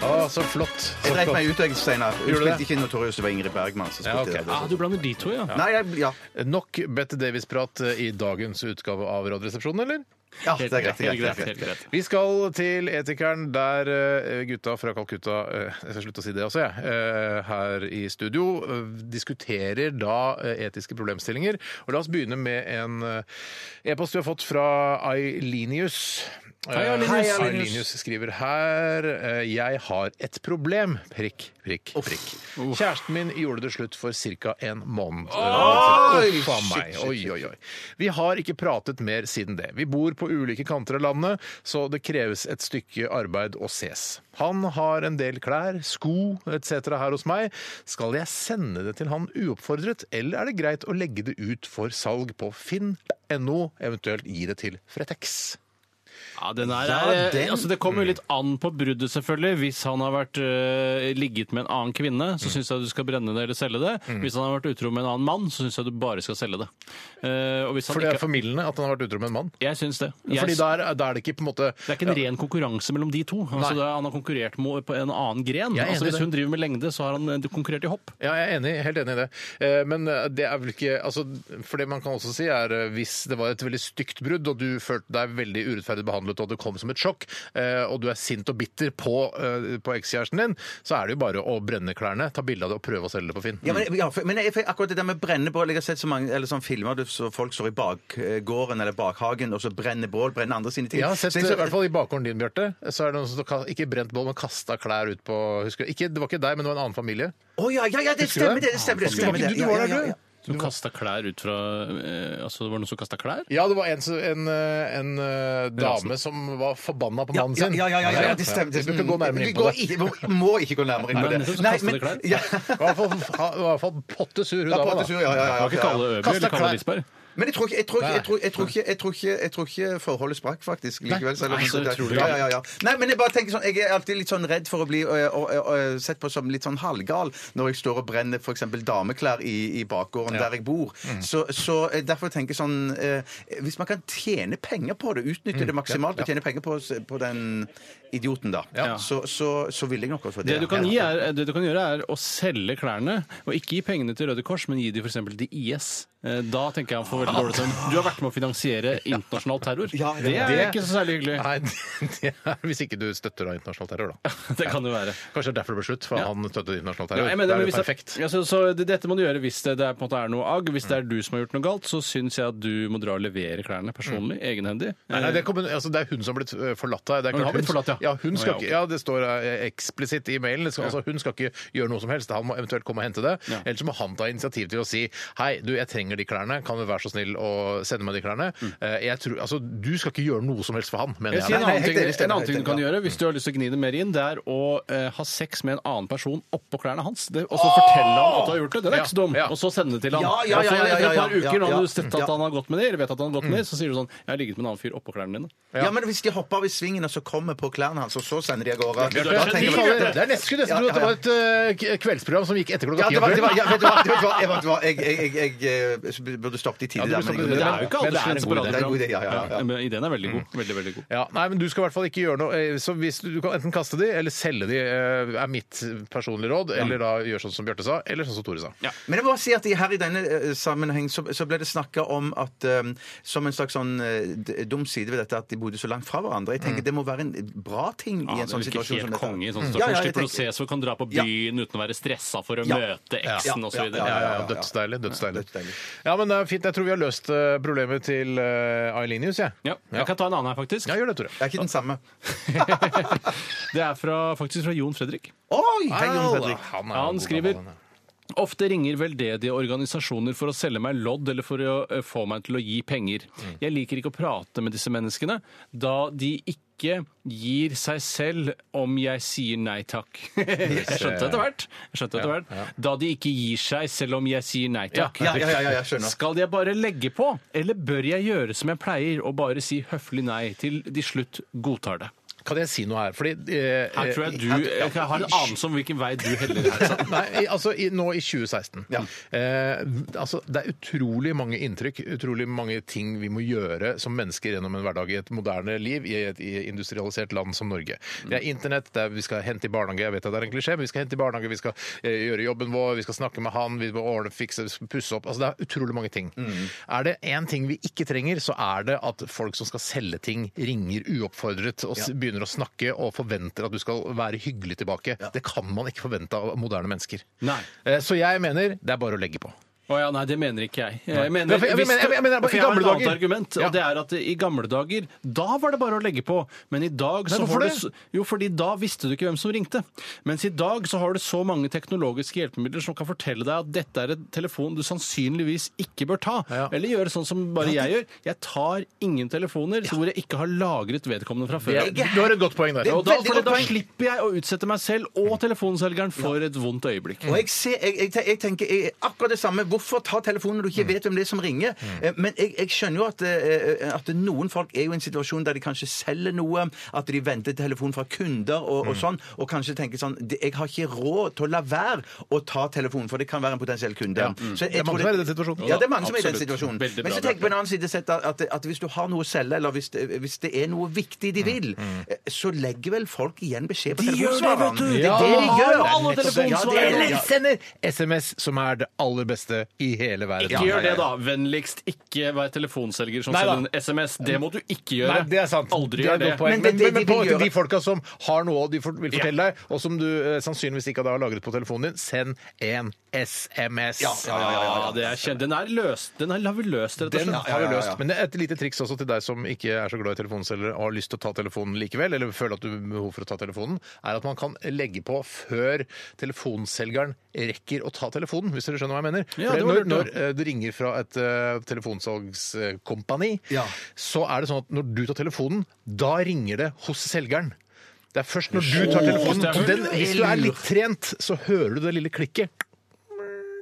[SPEAKER 4] Å, så flott.
[SPEAKER 6] Jeg dreit meg ut, jeg, Steinar. Hun
[SPEAKER 4] Gjorde du
[SPEAKER 6] spilte ikke Notorious, det var Ingrid Bergman som
[SPEAKER 4] Ja,
[SPEAKER 6] spilte
[SPEAKER 4] ok.
[SPEAKER 6] det.
[SPEAKER 5] Ah, du blander de to, ja.
[SPEAKER 6] Nei, jeg, ja.
[SPEAKER 4] Nok Bette Davis-prat i dagens utgave av Radioresepsjonen, eller?
[SPEAKER 6] ja, det er greit. Det er greit,
[SPEAKER 5] Helt greit,
[SPEAKER 6] det er
[SPEAKER 5] helt
[SPEAKER 6] greit.
[SPEAKER 5] greit.
[SPEAKER 4] Vi skal til Etikeren, der eh, gutta fra Calcutta eh, Jeg skal slutte å si det også, jeg. eh, Her i studio eh, diskuterer da eh, etiske problemstillinger. Og la oss begynne med en eh, e-post vi har fått fra Ailinius. Hei,
[SPEAKER 5] Ailinius.
[SPEAKER 4] Ailinius skriver her eh, Jeg har et problem. Prikk, prikk, prikk. Kjæresten min gjorde det slutt for ca. en måned. Oi, Uff a meg. Oi, oi, oi. Vi har ikke pratet mer siden det. Vi bor på ulike kanter av landet, så det kreves et stykke arbeid å ses. Han har en del klær, sko etc. her hos meg. Skal jeg sende det til han uoppfordret, eller er det greit å legge det ut for salg på finn.no, eventuelt gi det til Fretex?
[SPEAKER 5] Ja, den er,
[SPEAKER 6] Ja,
[SPEAKER 5] er-
[SPEAKER 6] den-
[SPEAKER 5] Altså, det kommer jo litt an på bruddet, selvfølgelig. Hvis han har vært øh, ligget med en annen kvinne,
[SPEAKER 6] Mm.
[SPEAKER 5] så syns jeg du skal brenne det eller selge det. Hvis han har vært utro med en annen mann, så syns jeg du bare skal selge det. Eh, og hvis han
[SPEAKER 4] For det er
[SPEAKER 5] ikke...
[SPEAKER 4] formildende at han har vært utro med en mann.
[SPEAKER 5] Jeg syns det. Jeg
[SPEAKER 4] Fordi
[SPEAKER 5] s-
[SPEAKER 4] da er, da er det ikke på en måte
[SPEAKER 5] det er ikke en ren konkurranse mellom de to. Altså, det er, han har konkurrert mo- på en annen gren.
[SPEAKER 4] Jeg er
[SPEAKER 5] Altså,
[SPEAKER 4] enig i
[SPEAKER 5] hvis
[SPEAKER 4] det.
[SPEAKER 5] hun driver med lengde, så har han eh, konkurrert i hopp.
[SPEAKER 4] Ja, jeg er enig, helt enig i det. Eh, Men eh, det er vel ikke altså, For det man kan også si, er eh, hvis det var et veldig stygt brudd, og du følte deg veldig urettferdig behandlet, og det kom som et sjokk, eh, og du er sint og bitter på, eh, på ekskjæresten din, så er det jo bare å brenne klærne, ta bilde av det og prøve å selge det på Finn.
[SPEAKER 6] Ja, men, ja, for, men jeg, for akkurat det der med brenne bål Jeg har sett så mange eller sånn filmer der så folk står i bakgården eller bakhagen og så brenner bål, brenner andre sine ting.
[SPEAKER 4] Jeg har sett,
[SPEAKER 6] Så jeg-
[SPEAKER 4] I hvert fall i bakgården din, Bjarte, så er det noen som ka- ikke brent bål, men kasta klær ut på husker, du- ikke, Det var ikke deg, men det var en annen familie.
[SPEAKER 6] Å ja, ja, ja, det
[SPEAKER 4] Husker du
[SPEAKER 6] stemmer,
[SPEAKER 4] det?
[SPEAKER 6] det. det stemmer, det
[SPEAKER 4] Husker
[SPEAKER 6] stemmer
[SPEAKER 4] ikke
[SPEAKER 6] det.
[SPEAKER 4] du? Du var der, du.
[SPEAKER 5] Som kasta klær ut fra eh, Altså, det var noen som kasta klær?
[SPEAKER 4] Ja, det var en, som- en, eh, en eh, dame som var forbanna på
[SPEAKER 6] Ja,
[SPEAKER 4] mannen
[SPEAKER 6] ja,
[SPEAKER 4] sin.
[SPEAKER 6] ja, ja, ja, ja, ja, det stemmer.
[SPEAKER 4] Vi burde gå nærmere
[SPEAKER 6] Vi
[SPEAKER 4] inn på
[SPEAKER 6] går
[SPEAKER 4] det.
[SPEAKER 6] ikke- vi må ikke gå nærmere inn på
[SPEAKER 5] Nei,
[SPEAKER 6] det.
[SPEAKER 5] men så kaster det klær.
[SPEAKER 6] ja.
[SPEAKER 4] I hvert fall, i hvert fall potte sur, hun
[SPEAKER 6] Ja,
[SPEAKER 4] dama,
[SPEAKER 6] pottesur, ja, ja, ja,
[SPEAKER 5] Det var ikke
[SPEAKER 6] ja,
[SPEAKER 5] Kalle
[SPEAKER 6] ja.
[SPEAKER 5] Øby
[SPEAKER 4] Kastet
[SPEAKER 5] eller Kalle
[SPEAKER 4] klær.
[SPEAKER 5] Lisberg?
[SPEAKER 6] Men jeg tror ikke, jeg tror ikke, jeg tror, jeg tror
[SPEAKER 4] Nei.
[SPEAKER 6] ikke, jeg tror ikke, jeg tror ikke forholdet sprakk faktisk likevel. selv om-
[SPEAKER 4] Nei, så utrolig.
[SPEAKER 6] ja, ja, ja, ja. Nei, men jeg bare tenker sånn, jeg er alltid litt sånn redd for å bli ø, ø, ø, ø, sett på som litt sånn halvgal når jeg står og brenner for eksempel dameklær i, i bakgården
[SPEAKER 4] Ja.
[SPEAKER 6] der jeg bor.
[SPEAKER 4] Mm.
[SPEAKER 6] Så, så eh, derfor tenker jeg sånn, eh, hvis man kan tjene penger på det,
[SPEAKER 4] Mm.
[SPEAKER 6] utnytte det maksimalt og tjene penger på, på den idioten da,
[SPEAKER 5] Ja.
[SPEAKER 6] så, så, så vil jeg nok også
[SPEAKER 5] Det du, kan gi er, det du kan gjøre, er å selge klærne. Og ikke gi pengene til Røde Kors, men gi de f.eks. til IS. Eh, Da tenker jeg han får veldig dårlig samvittighet. Du har vært med å finansiere internasjonal terror. Det er ikke så særlig hyggelig.
[SPEAKER 4] Nei, det er Hvis ikke du støtter da internasjonal terror, da.
[SPEAKER 5] Det kan det være.
[SPEAKER 4] Kanskje det er derfor det ble slutt, for
[SPEAKER 5] Ja.
[SPEAKER 4] han støttet internasjonal
[SPEAKER 5] Ja,
[SPEAKER 4] terror.
[SPEAKER 5] jeg mener,
[SPEAKER 4] det er
[SPEAKER 5] men
[SPEAKER 4] jo
[SPEAKER 5] hvis det-
[SPEAKER 4] perfekt.
[SPEAKER 5] Ja, så, så det, dette må du gjøre hvis det, det er, på en måte er noe agg. Hvis det er du som har gjort noe galt, så syns jeg at du må dra og levere klærne personlig. Egenhendig.
[SPEAKER 4] Mm. Nei, nei, det, kom, altså, det er hun som har blitt øh, forlatt her. Det er
[SPEAKER 5] Eh. Hun har
[SPEAKER 4] klart
[SPEAKER 5] blitt forlatt, ja.
[SPEAKER 4] ja. Hun skal
[SPEAKER 5] Å, ja,
[SPEAKER 4] ikke, ja, det står øh, eksplisitt i mailen. Det Skal, altså, hun skal ikke gjøre noe som helst. Han må eventuelt komme og hente det.
[SPEAKER 5] Ja.
[SPEAKER 4] Ellers må han ta initiativ til å si hei, du, jeg trenger de klærne. Kan du være så snill å sende meg de klærne? Eh, Jeg tror, altså, du skal ikke gjøre noe som helst for han, mener
[SPEAKER 5] Mm. Eh, Jeg
[SPEAKER 4] jeg.
[SPEAKER 5] sier en
[SPEAKER 4] Nei,
[SPEAKER 5] annen
[SPEAKER 4] helt
[SPEAKER 5] ting,
[SPEAKER 4] enig,
[SPEAKER 5] en annen ting du kan
[SPEAKER 4] ja.
[SPEAKER 5] gjøre hvis du har lyst til å gni det mer inn, det er å eh, ha sex med en annen person oppå klærne hans. Det, og så fortelle han at du har gjort det. Det er
[SPEAKER 4] Ja,
[SPEAKER 5] ikke så dum.
[SPEAKER 4] ja.
[SPEAKER 5] Og så sende det til han.
[SPEAKER 4] Ja, ja, ja,
[SPEAKER 5] Og så
[SPEAKER 4] ja, ja,
[SPEAKER 5] Etter et
[SPEAKER 4] ja,
[SPEAKER 5] par
[SPEAKER 4] ja,
[SPEAKER 5] uker, når
[SPEAKER 4] ja. Mm.
[SPEAKER 5] du har sett at han har gått med det, eller vet at han har gått med det, så sier du sånn Jeg har ligget med en annen fyr oppå klærne dine.
[SPEAKER 6] Ja. men hvis de hopper av i svingen og så kommer på klærne hans, og så sender de av gårde
[SPEAKER 4] Bjarte,
[SPEAKER 6] da tenker jeg-
[SPEAKER 4] fy fader, Det er nesten skulle nesten tro at det var et øh, k- kveldsprogram som gikk etter klokka
[SPEAKER 6] Ja,
[SPEAKER 4] ti.
[SPEAKER 6] det
[SPEAKER 4] om
[SPEAKER 6] var, det var,
[SPEAKER 4] kvelden.
[SPEAKER 6] ja, vet du hva, vet du hva, jeg, vet du hva jeg, jeg, jeg, jeg eh, burde stoppet i
[SPEAKER 4] Ja,
[SPEAKER 6] tidlig
[SPEAKER 4] du
[SPEAKER 5] liksom-
[SPEAKER 6] der. men-
[SPEAKER 4] burde stoppe tidlig. Det er jo ikke
[SPEAKER 6] men det
[SPEAKER 4] alle
[SPEAKER 6] er en
[SPEAKER 4] som
[SPEAKER 6] god
[SPEAKER 4] er
[SPEAKER 6] idé. Det er en god idé, ja, ja, ja.
[SPEAKER 5] Men ideen er veldig god.
[SPEAKER 4] Mm.
[SPEAKER 5] Veldig, veldig god.
[SPEAKER 4] Ja, nei, men Du skal i hvert fall ikke gjøre noe. eh, Så hvis Du du kan enten kaste de, eller selge de, eh, er mitt personlige råd. Eller da gjøre sånn som Bjarte sa, eller sånn som Tore sa.
[SPEAKER 6] Men jeg må bare si at i- her i denne eh, sammenheng så, så ble det snakka om at eh, som en slags sånn eh, d- dum side ved dette at de bodde så langt fra hverandre. Jeg tenker Det må være en bra ting
[SPEAKER 5] Mm. Ja,
[SPEAKER 6] i en
[SPEAKER 5] det
[SPEAKER 6] sånn
[SPEAKER 5] virker
[SPEAKER 6] situasjon som
[SPEAKER 5] helt
[SPEAKER 6] dette.
[SPEAKER 5] konge i en sånn
[SPEAKER 6] Mm.
[SPEAKER 5] situasjon.
[SPEAKER 6] Ja, ja, jeg
[SPEAKER 5] Slipper å
[SPEAKER 6] tenker-
[SPEAKER 5] ses og kan dra på
[SPEAKER 6] Ja.
[SPEAKER 5] byen uten å være stressa for å
[SPEAKER 6] Ja.
[SPEAKER 5] møte
[SPEAKER 6] Ja.
[SPEAKER 5] eksen og så
[SPEAKER 6] Ja, ja,
[SPEAKER 5] videre.
[SPEAKER 6] ja, ja, ja.
[SPEAKER 4] Dødsdeilig. dødsdeilig. Ja, men det er fint. Jeg tror vi har løst eh, problemet til eh, Ailinius, jeg.
[SPEAKER 5] Ja, jeg kan ta en annen her, faktisk.
[SPEAKER 4] Ja, gjør det, Tore.
[SPEAKER 6] Det er ikke den samme.
[SPEAKER 5] Det er fra, faktisk fra Jon Fredrik.
[SPEAKER 6] Oi! Hei, Jon
[SPEAKER 4] Au,
[SPEAKER 6] Fredrik.
[SPEAKER 4] han er jo en
[SPEAKER 5] Han
[SPEAKER 4] god
[SPEAKER 5] skriver
[SPEAKER 4] gammel, han,
[SPEAKER 5] Ofte ringer veldedige organisasjoner for å selge meg lodd eller for å eh, få meg til å gi penger.
[SPEAKER 6] Mm.
[SPEAKER 5] Jeg liker ikke å prate med disse menneskene, da de ikke gir seg selv om jeg sier nei takk. Jeg skjønte etter hvert. Jeg skjønte etter hvert. Da de ikke gir seg selv om jeg sier nei takk.
[SPEAKER 6] Ja, ja, ja, ja, jeg skjønner.
[SPEAKER 5] Skal jeg bare legge på, eller bør jeg gjøre som jeg pleier og bare si høflig nei til de slutt godtar det?
[SPEAKER 4] Kan jeg si noe her? Fordi eh,
[SPEAKER 5] Her tror jeg du jeg har en anelse om hvilken vei du heller her. sant?
[SPEAKER 4] Nei, i- altså i, nå i 2016. Eh, altså, det er utrolig mange inntrykk, utrolig mange ting vi må gjøre som mennesker gjennom en hverdag i et moderne liv i et i industrialisert land som Norge. Det er internett, det er, vi skal hente i barnehage, jeg vet at det er en klisjé, men vi skal hente i barnehage, vi skal eh, gjøre jobben vår, vi skal snakke med han, vi må ordne, fikse, vi skal pusse opp. Altså, det er utrolig mange ting. Er det én ting vi ikke trenger, så er det at folk som skal selge ting, ringer uoppfordret og s- begynner å snakke og forventer at du skal være hyggelig tilbake. Det kan man ikke forvente av moderne mennesker.
[SPEAKER 5] Nei.
[SPEAKER 4] Eh, Så jeg mener det er bare å legge på.
[SPEAKER 5] Å ja, nei, det mener ikke jeg. Jeg
[SPEAKER 4] Ja,
[SPEAKER 5] mener,
[SPEAKER 4] for jeg- jeg
[SPEAKER 5] hvis
[SPEAKER 4] mener-
[SPEAKER 5] du-
[SPEAKER 4] jeg mener bare
[SPEAKER 5] for
[SPEAKER 4] i
[SPEAKER 5] jeg har et
[SPEAKER 4] gamle
[SPEAKER 5] annet
[SPEAKER 4] dager.
[SPEAKER 5] argument,
[SPEAKER 4] Ja.
[SPEAKER 5] og det er at i gamle dager, da var det bare å legge på. Men i dag
[SPEAKER 4] Nei,
[SPEAKER 5] så
[SPEAKER 4] hvorfor
[SPEAKER 5] har du
[SPEAKER 4] det?
[SPEAKER 5] s- Jo, fordi da visste du ikke hvem som ringte. Mens i dag så har du så mange teknologiske hjelpemidler som kan fortelle deg at dette er en telefon du sannsynligvis ikke bør ta.
[SPEAKER 4] Ja.
[SPEAKER 5] Eller gjøre sånn som bare jeg gjør. Jeg tar ingen telefoner så hvor jeg ikke har lagret vedkommende fra før.
[SPEAKER 4] Du har et godt poeng der.
[SPEAKER 6] Det er
[SPEAKER 5] og da,
[SPEAKER 6] veldig
[SPEAKER 5] fordi
[SPEAKER 6] godt
[SPEAKER 5] da
[SPEAKER 6] poeng.
[SPEAKER 5] slipper jeg å utsette meg selv og telefonselgeren for et vondt øyeblikk.
[SPEAKER 4] Mm.
[SPEAKER 6] Og jeg, ser, jeg, jeg, te- jeg tenker jeg, akkurat det samme. Hvorfor ta telefonen når du
[SPEAKER 4] Mm.
[SPEAKER 6] ikke vet hvem det er som ringer? Eh, Men jeg, jeg skjønner jo at, eh, at noen folk er jo i en situasjon der de kanskje selger noe, at de venter telefon fra kunder og,
[SPEAKER 4] Mm.
[SPEAKER 6] og sånn, og kanskje tenker sånn "Det- Jeg har ikke råd til å la være å ta telefonen, for det kan være en potensiell kunde. Så jeg
[SPEAKER 4] Det er mange
[SPEAKER 6] tror
[SPEAKER 4] som er i den situasjonen.
[SPEAKER 6] Ja, det er mange som er i den
[SPEAKER 5] Absolutt.
[SPEAKER 6] situasjonen.
[SPEAKER 5] Veldig
[SPEAKER 6] Men
[SPEAKER 5] bra,
[SPEAKER 6] så tenk på
[SPEAKER 5] Bjarte.
[SPEAKER 6] en annen side sett at, at, at hvis du har noe å selge, eller hvis, det- hvis det er noe viktig
[SPEAKER 4] Mm,
[SPEAKER 6] de vil, eh, så legger vel folk igjen beskjed på telefonsvareren. Det er det de
[SPEAKER 4] Ja,
[SPEAKER 6] gjør.
[SPEAKER 5] alle
[SPEAKER 6] Ja, det er det.
[SPEAKER 5] telefonsvarere.
[SPEAKER 6] Ja.
[SPEAKER 4] Eller sender SMS, som er det aller beste i hele verden.
[SPEAKER 5] Ikke gjør det, da. Vennligst ikke vær telefonselger som
[SPEAKER 4] Nei da.
[SPEAKER 5] sender en SMS. Det må du ikke gjøre.
[SPEAKER 4] Nei, det er sant.
[SPEAKER 5] Aldri
[SPEAKER 4] det
[SPEAKER 5] gjør
[SPEAKER 4] er
[SPEAKER 5] det.
[SPEAKER 4] et godt poeng.
[SPEAKER 6] Men
[SPEAKER 4] Men,
[SPEAKER 6] det- det
[SPEAKER 4] men, men
[SPEAKER 6] de
[SPEAKER 4] på,
[SPEAKER 6] vil
[SPEAKER 4] til
[SPEAKER 6] gjøre-
[SPEAKER 4] de folka som har noe de for, vil fortelle deg, og som du eh, sannsynligvis ikke da har lagret på telefonen din, send en SMS.
[SPEAKER 5] Ja, det er kjent. Den er løst. Den er, har vi løst, rett og
[SPEAKER 4] Den
[SPEAKER 5] slett.
[SPEAKER 4] har vi løst. Men det er et lite triks også til deg som ikke er så glad i telefonselgere og har lyst til å ta telefonen likevel, eller føler at du har behov for å ta telefonen, er at man kan legge på før telefonselgeren rekker å ta telefonen, hvis dere skjønner hva jeg mener.
[SPEAKER 5] Ja,
[SPEAKER 4] For
[SPEAKER 5] det var
[SPEAKER 4] når,
[SPEAKER 5] lurt,
[SPEAKER 4] når
[SPEAKER 5] ja.
[SPEAKER 4] eh, det ringer fra et eh, telefonsalgskompani,
[SPEAKER 6] Ja.
[SPEAKER 4] så er det sånn at når du tar telefonen, da ringer det hos selgeren. Det er først når du tar telefonen.
[SPEAKER 5] det er
[SPEAKER 4] og Den,
[SPEAKER 5] lurt.
[SPEAKER 4] hvis du er litt trent, så hører du det lille klikket.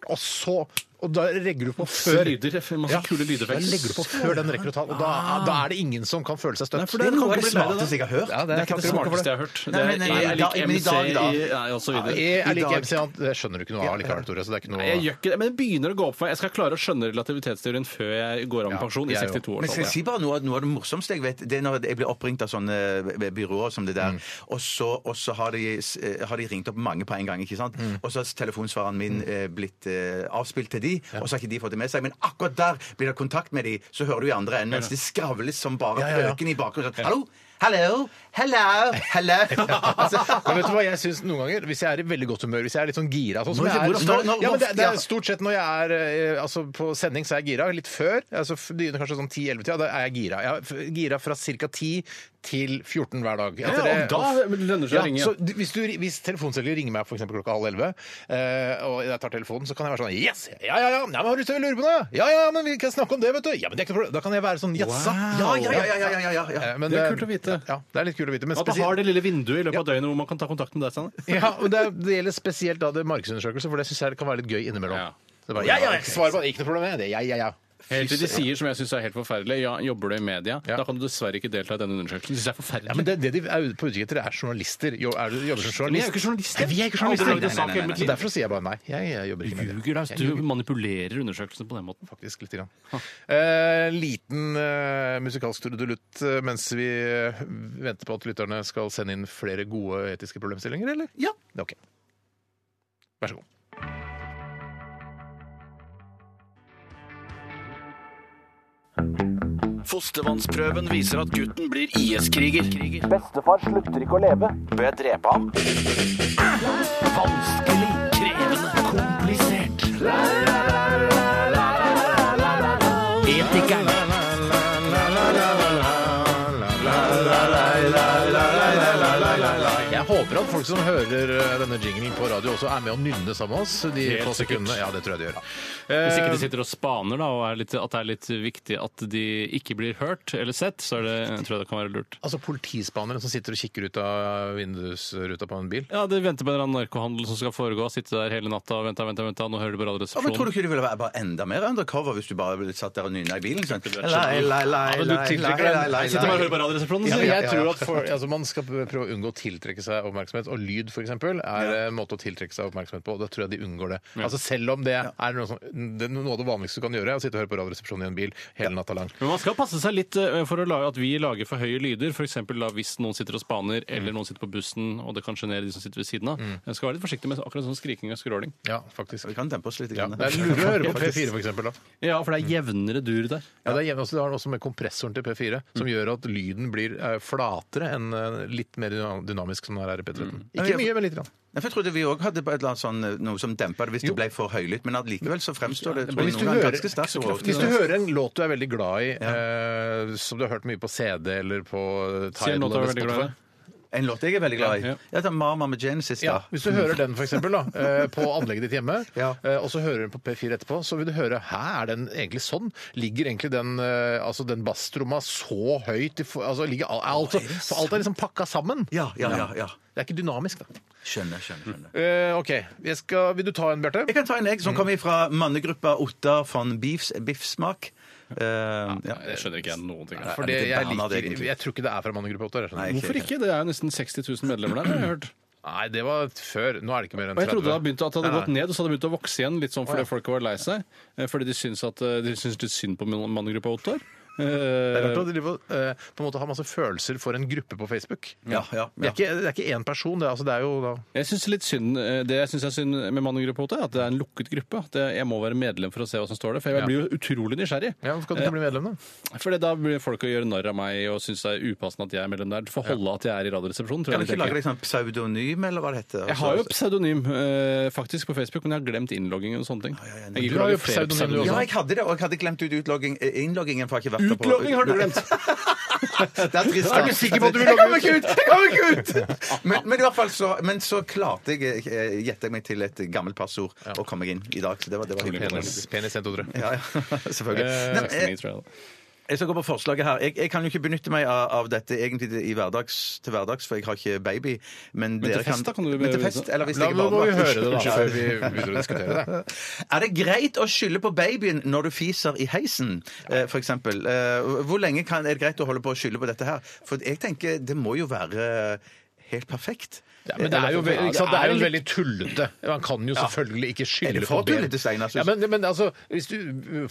[SPEAKER 4] Og så Og da legger du på før
[SPEAKER 5] lyder, masse kule lydeffekter. Ah.
[SPEAKER 4] Da legger du på før den rekker å ta, og da, da er det ingen som kan føle seg støtt.
[SPEAKER 5] Nei, for det er noe av det smarteste jeg har hørt.
[SPEAKER 4] Ja,
[SPEAKER 5] Det er ikke det smarteste jeg har hørt. Det er E er lik MC i nei, og så videre.
[SPEAKER 4] E er lik MC, ja, det skjønner du ikke noe av likevel, Tore. Så det er ikke noe
[SPEAKER 5] Nei, Jeg gjør ikke det, men det begynner å gå opp for meg. Jeg skal klare å skjønne relativitetsteorien før jeg går av med pensjon i
[SPEAKER 4] jeg jo.
[SPEAKER 5] 62
[SPEAKER 6] Men skal jeg si
[SPEAKER 5] år.
[SPEAKER 6] bare noe, noe av det morsomste jeg vet, det er når jeg blir oppringt av sånne eh, byråer som det der,
[SPEAKER 4] Mm.
[SPEAKER 6] og, så, og så har de, eh, har de ringt opp mange på en gang, ikke sant?
[SPEAKER 4] Mm.
[SPEAKER 6] Og så har telefonsvareren min eh, blitt eh, avspilt til de, og så har ikke de fått det med seg, men akkurat der blir det kontakt med de, så hører du i andre enden, mens det skravles som bare
[SPEAKER 4] Ja, ja, ja.
[SPEAKER 6] øken i bakgrunnen. Sånn, hallo, hallo, hallo, hallo. altså,
[SPEAKER 4] Men vet du hva jeg synes noen ganger? Hvis jeg er i veldig godt humør, hvis jeg er litt sånn gira sånn som
[SPEAKER 6] Når-
[SPEAKER 4] jeg er,
[SPEAKER 6] hvor ofte- når-
[SPEAKER 4] ja, men det, det
[SPEAKER 6] ja.
[SPEAKER 4] er Stort sett når jeg er eh, altså, på sending, så er jeg gira. Litt før. Altså, f- det begynner kanskje sånn 10-11-tida. Da er jeg gira. Jeg er f- gira fra ca. 10 til 14 hver dag. Etter
[SPEAKER 5] Ja,
[SPEAKER 4] det-
[SPEAKER 5] og da lønner det seg å ringe.
[SPEAKER 4] Så d- hvis, du, hvis telefonselger ringer meg for eksempel klokka halv 11, eh, og jeg tar telefonen, så kan jeg være sånn Yes! Ja, ja, ja! Nei, men har du lyst til å lure på det? Ja, ja, men vi kan snakke om det, vet du! Ja, men det er ikke noe problem. Da kan jeg være sånn jassa.
[SPEAKER 6] ja, ja, ja, ja, ja, ja, ja.
[SPEAKER 4] Eh, men
[SPEAKER 5] Det er kult å vite.
[SPEAKER 4] Ja, det er litt kult å vite. Men
[SPEAKER 5] At man
[SPEAKER 4] spesielt-
[SPEAKER 5] har det lille vinduet i løpet av døgnet hvor man kan ta kontakt med deg. Sanne.
[SPEAKER 4] Ja, og det, det gjelder spesielt da det er markedsundersøkelse, for det syns jeg det kan være litt gøy innimellom.
[SPEAKER 5] Ja.
[SPEAKER 4] Så det er bare, ja, ja, jeg svarer på det. Ikke noe problem med det. Ja, ja, ja.
[SPEAKER 5] Helt til de sier, som jeg syns er helt forferdelig, ja, jobber du i media?
[SPEAKER 4] Ja.
[SPEAKER 5] Da kan du dessverre ikke delta i denne undersøkelsen. Det syns jeg er forferdelig.
[SPEAKER 4] Ja, men det, det de er ute på utkikk etter, er journalister. Jo, er du, jobber som journalist.
[SPEAKER 5] Men jeg er jo ikke journalist,
[SPEAKER 4] Nei,
[SPEAKER 5] jeg.
[SPEAKER 4] vi er ikke
[SPEAKER 5] Jeg
[SPEAKER 4] journalister.
[SPEAKER 5] har aldri lagd en sak i hele mitt liv.
[SPEAKER 4] Så Derfor sier jeg bare nei. Jeg, jeg jobber ikke med det.
[SPEAKER 5] Ljuger, da.
[SPEAKER 4] Jeg
[SPEAKER 5] Du
[SPEAKER 4] ljuger
[SPEAKER 5] manipulerer undersøkelsen på den måten.
[SPEAKER 4] faktisk litt. Grann. Eh, liten eh, musikalsk trudelutt eh, mens vi eh, venter på at lytterne skal sende inn flere gode etiske problemstillinger, eller?
[SPEAKER 6] Ja.
[SPEAKER 4] Det er ok. Vær så god.
[SPEAKER 12] Fostervannsprøven viser at gutten blir IS-kriger. Bestefar slutter ikke å leve. Bør jeg drepe ham? Vanskelig, krevende, komplisert. Etikeren.
[SPEAKER 4] Jeg håper at folk som hører eh, denne jinglen på radio, også er med å nynne sammen med oss de
[SPEAKER 5] Helt
[SPEAKER 4] få
[SPEAKER 5] sikkert.
[SPEAKER 4] sekundene. Ja, det tror jeg de gjør.
[SPEAKER 5] Hvis ikke de
[SPEAKER 4] Eh,
[SPEAKER 5] sitter og spaner, da, og er litt, at det er litt viktig at de ikke blir hørt eller sett, så er det, jeg tror jeg det kan være lurt.
[SPEAKER 4] Altså politispanere som sitter og kikker ut av vindusruta på en bil.
[SPEAKER 5] Ja, De venter på en eller annen narkohandel som skal foregå. Sitte der hele natta og vente, vente, vente. Nå hører de på
[SPEAKER 6] Ja, men tror du
[SPEAKER 5] Radioresepsjonen.
[SPEAKER 6] ikke du ville være bare enda mer undercover hvis du bare ville satt der og nynna i bilen? Sånn.
[SPEAKER 5] vært
[SPEAKER 6] Lei, lei, lei,
[SPEAKER 4] men du
[SPEAKER 6] lei,
[SPEAKER 4] tiltrekker
[SPEAKER 6] lei,
[SPEAKER 4] deg-
[SPEAKER 6] lei, lei,
[SPEAKER 5] Jeg sitter bare og
[SPEAKER 6] lei.
[SPEAKER 5] hører på Radioresepsjonen.
[SPEAKER 4] Ja,
[SPEAKER 5] sier
[SPEAKER 4] men
[SPEAKER 5] jeg.
[SPEAKER 4] jeg tror at for, altså Man skal prøve å unngå å tiltrekke seg oppmerksomhet, og lyd f.eks. er en måte å tiltrekke seg oppmerksomhet på. og Da tror jeg de unngår det. Altså Selv om det er noe, som, det er noe av det vanligste du kan gjøre, å sitte og høre på Radioresepsjonen i en bil hele natta lang.
[SPEAKER 5] Men man skal passe seg litt eh, for å lage, at vi lager for høye lyder. F.eks. hvis noen sitter og spaner, eller noen sitter på bussen, og det kan sjenere de som sitter ved siden av. Jeg skal være litt forsiktig med akkurat sånn skriking og skråling.
[SPEAKER 4] Ja, faktisk.
[SPEAKER 6] Vi kan dempe oss litt.
[SPEAKER 4] Ja,
[SPEAKER 6] grann.
[SPEAKER 4] det er lurere å høre på P4 for eksempel, da.
[SPEAKER 5] Ja, for det er jevnere dur der.
[SPEAKER 4] Ja, Mm. det er jevn også, det har den også med kompressoren til P4, som gjør at lyden blir eh, flatere enn eh, litt mer dyna- dynamisk som den er i P13.
[SPEAKER 6] Ja,
[SPEAKER 4] Ikke
[SPEAKER 6] ja.
[SPEAKER 4] mye, men litt. Grann.
[SPEAKER 6] Nei, for Jeg trodde vi òg hadde på et eller annet sånn, eh, noe som dempa det hvis det ble for høylytt, men allikevel så fremstår det tror
[SPEAKER 4] Men
[SPEAKER 6] jeg,
[SPEAKER 4] hvis du,
[SPEAKER 6] noen ganger
[SPEAKER 4] hører,
[SPEAKER 6] ganske sterkt. og overtydelig.
[SPEAKER 4] hvis du hører en låt du er veldig glad i, eh, som du har hørt mye på CD eller på
[SPEAKER 5] Sier
[SPEAKER 4] Tidal
[SPEAKER 5] en låt jeg
[SPEAKER 6] En låt jeg
[SPEAKER 4] eller Spotify
[SPEAKER 5] er veldig glad i.
[SPEAKER 6] er veldig glad i.
[SPEAKER 5] Ja, ja.
[SPEAKER 6] Ja, det er Marma med Genesis,
[SPEAKER 4] ja,
[SPEAKER 6] da.
[SPEAKER 4] Hvis du hører den for eksempel, da, eh, på anlegget ditt hjemme,
[SPEAKER 6] Ja.
[SPEAKER 4] eh, og så hører du den på P4 etterpå, så vil du høre Hæ, er den egentlig sånn? Ligger egentlig den, eh, altså den basstromma så høyt i for, altså, ligger, al- altså, For alt er liksom pakka sammen.
[SPEAKER 6] Ja, ja, ja. ja.
[SPEAKER 4] Det er ikke dynamisk, da.
[SPEAKER 6] Skjønner, skjønner. skjønner.
[SPEAKER 4] Eh, OK. Jeg skal, vil du ta en, Bjarte?
[SPEAKER 6] Jeg kan ta en egg som kommer fra mannegruppa Ottar von Beefs, Biffsmak. Eh, ja.
[SPEAKER 5] Nei, det skjønner ikke jeg noen ting av.
[SPEAKER 4] For
[SPEAKER 6] men det
[SPEAKER 4] det jeg,
[SPEAKER 6] banna det
[SPEAKER 4] liker,
[SPEAKER 6] egentlig.
[SPEAKER 4] jeg tror ikke det er fra mannegruppa 8.
[SPEAKER 6] Nei,
[SPEAKER 4] Nei.
[SPEAKER 5] Hvorfor ikke? Det er jo nesten 60 000 medlemmer der, har jeg hørt.
[SPEAKER 4] Nei, det var før. Nå er det ikke mer enn
[SPEAKER 5] Og jeg
[SPEAKER 4] 30.
[SPEAKER 5] trodde det hadde begynt at det hadde
[SPEAKER 4] Nei,
[SPEAKER 5] gått ned, og så hadde det begynt å vokse igjen, litt sånn fordi folk var lei seg. eh, Fordi de syns, at, eh, de syns litt synd på man- mannegruppa Ottar.
[SPEAKER 4] Det er rart å
[SPEAKER 5] Eh,
[SPEAKER 4] drive, og, eh, på en måte ha masse følelser for en gruppe på Facebook.
[SPEAKER 6] Ja, ja, ja.
[SPEAKER 4] Det er ikke- det er ikke én person, det, er- altså, det er jo da
[SPEAKER 5] Jeg syns litt synd eh, Det jeg syns er synd med mannegruppa Ottar, er at det er en lukket gruppe. At jeg jeg må være medlem for å se hva som står der, for jeg
[SPEAKER 4] Ja.
[SPEAKER 5] blir jo utrolig nysgjerrig.
[SPEAKER 4] ja, Hvorfor kan du ikke bli medlem, da?
[SPEAKER 5] Fordi da blir folk å gjøre narr av meg og syns det er upassende at jeg er medlem der. Du får holde at jeg er i Radioresepsjonen, tror
[SPEAKER 6] Kan
[SPEAKER 5] jeg.
[SPEAKER 6] du ikke
[SPEAKER 5] de
[SPEAKER 6] lage
[SPEAKER 5] tenker.
[SPEAKER 6] deg sånn pseudonym, eller hva det heter? altså.
[SPEAKER 5] Jeg har jo pseudonym eh, faktisk på Facebook, men jeg har glemt innloggingen og sånne ting. Jeg
[SPEAKER 4] Du har
[SPEAKER 5] gidder ikke
[SPEAKER 4] jo
[SPEAKER 5] lage sånn. flere
[SPEAKER 4] pseudonym, du også.
[SPEAKER 6] Ja, jeg hadde det, og jeg hadde glemt ut utlogging, eh, innloggingen. for jeg har ikke vært der på-
[SPEAKER 5] Utlogging har du
[SPEAKER 6] Nei,
[SPEAKER 5] glemt!
[SPEAKER 6] Det er trist.
[SPEAKER 4] Er du sikker på at du vil
[SPEAKER 6] Jeg
[SPEAKER 4] logge
[SPEAKER 6] kommer ikke ut! Jeg kommer ikke ut! Men, men i hvert fall så, men så klarte jeg, eh, gjettet jeg meg til et gammelt passord, og kom meg inn i dag. Så det var, det var hyggelig.
[SPEAKER 4] Penis, penis 1, 2, 3.
[SPEAKER 6] Ja, ja, selvfølgelig.
[SPEAKER 5] Eh,
[SPEAKER 6] Men, eh,
[SPEAKER 5] tror jeg da.
[SPEAKER 6] Jeg skal gå på forslaget her. Jeg, jeg kan jo ikke benytte meg av, av dette egentlig til- i hverdags, til hverdags, for jeg har ikke baby. Men,
[SPEAKER 5] til
[SPEAKER 6] dere
[SPEAKER 5] fest da kan du
[SPEAKER 6] men til
[SPEAKER 5] be-
[SPEAKER 6] fest, eller hvis
[SPEAKER 4] La-
[SPEAKER 6] jeg er
[SPEAKER 4] nå må vi
[SPEAKER 6] barnevakt.
[SPEAKER 4] høre det da,
[SPEAKER 6] Unnskyld.
[SPEAKER 4] før vi begynner å diskutere det.
[SPEAKER 6] Er det greit å skylde på babyen når du fiser i heisen, eh, for eksempel? Eh, Hvor lenge kan, er det greit å holde på å skylde på dette her? For jeg tenker, det må jo være eh, helt perfekt.
[SPEAKER 4] Ja, men det er jo, ve-
[SPEAKER 6] Eller-
[SPEAKER 4] ikke sant? Det er jo
[SPEAKER 6] litt-
[SPEAKER 4] veldig tullete. Man kan jo selvfølgelig ikke
[SPEAKER 6] Eller
[SPEAKER 4] skylde
[SPEAKER 6] for
[SPEAKER 4] på ben.
[SPEAKER 6] tullete, Steinar, synes
[SPEAKER 4] Ja, men, men altså, hvis du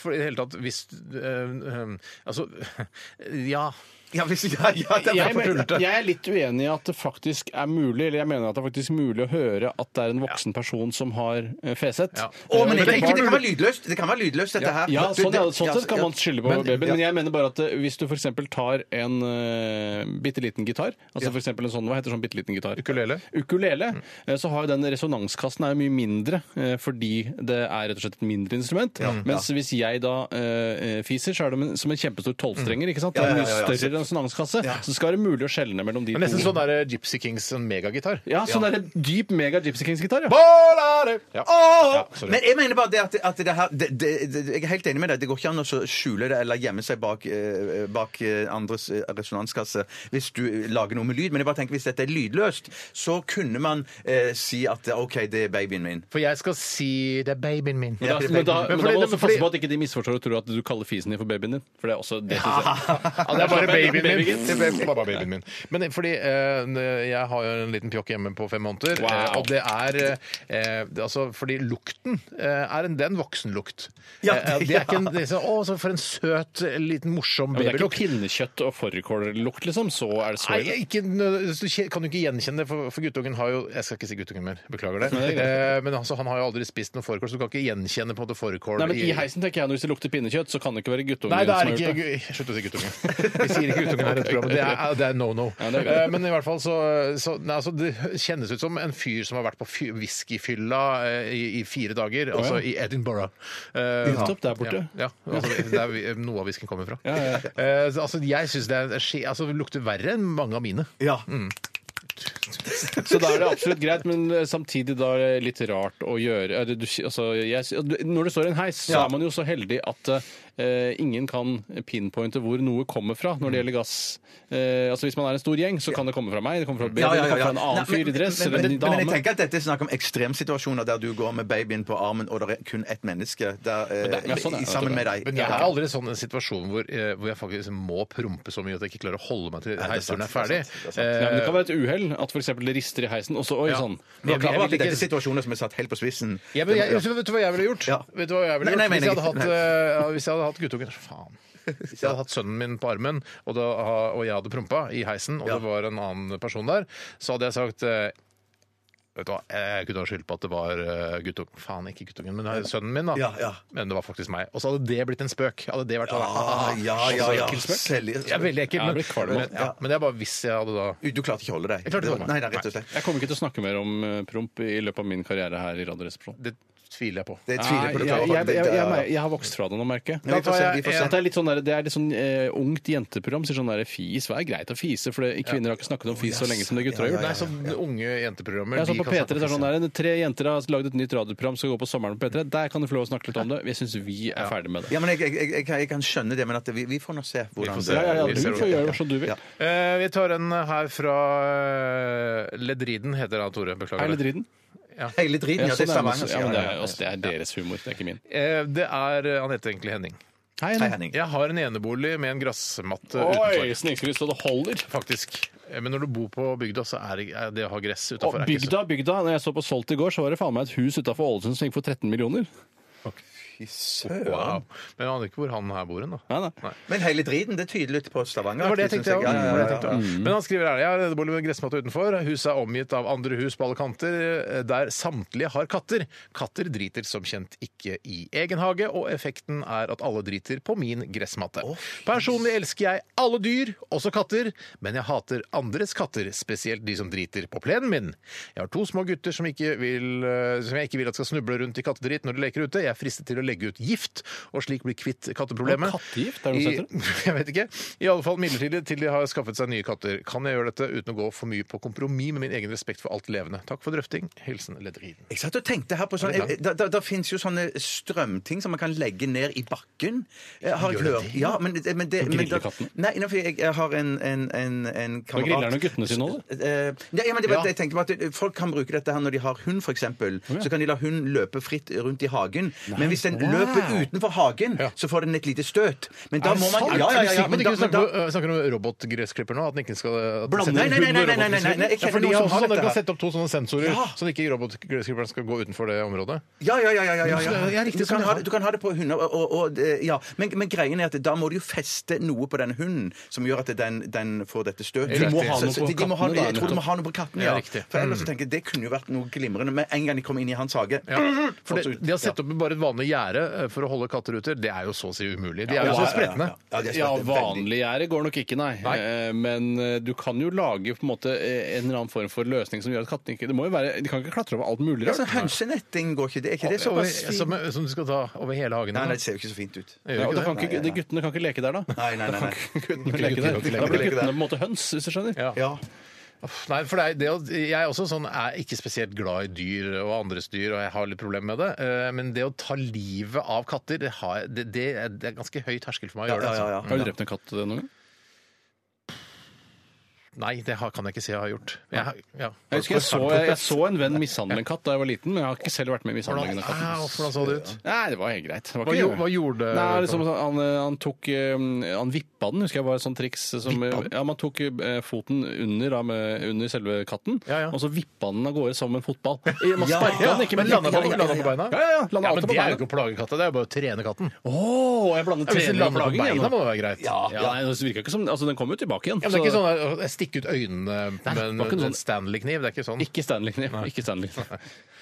[SPEAKER 4] For i det hele tatt, hvis eh, eh, Altså, ja.
[SPEAKER 6] Ja, hvis, ja, ja, det er
[SPEAKER 5] jeg,
[SPEAKER 6] for
[SPEAKER 5] men,
[SPEAKER 6] tullete.
[SPEAKER 5] jeg er litt uenig i at det faktisk er mulig eller jeg mener at det er faktisk mulig å høre at det er en voksen person som har eh, feset.
[SPEAKER 4] Ja.
[SPEAKER 6] Å, men
[SPEAKER 5] Eh,
[SPEAKER 6] det, ikke,
[SPEAKER 5] et
[SPEAKER 6] det
[SPEAKER 5] barn-
[SPEAKER 6] kan være lydløst, det kan være lydløst dette her.
[SPEAKER 5] Ja,
[SPEAKER 6] Du,
[SPEAKER 5] sånn,
[SPEAKER 6] det-
[SPEAKER 5] ja, sånn
[SPEAKER 6] ja,
[SPEAKER 5] sett kan
[SPEAKER 6] ja.
[SPEAKER 5] man skylde på
[SPEAKER 6] Men-
[SPEAKER 5] babyen. Men
[SPEAKER 6] ja.
[SPEAKER 5] jeg mener bare at eh, hvis du f.eks. tar en uh, bitte liten gitar, altså for f.eks. en sånn, hva heter sånn bitte liten gitar?
[SPEAKER 4] Ukulele.
[SPEAKER 5] Ukulele.
[SPEAKER 6] Mm.
[SPEAKER 5] eh, Så har jo den resonanskassen er jo mye mindre eh, fordi det er rett og slett et mindre instrument. Mens hvis jeg da eh, eh, fiser, så er det som en kjempestor tolvstrenger, ikke sant? Det
[SPEAKER 6] Mm. Ja, ja, ja, ja.
[SPEAKER 5] er en mye større resonanskasse. Så skal det være mulig å skjelne mellom de
[SPEAKER 4] Men nesten
[SPEAKER 5] to.
[SPEAKER 4] sånn der Gypsy Kings sånn megagitar.
[SPEAKER 5] Ja, sånn der dyp mega Gypsy Kings-gitar, ja.
[SPEAKER 4] Bålare! Ja.
[SPEAKER 6] Åh!
[SPEAKER 4] Ja, sorry.
[SPEAKER 6] men jeg mener bare det at, at det her det, det, det, Jeg er helt enig med deg. Det går ikke an å så skjule det eller gjemme seg bak, eh, bak eh, andres eh, resonanskasse hvis du lager noe med lyd. Men jeg bare tenker hvis dette er lydløst, så kunne man eh, si at OK, det er babyen min.
[SPEAKER 4] For jeg skal si det er babyen min.
[SPEAKER 5] Men da,
[SPEAKER 6] Ja,
[SPEAKER 5] men da,
[SPEAKER 4] men
[SPEAKER 5] men da må
[SPEAKER 4] fordi-
[SPEAKER 5] du også
[SPEAKER 4] fordi-
[SPEAKER 5] passe på at ikke de misforstår og tror at du kaller fisen din for babyen din. For det er også det synes jeg.
[SPEAKER 4] Ja, det er bare babyen min.
[SPEAKER 5] Babyen.
[SPEAKER 4] Det er bare babyen min. Men fordi eh, jeg har jo en liten pjokk hjemme på fem måneder,
[SPEAKER 5] Wow.
[SPEAKER 4] eh, og det er eh, det- altså, Fordi lukten eh, er en, det er en voksenlukt.
[SPEAKER 6] Ja,
[SPEAKER 4] Eh, eh,
[SPEAKER 6] det-
[SPEAKER 4] det er ikke en det er sånn, Å, så for en søt, liten morsom
[SPEAKER 5] Ja, men det er ikke
[SPEAKER 4] babylukt.
[SPEAKER 5] pinnekjøtt og fårikållukt, liksom. Så er det så
[SPEAKER 4] Nei,
[SPEAKER 5] ille.
[SPEAKER 4] ikke, nø- så kje- kan du ikke gjenkjenne det, for, for guttungen har jo Jeg skal ikke si guttungen mer, beklager det.
[SPEAKER 5] Nei, det er
[SPEAKER 4] Eh, men altså, han har jo aldri spist noe fårikål, så du kan ikke gjenkjenne på en måte fårikål
[SPEAKER 5] Nei, men I heisen tenker jeg, når hvis det lukter pinnekjøtt, så kan det ikke være guttungen
[SPEAKER 4] Nei, det
[SPEAKER 5] som
[SPEAKER 4] er
[SPEAKER 5] har
[SPEAKER 4] ikke
[SPEAKER 5] gjort det.
[SPEAKER 4] gu- Slutt å si guttungen. Vi sier ikke guttungen her i dette programmet. Det er, det er no no.
[SPEAKER 5] Ja, det er greit.
[SPEAKER 4] Eh, Men i hvert fall så, så nei, altså, Det kjennes ut som en fyr som har vært på fy- whiskyfylla eh, i, i fire dager, altså i Edinburgh. Eh,
[SPEAKER 5] Nettopp, der borte.
[SPEAKER 4] Ja, ja altså, der vi- noe av whiskyen kommer fra.
[SPEAKER 5] Ja, ja, ja.
[SPEAKER 4] Eh, så, altså, jeg syns det er, skje- altså, det lukter verre enn mange av mine.
[SPEAKER 6] Ja.
[SPEAKER 5] Så da er det absolutt greit, men eh, samtidig da er det litt rart å gjøre Er det du, sier- altså, jeg, sier- du- Når det står i en heis, så
[SPEAKER 6] Ja.
[SPEAKER 5] er man jo så heldig at eh, ingen kan pinpointe hvor noe kommer fra når det gjelder gass. Eh, altså Hvis man er en stor gjeng, så kan det komme fra meg, det kommer fra B, det kommer fra en annen
[SPEAKER 6] Nei,
[SPEAKER 5] fyr i dress
[SPEAKER 6] men,
[SPEAKER 5] eller
[SPEAKER 6] men,
[SPEAKER 5] en
[SPEAKER 6] men jeg
[SPEAKER 5] dame.
[SPEAKER 6] tenker at dette er snakk om ekstremsituasjoner der du går med babyen på armen, og det er kun ett menneske der, eh,
[SPEAKER 5] det- ja, sånn er det,
[SPEAKER 6] i- sammen med deg.
[SPEAKER 4] Men jeg er aldri i sånn en situasjon hvor, eh, hvor jeg faktisk må prompe så mye at jeg ikke klarer å holde meg til
[SPEAKER 6] er sant,
[SPEAKER 4] heisdøren er
[SPEAKER 6] det
[SPEAKER 4] ferdig.
[SPEAKER 6] er sant, det er sant.
[SPEAKER 5] Nei, men det
[SPEAKER 4] Eh,
[SPEAKER 5] kan være et uhell at for eksempel det rister i heisen, og så oi
[SPEAKER 4] Ja.
[SPEAKER 5] sånn.
[SPEAKER 6] Men jeg er klar over at
[SPEAKER 4] Jeg vil
[SPEAKER 6] dette er
[SPEAKER 4] ikke-
[SPEAKER 6] situasjoner som er satt helt på spissen.
[SPEAKER 4] Ja, men jeg, vet du hva jeg ville gjort?
[SPEAKER 6] Ja.
[SPEAKER 4] Vet du hva jeg ville
[SPEAKER 6] Nei, nei,
[SPEAKER 4] gjort? hvis,
[SPEAKER 6] mener
[SPEAKER 4] jeg hadde hatt,
[SPEAKER 6] ikke.
[SPEAKER 4] eh, ja, hvis jeg hadde hatt guttungen Faen. Hvis jeg hadde hatt sønnen min på armen, og, da, og jeg hadde prompa i heisen, og
[SPEAKER 6] Ja.
[SPEAKER 4] det var en annen person der, så hadde jeg sagt eh, Vet du hva, Jeg kunne ha skyldt på at det var eh, guttungen Faen, ikke guttungen, men eh, sønnen min, da.
[SPEAKER 6] Ja, ja.
[SPEAKER 4] Men det var faktisk meg. Og så hadde det blitt en spøk. Hadde det vært sånn,
[SPEAKER 6] Ah, ja, ja, ja.
[SPEAKER 4] Jeg er
[SPEAKER 6] Selv-
[SPEAKER 4] veldig ekkel,
[SPEAKER 5] Ja,
[SPEAKER 4] men,
[SPEAKER 5] det blir kvalm.
[SPEAKER 4] men, ja, men det er bare hvis jeg hadde da
[SPEAKER 6] Du klarte ikke å holde deg.
[SPEAKER 4] Jeg klarte ikke å holde meg.
[SPEAKER 6] Nei, nei, rett og slett.
[SPEAKER 5] Jeg kommer ikke til å snakke mer om eh, promp i løpet av min karriere her i Radioresepsjonen.
[SPEAKER 4] Det tviler jeg på.
[SPEAKER 6] Det tviler
[SPEAKER 5] Nei,
[SPEAKER 6] jeg på.
[SPEAKER 5] jeg,
[SPEAKER 6] det
[SPEAKER 5] Ah, jeg,
[SPEAKER 6] klart.
[SPEAKER 5] jeg, jeg,
[SPEAKER 6] Det- det-
[SPEAKER 5] mer- jeg har vokst fra det nå, merker jeg.
[SPEAKER 6] Vi får se, vi får
[SPEAKER 5] Så
[SPEAKER 6] se.
[SPEAKER 5] dette er litt sånn der, det er litt sånn eh, ungt jenteprogram. Sier sånn der, fis, hva er greit å fise? For det, kvinner har ikke snakket om fis så lenge som det gutter har
[SPEAKER 4] Nei,
[SPEAKER 5] gjort.
[SPEAKER 4] så unge jenteprogrammer
[SPEAKER 5] Jeg så
[SPEAKER 4] de
[SPEAKER 5] på
[SPEAKER 4] kan snakke om
[SPEAKER 5] P3 så er det sånn
[SPEAKER 4] fisse.
[SPEAKER 5] der, Tre jenter har lagd et nytt radioprogram, skal gå på sommeren på P3. Der kan du få lov å snakke litt om det. Jeg syns vi er ferdig med det.
[SPEAKER 6] Ja, men jeg, jeg, jeg, jeg, kan- jeg kan skjønne det, men at vi, vi får nå se hvordan
[SPEAKER 4] får se.
[SPEAKER 5] Ja, ja, ja,
[SPEAKER 4] Vi
[SPEAKER 5] du
[SPEAKER 4] ser
[SPEAKER 5] får
[SPEAKER 4] det.
[SPEAKER 5] gjøre som du vil.
[SPEAKER 6] Ja.
[SPEAKER 4] Eh, vi tar en her fra eh, Ledriden, heter han, Tore. Beklager.
[SPEAKER 5] Er det driten?
[SPEAKER 6] Hele driten, ja, det er
[SPEAKER 5] Ja, sånn er det
[SPEAKER 6] Stavanger.
[SPEAKER 5] også.
[SPEAKER 6] sier
[SPEAKER 5] ja, men det,
[SPEAKER 6] jeg.
[SPEAKER 5] er, altså, det er deres humor, det er ikke min.
[SPEAKER 4] Eh, det er eh, Han heter egentlig Henning.
[SPEAKER 6] Hei, Henning.
[SPEAKER 4] Jeg har en enebolig med en grassmatte
[SPEAKER 5] Oi,
[SPEAKER 4] utenfor.
[SPEAKER 5] snikskryss, og det holder!
[SPEAKER 4] Faktisk. Eh, Men når du bor på bygda, så er det, er det å ha gress
[SPEAKER 5] Og
[SPEAKER 4] utafor
[SPEAKER 5] bygda, bygda. Når jeg så på Solgt i går, så var det faen meg et hus utafor Ålesund som gikk for 13 millioner.
[SPEAKER 4] Wow. Men jeg aner ikke hvor han her bor hen, da.
[SPEAKER 5] Nei, nei.
[SPEAKER 6] Men hele driten, det er tydelig ut på Stavanger.
[SPEAKER 4] Det var det jeg tenkte,
[SPEAKER 6] synes
[SPEAKER 4] ja. Mm.
[SPEAKER 6] jeg.
[SPEAKER 4] Det var det jeg
[SPEAKER 6] ja,
[SPEAKER 4] tenkte, ja. Men han skriver her Jeg har en enebolig med gressmatte utenfor. Huset er omgitt av andre hus på alle kanter, eh, der samtlige har katter. Katter driter som kjent ikke i egen hage, og effekten er at alle driter på min gressmatte. Personlig elsker jeg alle dyr, også katter, men jeg hater andres katter, spesielt de som driter på plenen min. Jeg har to små gutter som, ikke vil, eh, som jeg ikke vil at skal snuble rundt i kattedrit når de leker ute. Jeg er fristet til å legge ut gift, og slik bli kvitt katteproblemet.
[SPEAKER 5] Og kattegift, er det noe som
[SPEAKER 4] I, jeg vet ikke. I alle fall midlertidig til de har skaffet seg nye katter. Kan jeg gjøre dette uten å gå for mye på kompromiss med min egen respekt for alt levende? Takk for drøfting. Hilsen Ledderiden.
[SPEAKER 6] Jeg satt og tenkte her på sånn,
[SPEAKER 4] Er det
[SPEAKER 6] da, da, da finnes jo sånne strømting som man kan legge ned i bakken. Eh, Har jeg
[SPEAKER 4] Gjør det
[SPEAKER 6] hørt.
[SPEAKER 4] det?
[SPEAKER 6] Ja, men, det- men det,
[SPEAKER 5] Og
[SPEAKER 6] men da,
[SPEAKER 5] griller katten?
[SPEAKER 6] nei, nei, for jeg, jeg har en, en, en, en kamerat
[SPEAKER 5] griller han jo guttene sine også,
[SPEAKER 6] Eh, Nei, men det var,
[SPEAKER 5] Ja.
[SPEAKER 6] jeg tenkte på at eh, Folk kan bruke dette her når de har hund, f.eks. eksempel Så kan de la hund løpe fritt rundt i hagen. Men hvis den
[SPEAKER 4] Wow.
[SPEAKER 6] løper utenfor hagen, så får den et lite støt. Men da må man Ja, ja, ja. ja,
[SPEAKER 4] men
[SPEAKER 6] men
[SPEAKER 4] ikke
[SPEAKER 6] da, men da,
[SPEAKER 4] snakker, øh, snakker du om robotgressklipper nå? At den ikke skal at den
[SPEAKER 6] Blander- Nei,
[SPEAKER 4] sender
[SPEAKER 6] nei, nei,
[SPEAKER 4] hund og
[SPEAKER 6] nei, nei, nei, nei, nei, jeg
[SPEAKER 4] robotgressklipper? Ja, for
[SPEAKER 6] kjenner
[SPEAKER 4] de
[SPEAKER 6] noen
[SPEAKER 4] har
[SPEAKER 6] som har
[SPEAKER 4] sånn,
[SPEAKER 6] dette
[SPEAKER 4] kan
[SPEAKER 6] her.
[SPEAKER 4] sette opp to sånne sensorer,
[SPEAKER 6] Ja.
[SPEAKER 4] sånn at ikke robotgressklipperen skal gå utenfor det området.
[SPEAKER 6] Ja, ja, ja. ja, ja, ja,
[SPEAKER 4] Så det er
[SPEAKER 6] ja.
[SPEAKER 4] riktig
[SPEAKER 6] du,
[SPEAKER 4] som
[SPEAKER 6] kan
[SPEAKER 4] det
[SPEAKER 6] ha
[SPEAKER 4] er.
[SPEAKER 6] det, du kan ha det på hunder. Og, og, og, eh, ja. men, men greien er at da må du jo feste noe på den hunden som gjør at den, den får dette støtet.
[SPEAKER 5] De må ha
[SPEAKER 6] Så-
[SPEAKER 5] noe
[SPEAKER 6] så
[SPEAKER 5] på
[SPEAKER 6] de må ha-
[SPEAKER 5] kattene, da,
[SPEAKER 6] Jeg tror de må ha noe på kattene,
[SPEAKER 4] Ja,
[SPEAKER 6] ja.
[SPEAKER 4] riktig.
[SPEAKER 6] For ellers så tenker jeg, det kunne jo vært noe glimrende. Med en gang de kom inn i hans hage
[SPEAKER 4] Ja, for
[SPEAKER 6] fortsatt
[SPEAKER 4] det,
[SPEAKER 6] ut.
[SPEAKER 4] De har sett
[SPEAKER 6] Ja.
[SPEAKER 4] opp bare et vanlig gjerde eh, for å holde katter ute. Det er jo så å si umulig. De
[SPEAKER 5] Ja,
[SPEAKER 4] er jo
[SPEAKER 5] ja,
[SPEAKER 4] så
[SPEAKER 5] ja, ja,
[SPEAKER 4] spretne.
[SPEAKER 6] Ja, det er
[SPEAKER 5] Ja,
[SPEAKER 6] spennende. Veldig.
[SPEAKER 5] vanlig gjerde går nok ikke, nei.
[SPEAKER 4] Nei.
[SPEAKER 5] Eh, Men eh, du kan jo lage på en måte eh, en eller annen form for løsning som gjør at kattene ikke Det må jo være, De kan ikke klatre over alt mulig
[SPEAKER 6] Ja, sånn
[SPEAKER 5] rart.
[SPEAKER 6] Hønsenetting går ikke. Det er ikke det så
[SPEAKER 4] Over-
[SPEAKER 6] fint?
[SPEAKER 4] Som, som du skal ta over hele hagen.
[SPEAKER 6] Nei, nei,
[SPEAKER 4] da.
[SPEAKER 6] det ser jo ikke så fint ut.
[SPEAKER 4] Gjør
[SPEAKER 5] Ja, og
[SPEAKER 4] ikke
[SPEAKER 5] da kan
[SPEAKER 4] det?
[SPEAKER 5] ikke, de guttene kan ikke leke der, da.
[SPEAKER 6] Nei, nei, nei. nei.
[SPEAKER 5] Guttene kan
[SPEAKER 4] Leke
[SPEAKER 5] ikke
[SPEAKER 4] der,
[SPEAKER 5] leke
[SPEAKER 4] leke
[SPEAKER 5] der. Da blir
[SPEAKER 6] der.
[SPEAKER 5] guttene på en måte høns, hvis du skjønner.
[SPEAKER 4] Ja.
[SPEAKER 6] Ja.
[SPEAKER 4] Uff, Nei, for det er, det, å- jeg er også sånn, er ikke spesielt glad i dyr og andres dyr, og jeg har litt problemer med det. Eh, Men det å ta livet av katter, det, har, jeg- det, det, er, det er ganske høy terskel for meg å gjøre det.
[SPEAKER 6] Ja, ja,
[SPEAKER 4] Altså.
[SPEAKER 6] ja,
[SPEAKER 5] Har du drept en katt eh, noen gang?
[SPEAKER 4] Nei, det har, kan jeg ikke si jeg har gjort. Jeg, ja.
[SPEAKER 5] Jeg husker jeg så, jeg, jeg så en venn mishandle en katt da jeg var liten, men jeg har ikke selv vært med i mishandlingen
[SPEAKER 4] Hvordan,
[SPEAKER 5] av katten.
[SPEAKER 4] Au, Ah, hvordan så det ut?
[SPEAKER 5] Nei, det var helt greit. Det var
[SPEAKER 4] Hva,
[SPEAKER 5] ikke-
[SPEAKER 4] gjo- hva gjorde
[SPEAKER 5] Nei, liksom, sånn, han, eh, han tok eh, Han vippa den, husker jeg var et sånt triks. Som, ja, man tok eh, foten under, da, med, under selve katten,
[SPEAKER 4] Ja, ja.
[SPEAKER 5] og så vippa den av gårde som en fotball. Eh, Man
[SPEAKER 6] Ja,
[SPEAKER 5] sparka
[SPEAKER 6] ja.
[SPEAKER 5] den ikke,
[SPEAKER 4] Men
[SPEAKER 5] men
[SPEAKER 4] landa på,
[SPEAKER 5] vippa den.
[SPEAKER 4] landa på beina?
[SPEAKER 5] Ja, ja, ja.
[SPEAKER 4] Ja,
[SPEAKER 5] Landa
[SPEAKER 4] men det
[SPEAKER 5] alltid på
[SPEAKER 4] er jo
[SPEAKER 5] beina.
[SPEAKER 4] ikke å plage katta, det er jo bare å trene katten.
[SPEAKER 5] Å, jeg blander
[SPEAKER 4] Hvis den
[SPEAKER 5] trening og
[SPEAKER 4] lander på
[SPEAKER 5] plaging.
[SPEAKER 4] beina, må
[SPEAKER 5] igjen, da.
[SPEAKER 4] det være greit.
[SPEAKER 5] Ja, ja, nei, det virka ikke som Altså, den kom jo tilbake igjen.
[SPEAKER 4] Ja, men det er ikke
[SPEAKER 5] så-
[SPEAKER 4] sånn der, å, stikke ut øynene med
[SPEAKER 5] det
[SPEAKER 4] en,
[SPEAKER 5] var ikke noe
[SPEAKER 4] en Stanley-kniv. Det er ikke sånn.
[SPEAKER 5] Ikke Stanley. Nei. Ikke Stanley.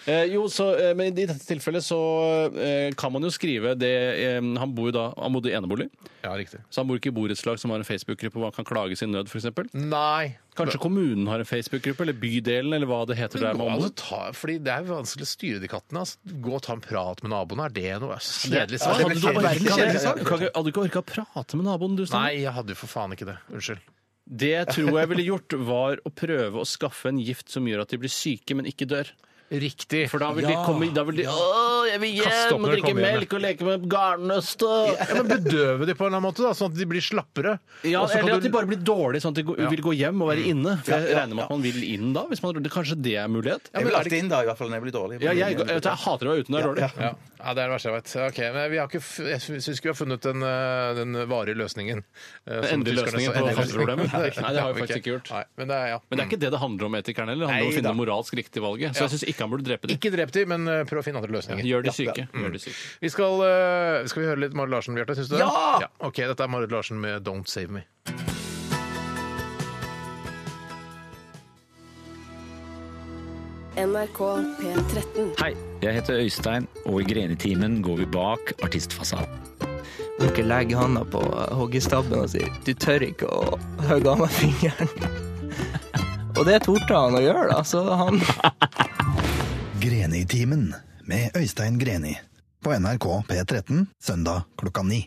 [SPEAKER 5] Eh, jo, så, eh, men I dette tilfellet så eh, kan man jo skrive det eh, Han bor jo da, han bodde i enebolig,
[SPEAKER 4] Ja, riktig.
[SPEAKER 5] så han bor ikke i borettslag som har en Facebook-gruppe hvor han kan klage sin nød, f.eks.
[SPEAKER 4] Nei.
[SPEAKER 5] Kanskje kommunen har en Facebook-gruppe, eller bydelen, eller hva det heter
[SPEAKER 4] Men altså, gå
[SPEAKER 5] der man
[SPEAKER 4] an å
[SPEAKER 5] bor.
[SPEAKER 4] ta, fordi Det er jo vanskelig å styre de kattene. Altså. Gå og ta en prat med naboene. Er det noe kjedelig
[SPEAKER 5] Ja,
[SPEAKER 4] sak?
[SPEAKER 5] Hadde du orka-
[SPEAKER 4] Veldig kjedelig sak.
[SPEAKER 5] Kan ikke- hadde du ikke orka å prate med naboen, du? Stanley?
[SPEAKER 4] Nei, jeg hadde jo for faen ikke det. Unnskyld.
[SPEAKER 5] Det jeg tror jeg ville gjort, var å prøve å skaffe en gift som gjør at de blir syke, men ikke dør.
[SPEAKER 4] Riktig.
[SPEAKER 5] For da vil de komme da vil de, Åh, jeg vil
[SPEAKER 4] Kaste opp
[SPEAKER 5] hjem og
[SPEAKER 4] når de
[SPEAKER 5] drikke
[SPEAKER 4] kommer hjem,
[SPEAKER 5] melk og leke med garnnøstet!
[SPEAKER 4] ja, men Bedøve de på en eller annen måte, da, sånn at de blir slappere.
[SPEAKER 5] Ja,
[SPEAKER 4] Og så kan
[SPEAKER 5] eller at
[SPEAKER 4] du- Mm.
[SPEAKER 5] de bare blir dårlige, sånn at de går, vil gå hjem og være inne. For jeg regner med at man vil inn da. Hvis man, kanskje det er mulighet?
[SPEAKER 6] Jeg vil alltid inn da, i hvert fall når jeg blir dårlig.
[SPEAKER 5] Ja, jeg, jeg, jeg hater å være ute når det er dårlig.
[SPEAKER 4] ja. ja, Det er det verste jeg vet. Ok, men vi har ikke, f- jeg syns ikke vi har funnet den, eh, den varige løsningen. eh,
[SPEAKER 5] Den
[SPEAKER 4] som tyskerne sa.
[SPEAKER 5] endelige løsningen på
[SPEAKER 4] Endelig løsning.
[SPEAKER 5] katteproblemet. Nei, det har vi
[SPEAKER 4] Ja, ok.
[SPEAKER 5] faktisk ikke gjort.
[SPEAKER 4] Nei, men det er, ja.
[SPEAKER 6] Mm.
[SPEAKER 5] Men det er ikke det det handler om etikeren heller. Det handler om å
[SPEAKER 4] Nei
[SPEAKER 5] finne
[SPEAKER 4] da.
[SPEAKER 5] det moralsk riktige valget. Så jeg syns ikke han burde drepe dem.
[SPEAKER 4] Ikke drep de, men eh, prøv å finne andre løsninger.
[SPEAKER 5] Gjør de syke.
[SPEAKER 6] Mm.
[SPEAKER 5] Gjør de syke.
[SPEAKER 4] Vi skal, eh, skal vi høre litt Marit Larsen, Bjarte? Syns du det?
[SPEAKER 6] Ja!
[SPEAKER 4] Ok, dette er Marit Larsen med 'Don't Save Me'.
[SPEAKER 13] NRK P13.
[SPEAKER 14] Hei, jeg heter Øystein, og i Grenetimen går vi bak artistfasaden.
[SPEAKER 15] Dere legger handa på hoggestabben og sier 'du tør ikke å hogge av meg fingeren'. Og det torde han å gjøre, da. Så han
[SPEAKER 7] Greni-timen med Øystein Greni på NRK P13 søndag klokka ni.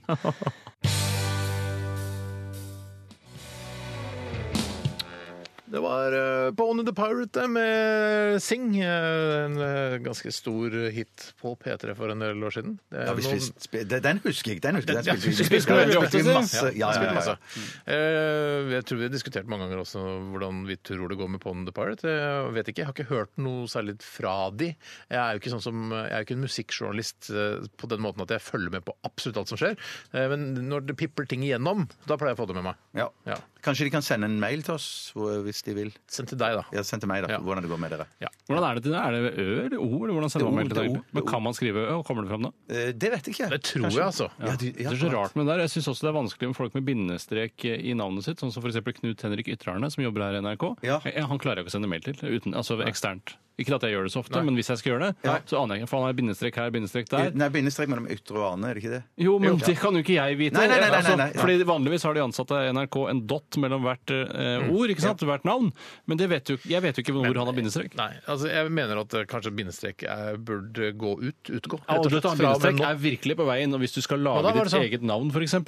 [SPEAKER 4] Det var eh, Bone the Pirate eh, med Sing. eh, En eh, ganske stor hit på P3 for en del år siden. Det er
[SPEAKER 6] Ja, vi
[SPEAKER 4] noen-
[SPEAKER 6] spiste- spi- den- Den husker jeg. Den husker jeg.
[SPEAKER 4] Ja,
[SPEAKER 6] Den spilte
[SPEAKER 4] vi
[SPEAKER 6] vi-
[SPEAKER 4] spilte den veldig ofte,
[SPEAKER 6] spilte vi
[SPEAKER 4] sier.
[SPEAKER 6] masse. Ja, ja,
[SPEAKER 4] spilte
[SPEAKER 6] ja, ja.
[SPEAKER 4] masse. Eh, Jeg tror vi har diskutert mange ganger også hvordan vi tror det går med Pond the Pirate. Jeg vet ikke, jeg har ikke hørt noe særlig fra de. Jeg er jo ikke, sånn som, jeg er jo ikke en musikkjournalist eh, på den måten at jeg følger med på absolutt alt som skjer. Eh, Men når det pipper ting igjennom, da pleier jeg å få det med meg.
[SPEAKER 6] Ja.
[SPEAKER 4] Ja.
[SPEAKER 6] Kanskje de kan sende en mail til oss hvor- hvis de vil.
[SPEAKER 4] Send til deg, da.
[SPEAKER 6] Ja, send til meg, da.
[SPEAKER 4] Ja.
[SPEAKER 6] Hvordan det går med dere.
[SPEAKER 5] Hvordan er det til det? Er det Ø eller O? Eller hvordan
[SPEAKER 6] Det
[SPEAKER 5] sender
[SPEAKER 6] er
[SPEAKER 5] man mail
[SPEAKER 6] O,
[SPEAKER 5] til
[SPEAKER 6] det er
[SPEAKER 5] deg?
[SPEAKER 6] O, det er
[SPEAKER 5] Men
[SPEAKER 6] O.
[SPEAKER 5] kan man skrive Ø? Kommer det fram da?
[SPEAKER 6] Eh, Det vet jeg ikke.
[SPEAKER 4] Det tror
[SPEAKER 6] Kanskje-
[SPEAKER 4] jeg, altså.
[SPEAKER 6] Ja, du- ja,
[SPEAKER 5] det er så rart med det der. Jeg syns også det er vanskelig med folk med bindestrek eh, i navnet sitt, sånn som f.eks. Knut Henrik Ytrarne, som jobber her i NRK.
[SPEAKER 6] Ja.
[SPEAKER 5] Eh, Han klarer jeg ikke å sende mail til, uten, altså eksternt. Ikke at jeg gjør det så ofte, men hvis jeg skal gjøre det, så aner jeg ikke. For han har bindestrek her, bindestrek der.
[SPEAKER 6] Nei, bindestrek mellom ytre og ane, er det ikke det?
[SPEAKER 5] Jo, men det kan jo ikke jeg vite.
[SPEAKER 6] Nei, nei, nei, nei, nei, nei.
[SPEAKER 5] Altså, fordi Vanligvis har de ansatte i NRK en dott mellom hvert eh,
[SPEAKER 4] Mm.
[SPEAKER 5] ord, ikke sant? hvert navn. Men det vet jo, jeg vet jo ikke hvor han har bindestrek.
[SPEAKER 4] Nei, altså jeg mener at eh, kanskje bindestrek eh, burde gå ut, utgå.
[SPEAKER 5] Ja, og du tar en
[SPEAKER 4] fra og med
[SPEAKER 5] bindestrek
[SPEAKER 4] nå.
[SPEAKER 5] er virkelig på veien. Og hvis du skal
[SPEAKER 4] Ja, da
[SPEAKER 5] lage
[SPEAKER 4] var
[SPEAKER 5] ditt
[SPEAKER 4] det sånn.
[SPEAKER 5] eget navn, f.eks.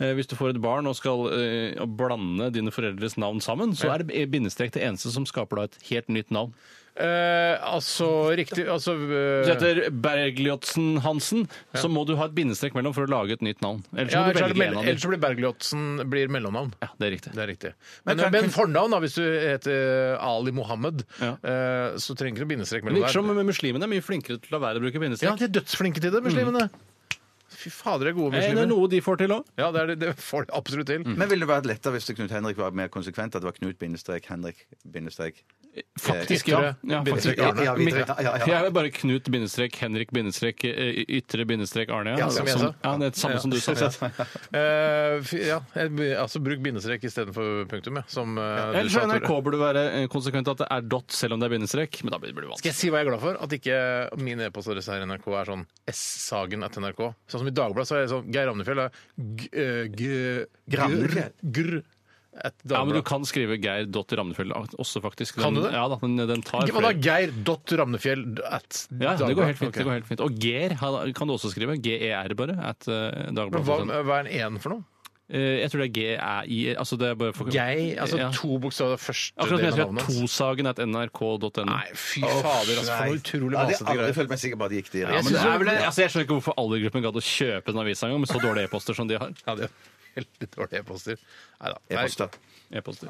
[SPEAKER 5] Eh, hvis du får et barn og skal eh, blande dine foreldres navn sammen, så
[SPEAKER 4] Ja.
[SPEAKER 5] er det bindestrek det eneste som skaper da et helt nytt navn.
[SPEAKER 4] Eh, altså, riktig altså, eh,
[SPEAKER 5] Hvis du heter Bergljotsen Hansen, så må du ha et bindestrek mellom for å lage et nytt navn. Ellers
[SPEAKER 4] ja,
[SPEAKER 5] må du
[SPEAKER 4] ellers, er det
[SPEAKER 5] velge
[SPEAKER 4] mell-
[SPEAKER 5] en av
[SPEAKER 4] ellers
[SPEAKER 5] dem.
[SPEAKER 4] så blir Bergljotsen blir mellomnavn.
[SPEAKER 5] Ja, det er riktig.
[SPEAKER 4] Det er riktig. Men, eh,
[SPEAKER 5] Men kan-
[SPEAKER 4] men, fornavn, da, hvis du heter Ali Mohammed, eh, så trenger du ikke bindestrek
[SPEAKER 5] Men det
[SPEAKER 4] mellom
[SPEAKER 5] virker som
[SPEAKER 4] der.
[SPEAKER 5] muslimene er mye flinkere til å la være å bruke bindestrek.
[SPEAKER 4] Ja, de er dødsflinke til det, muslimene. Fy fader, de er gode
[SPEAKER 5] Mm. Eh, det er Mm.
[SPEAKER 4] muslimer.
[SPEAKER 5] noe de får til òg.
[SPEAKER 4] Ja, det, er, det- det får de absolutt til.
[SPEAKER 6] Men ville det vært lettere hvis det Knut Henrik var mer konsekvent? At det var Knut bindestrek Henrik bindestrek eh,
[SPEAKER 5] Faktisk,
[SPEAKER 6] ytre,
[SPEAKER 5] ja. ja, faktisk.
[SPEAKER 6] bindestrek Arne. Ja,
[SPEAKER 5] Mitt-
[SPEAKER 6] videre. ja, ja, ja.
[SPEAKER 5] Jeg er bare Knut bindestrek Henrik bindestrek eh, ytre bindestrek Arne.
[SPEAKER 4] Ja,
[SPEAKER 5] Ja,
[SPEAKER 4] som jeg sa.
[SPEAKER 5] ja, det er det samme som du sa.
[SPEAKER 4] Ja. Eh, fy- ja, eh, altså bruk bindestrek istedenfor punktum, ja. Som, eh, du
[SPEAKER 5] Ellers
[SPEAKER 4] sa, Tore.
[SPEAKER 5] så NRK burde være eh, konsekvent at det er dot selv om det er bindestrek. Men da blir det blir det
[SPEAKER 4] Skal
[SPEAKER 5] vanskelig.
[SPEAKER 4] jeg si hva jeg er glad for? At ikke min e-postadresse her i NRK er sånn s-sagen etter NRK. Sånn som i Dagbladet så er det sånn Geir Ramnefjell er g... eh, g-
[SPEAKER 5] Gramnefjell?
[SPEAKER 4] Grr. At
[SPEAKER 5] Ja, men Du
[SPEAKER 4] Dagbladet.
[SPEAKER 5] kan skrive Geir dot Ramnefjell også, faktisk. Den,
[SPEAKER 4] Kan du det?
[SPEAKER 5] Ja da, den, den tar
[SPEAKER 4] Hva da?
[SPEAKER 5] flere.
[SPEAKER 4] Geir dot Ramnefjell at
[SPEAKER 5] Ja, det går helt fint.
[SPEAKER 4] Ok.
[SPEAKER 5] det går helt fint. Og Ger ha- kan du også skrive. GER, bare. At eh,
[SPEAKER 4] Men hva,
[SPEAKER 5] Dagbladet.
[SPEAKER 4] hva er en én for noe?
[SPEAKER 5] Eh, Jeg tror det er GEI altså det er bare for...
[SPEAKER 4] Geir, altså
[SPEAKER 5] Ja.
[SPEAKER 4] to bokstaver første
[SPEAKER 5] Akkurat som jeg
[SPEAKER 4] delen av
[SPEAKER 5] skrev
[SPEAKER 4] navnet hans.
[SPEAKER 5] tosagen at nrk.no. Nei,
[SPEAKER 4] fy fader, altså, for noe utrolig masete
[SPEAKER 6] Jeg
[SPEAKER 4] greier.
[SPEAKER 6] følte meg sikker på at det gikk de
[SPEAKER 5] Ja,
[SPEAKER 6] rammene.
[SPEAKER 5] men det er vel, altså, jeg skjønner ikke hvorfor alle i gruppen gadd å kjøpe den avisa engang, med så dårlige e-poster som de har.
[SPEAKER 4] Ja, det er veldig dårlige e-poster. Nei da. Nei.
[SPEAKER 6] E-poster.
[SPEAKER 5] E-poster.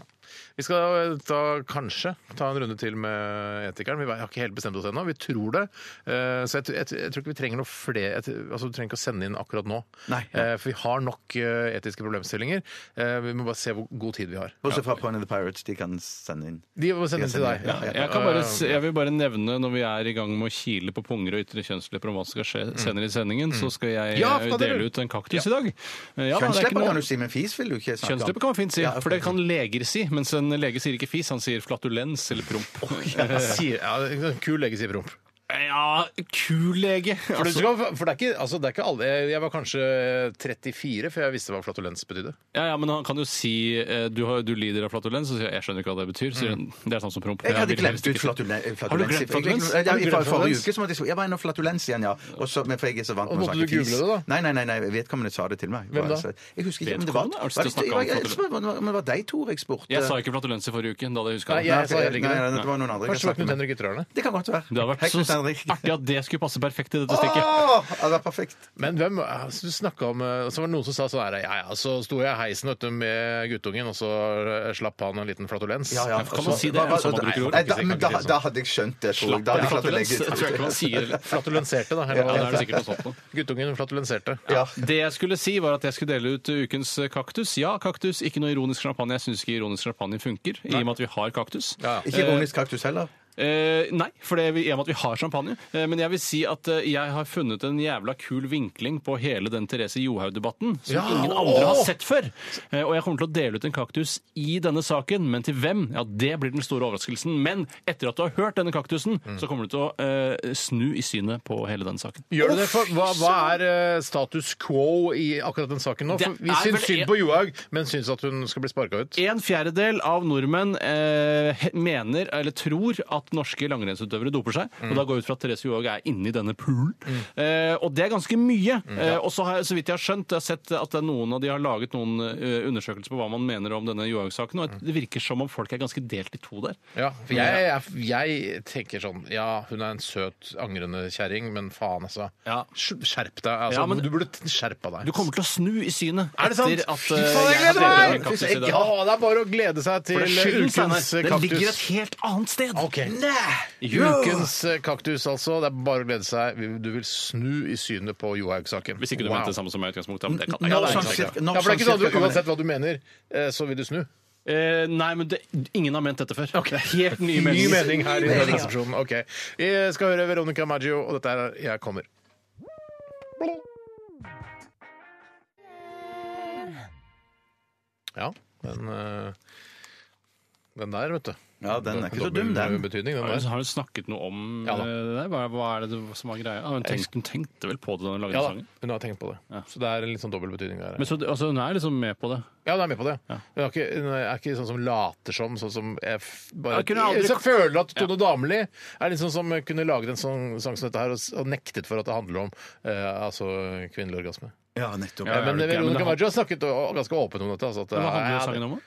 [SPEAKER 4] Vi skal eh, ta, kanskje ta en runde til med etikeren. Vi har ikke helt bestemt oss ennå. Vi tror det. Eh, Så jeg, tr- jeg, tr- jeg tror ikke vi trenger noe flere jeg tr- altså, Du trenger ikke å sende inn akkurat nå.
[SPEAKER 6] Nei.
[SPEAKER 4] Eh, For vi har nok eh, etiske problemstillinger. Eh, Vi må bare se hvor god tid vi har.
[SPEAKER 6] Bortsett fra Pony the Pirates, de kan sende inn.
[SPEAKER 4] De må sende
[SPEAKER 6] Jeg
[SPEAKER 4] inn til
[SPEAKER 6] sender-
[SPEAKER 4] deg.
[SPEAKER 6] ja, ja.
[SPEAKER 5] Jeg, kan bare, s- jeg vil bare nevne, når vi er i gang med å kile på punger og ytre kjønnslepper om hva som skal skje senere i sendingen, så skal jeg
[SPEAKER 6] Mm. Ja,
[SPEAKER 5] eh,
[SPEAKER 6] skal dere?
[SPEAKER 5] dele ut en kaktus
[SPEAKER 6] Ja.
[SPEAKER 5] i dag. Eh, Ja, da, det er ikke
[SPEAKER 6] Kjønnslepper
[SPEAKER 5] noe-
[SPEAKER 6] kan du si, men fis vil du ikke snakke om.
[SPEAKER 5] Kjønnslepper kan man fint si,
[SPEAKER 6] Ja, ok.
[SPEAKER 5] for det kan leger si. Mens en lege sier ikke fis, han sier flatulens eller promp.
[SPEAKER 4] Ja, sier- ja, kul lege sier promp.
[SPEAKER 5] Ja, kul lege.
[SPEAKER 4] For, du skal- for det, er ikke, altså, det er ikke alle jeg- Jeg var kanskje 34 før jeg visste hva flatulens betydde.
[SPEAKER 5] Ja, ja, men han kan jo si eh, du, har, du lider av flatulens, og sier jeg, jeg skjønner ikke hva det betyr. Så sier han, det er sånn som promp.
[SPEAKER 6] Mm. Jeg hadde
[SPEAKER 5] vil
[SPEAKER 6] glemt
[SPEAKER 5] helst
[SPEAKER 6] ut
[SPEAKER 5] ikke si-
[SPEAKER 6] flatulens.
[SPEAKER 5] Har du glemt flatulens?
[SPEAKER 6] Ja,
[SPEAKER 5] Har du
[SPEAKER 6] i
[SPEAKER 5] glemt
[SPEAKER 6] forrige
[SPEAKER 5] flatulens?
[SPEAKER 6] uke så måtte jeg si, jeg var inne flatulens igjen, Sånn. ja. Og så, men for jeg er så vant
[SPEAKER 4] Og
[SPEAKER 6] med å
[SPEAKER 4] måtte
[SPEAKER 6] snakke
[SPEAKER 4] du
[SPEAKER 6] fis.
[SPEAKER 4] google det,
[SPEAKER 6] Nei, nei, nei, nei, vedkommende sa det til meg.
[SPEAKER 5] Hvem da?
[SPEAKER 6] Jeg husker ikke, men det var,
[SPEAKER 5] Vedkommende? Har
[SPEAKER 6] var,
[SPEAKER 5] du lyst til å
[SPEAKER 6] det-
[SPEAKER 5] snakke
[SPEAKER 6] jeg-
[SPEAKER 5] om
[SPEAKER 6] jeg-
[SPEAKER 5] flatulens?
[SPEAKER 6] men det var deg, Tor, jeg spurte.
[SPEAKER 5] Jeg sa ikke flatulens i forrige uke. Da hadde jeg huska
[SPEAKER 4] Nei, jeg sa heller ikke
[SPEAKER 6] eh, Nei, nei,
[SPEAKER 4] det.
[SPEAKER 6] nei, det var noen andre. jeg
[SPEAKER 4] Kanskje det var
[SPEAKER 6] snakket
[SPEAKER 4] Knut
[SPEAKER 6] med.
[SPEAKER 4] Henrik Ytterhøyne?
[SPEAKER 6] Det kan godt være.
[SPEAKER 5] Det hadde vært
[SPEAKER 6] Hei, Knut
[SPEAKER 5] så
[SPEAKER 6] Henrik.
[SPEAKER 5] artig at det skulle passe perfekt i dette stikket.
[SPEAKER 6] Åh, ja, det var perfekt.
[SPEAKER 4] Men hvem altså, du snakket om eh, Så var det noen som sa sånn her Ja, ja, så sto jeg i heisen vet du, med guttungen, og så eh, slapp han en liten flatulens.
[SPEAKER 6] Ja, ja.
[SPEAKER 5] Kan man si det?
[SPEAKER 6] Hva- hva-
[SPEAKER 5] Er det sånn man bruker ord?
[SPEAKER 6] Nei, da, men da, da hadde jeg skjønt det, tror jeg. Da hadde jeg
[SPEAKER 5] Slapp
[SPEAKER 6] klart å
[SPEAKER 5] av,
[SPEAKER 6] legge
[SPEAKER 5] flatulens. Jeg tror ikke man sier det.
[SPEAKER 4] Flatulenserte, da.
[SPEAKER 5] Ja,
[SPEAKER 4] hva
[SPEAKER 5] det er det
[SPEAKER 4] heter.
[SPEAKER 5] sikkert noe sånt. nå.
[SPEAKER 4] Guttungen flatulenserte.
[SPEAKER 6] Ja.
[SPEAKER 5] Det jeg skulle si, var at jeg skulle dele ut ukens kaktus. Ja, kaktus. Ikke noe ironisk champagne. Jeg syns ikke ironisk champagne funker, i og med at vi har kaktus.
[SPEAKER 4] Ja.
[SPEAKER 6] Ikke ironisk kaktus heller.
[SPEAKER 5] Eh, nei, for det, er vi- i og med at vi har champagne. Eh, men jeg vil si at eh, jeg har funnet en jævla kul vinkling på hele den Therese Johaug-debatten som
[SPEAKER 4] Ja,
[SPEAKER 5] ingen andre har sett før. Eh, og jeg kommer til å dele ut en kaktus i denne saken, men til hvem? Ja, Det blir den store overraskelsen. Men etter at du har hørt denne kaktusen,
[SPEAKER 6] Mm.
[SPEAKER 5] så kommer du til å eh, snu i synet på hele den saken.
[SPEAKER 4] Gjør du det? For hva, hva er eh, status quo i akkurat den saken nå?
[SPEAKER 5] Det
[SPEAKER 4] For vi
[SPEAKER 5] er vel
[SPEAKER 4] syns synd
[SPEAKER 5] en-
[SPEAKER 4] på Johaug, men syns at hun skal bli sparka ut.
[SPEAKER 5] En fjerdedel av nordmenn eh, he- mener, eller tror, at norske langrennsutøvere doper seg. Og da går jeg ut fra at Therese Johaug er inni denne poolen. Eh, og det er ganske mye.
[SPEAKER 4] Mm.
[SPEAKER 5] eh, og så har jeg, så vidt jeg har skjønt, jeg har sett at det er noen av de har laget noen eh, undersøkelser på hva man mener om denne Johaug-saken, og det virker som om folk er ganske delt i to der.
[SPEAKER 4] Ja, for jeg, jeg, jeg tenker sånn Ja, hun er en søt, angrende kjerring, men faen, altså.
[SPEAKER 5] Ja.
[SPEAKER 4] Sk- Skjerp deg. Altså,
[SPEAKER 5] Ja, men-
[SPEAKER 4] du burde skjerpa deg.
[SPEAKER 5] Du kommer til å snu i synet
[SPEAKER 4] Er det sant?
[SPEAKER 5] etter at
[SPEAKER 4] Fy
[SPEAKER 5] eh,
[SPEAKER 4] faen, jeg
[SPEAKER 5] jeg har
[SPEAKER 4] gleder
[SPEAKER 5] delt
[SPEAKER 4] meg!
[SPEAKER 5] en kaktus i dag.
[SPEAKER 4] Ja, det er bare å glede seg til
[SPEAKER 5] For det er skylden,
[SPEAKER 4] ukens
[SPEAKER 5] Steinar. Den ligger et
[SPEAKER 4] kaktus.
[SPEAKER 5] helt annet sted.
[SPEAKER 4] Ok. Ukens kaktus, altså. Det er bare å glede seg. Du vil snu i synet på Johaug-saken.
[SPEAKER 5] Hvis ikke du mente sånn. det samme som meg i utgangspunktet. men det kan-
[SPEAKER 6] Nå
[SPEAKER 5] det kan-
[SPEAKER 6] sånn
[SPEAKER 4] Ja,
[SPEAKER 6] cirka-
[SPEAKER 4] for
[SPEAKER 6] nå
[SPEAKER 4] det er
[SPEAKER 6] sånn
[SPEAKER 4] ikke sånn
[SPEAKER 6] cirka
[SPEAKER 4] at du,
[SPEAKER 6] kommer
[SPEAKER 4] Uansett hva du mener, eh, så vil du snu.
[SPEAKER 5] Eh, nei, men det, ingen har ment dette før. Det er helt ny
[SPEAKER 4] Ny
[SPEAKER 5] mening.
[SPEAKER 4] mening her i
[SPEAKER 5] Ny mening, ja.
[SPEAKER 4] Resepsjonen. Ok. Vi skal høre Veronica Maggio, og dette er Jeg kommer. Ja, den, eh, den der, vet du.
[SPEAKER 6] Ja, den er ikke så dum, den.
[SPEAKER 4] Betydning, den
[SPEAKER 5] har,
[SPEAKER 4] der.
[SPEAKER 5] hun, har hun snakket noe om
[SPEAKER 4] Ja da.
[SPEAKER 5] eh, det der? Hva, hva er det som er greia? Ah, Hun
[SPEAKER 4] Jeg-
[SPEAKER 5] tenkte, hun tenkte vel på det da hun lagde
[SPEAKER 4] Ja da,
[SPEAKER 5] sangen?
[SPEAKER 4] hun har tenkt på det. Så det er en litt sånn dobbel betydning der.
[SPEAKER 5] Men så, altså, hun er liksom med på det?
[SPEAKER 4] Ja, hun er med på det. Hun, er ikke, hun er ikke sånn som later som, sånn som jeg f- bare
[SPEAKER 5] Jeg kunne aldri-
[SPEAKER 4] Hvis jeg føler at Tone Damli er litt sånn som kunne laget en sånn sang som dette her og, s- og nektet for at det handler om eh, altså, kvinnelig orgasme.
[SPEAKER 6] Ja, nettopp.
[SPEAKER 4] Ja, men Veronica Maggio har snakket å- ganske åpent om dette. Altså, at,
[SPEAKER 5] Men Hva handler
[SPEAKER 4] ja,
[SPEAKER 5] sangen om? da?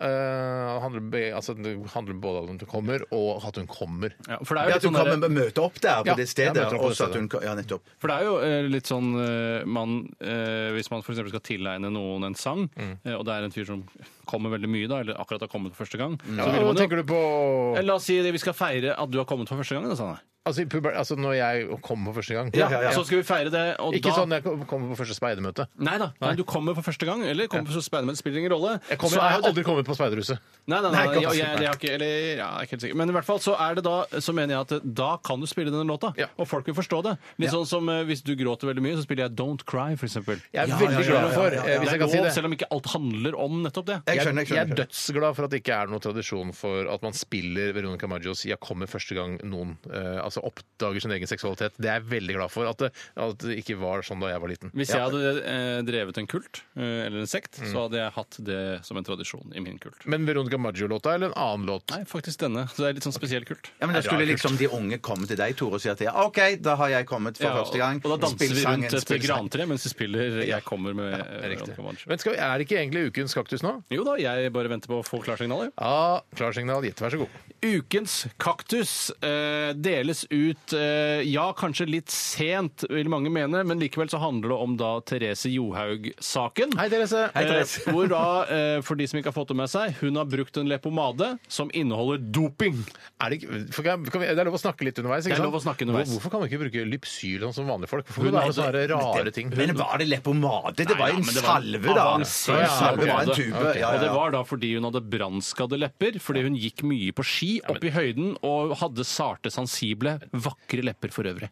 [SPEAKER 4] eh, det handler, be- altså, det handler både om at hun kommer, og at hun kommer.
[SPEAKER 5] Ja, for det er
[SPEAKER 6] Ja, at
[SPEAKER 5] jo litt
[SPEAKER 6] hun
[SPEAKER 5] sånn
[SPEAKER 6] kan
[SPEAKER 5] derre-
[SPEAKER 6] møte opp der på
[SPEAKER 4] Ja,
[SPEAKER 6] det stedet.
[SPEAKER 4] jeg møter opp på
[SPEAKER 6] og
[SPEAKER 4] det
[SPEAKER 6] så at
[SPEAKER 4] stedet.
[SPEAKER 6] hun kan- Ja, nettopp.
[SPEAKER 5] For det er jo eh, litt sånn eh, man, eh, Hvis man for eksempel skal tilegne noen en sang,
[SPEAKER 4] Mm.
[SPEAKER 5] eh, og det er en fyr som kommer veldig mye, da, eller akkurat har kommet for første gang
[SPEAKER 4] Ja,
[SPEAKER 5] så vil
[SPEAKER 4] hva
[SPEAKER 5] man jo,
[SPEAKER 4] tenker du på
[SPEAKER 5] Eh, La oss si det, vi skal feire at du har kommet for første gang. Da, Sanne.
[SPEAKER 4] altså, i puber, altså når jeg kom for første gang?
[SPEAKER 5] Ja, Så skal vi feire det, og
[SPEAKER 4] Ikke
[SPEAKER 5] da
[SPEAKER 4] sånn jeg kom- kommer på første speidermøte.
[SPEAKER 5] Nei da. Nei, du kommer for første gang, eller kommer for spennende, men det spiller ingen rolle.
[SPEAKER 4] Jeg, kommer,
[SPEAKER 5] Så
[SPEAKER 4] jeg
[SPEAKER 5] er jo
[SPEAKER 4] har
[SPEAKER 5] det-
[SPEAKER 4] aldri kommet på speiderhuset.
[SPEAKER 5] Nei, nei, nei,
[SPEAKER 4] Nei,
[SPEAKER 5] jeg,
[SPEAKER 4] ikke
[SPEAKER 5] jeg,
[SPEAKER 4] absolutt,
[SPEAKER 5] det er ikke, eller, ja, jeg er ikke helt sikker. Men i hvert fall så er det da, så mener jeg at eh, da kan du spille denne låta, og folk vil forstå det. Litt sånn som eh, hvis du gråter veldig mye, så spiller jeg Don't Cry, for eksempel.
[SPEAKER 4] Jeg er veldig glad for, eh, hvis
[SPEAKER 5] Det
[SPEAKER 4] jeg
[SPEAKER 5] er
[SPEAKER 4] kan si
[SPEAKER 5] lov,
[SPEAKER 4] det.
[SPEAKER 5] selv om ikke alt handler om nettopp det.
[SPEAKER 6] Jeg skjønner, jeg skjønner,
[SPEAKER 4] Jeg er dødsglad for at det ikke er noen tradisjon for at man spiller Veronica Maggios 'Jeg kommer første gang noen eh, altså oppdager sin egen seksualitet'. Det er jeg veldig glad for at det, at det ikke var sånn da jeg var liten.
[SPEAKER 5] Hvis
[SPEAKER 4] Ja. Mm.
[SPEAKER 5] jeg hadde eh, drevet en kult, eh, eller en sekt, så hadde jeg hatt det som en tradisjon i min kult.
[SPEAKER 4] Men Veronica Maggio-låta eller en annen låt?
[SPEAKER 5] Nei, faktisk denne. Så det er litt sånn spesiell kult.
[SPEAKER 6] Ja, men Da skulle liksom de unge komme til deg, Tore, og si at ja, OK, da har jeg kommet for
[SPEAKER 5] Ja, og,
[SPEAKER 6] første gang.
[SPEAKER 5] og da danser
[SPEAKER 6] Spill
[SPEAKER 5] vi
[SPEAKER 6] sangen,
[SPEAKER 5] rundt et
[SPEAKER 6] spill sangen.
[SPEAKER 5] grantre mens vi spiller 'Jeg kommer' med eh, Veronica Maggio.
[SPEAKER 4] Men skal vi, er det ikke egentlig ukens kaktus nå?
[SPEAKER 5] Jo da, jeg bare venter på å få klarsignaler.
[SPEAKER 4] Ja, klarsignal gitt. Vær så god.
[SPEAKER 5] Ukens kaktus eh, deles ut, eh, ja kanskje litt sent, vil mange mene, men likevel så handler det om da Therese Johaug-saken.
[SPEAKER 4] Hei, Therese.
[SPEAKER 5] Eh, hvor da, eh, for de som ikke har fått det med seg, hun har brukt en leppepomade som inneholder doping.
[SPEAKER 4] Er det, ikke, for kan, kan vi, det er lov å snakke litt underveis?
[SPEAKER 5] Det
[SPEAKER 4] ikke
[SPEAKER 5] er
[SPEAKER 4] sant?
[SPEAKER 5] lov å snakke underveis.
[SPEAKER 4] Hvor- Hvorfor kan vi ikke bruke lypsyl sånn som vanlige folk? Hvorfor
[SPEAKER 5] Hun
[SPEAKER 4] kan det være sånne
[SPEAKER 5] hadde-
[SPEAKER 4] rare ting?
[SPEAKER 6] altså, Men var det leppepomade? Det
[SPEAKER 5] Nei,
[SPEAKER 6] var
[SPEAKER 5] ja,
[SPEAKER 6] en
[SPEAKER 5] men det var en
[SPEAKER 6] salve, da.
[SPEAKER 5] avansert
[SPEAKER 6] Ja, ja, salve var en
[SPEAKER 5] salve.
[SPEAKER 6] tube.
[SPEAKER 5] Ok.
[SPEAKER 6] Ja,
[SPEAKER 5] Og det
[SPEAKER 6] ja, ja.
[SPEAKER 5] var da fordi hun hadde brannskadde lepper, fordi hun gikk mye på ski opp i høyden og hadde sarte, sensible, vakre lepper for øvrig.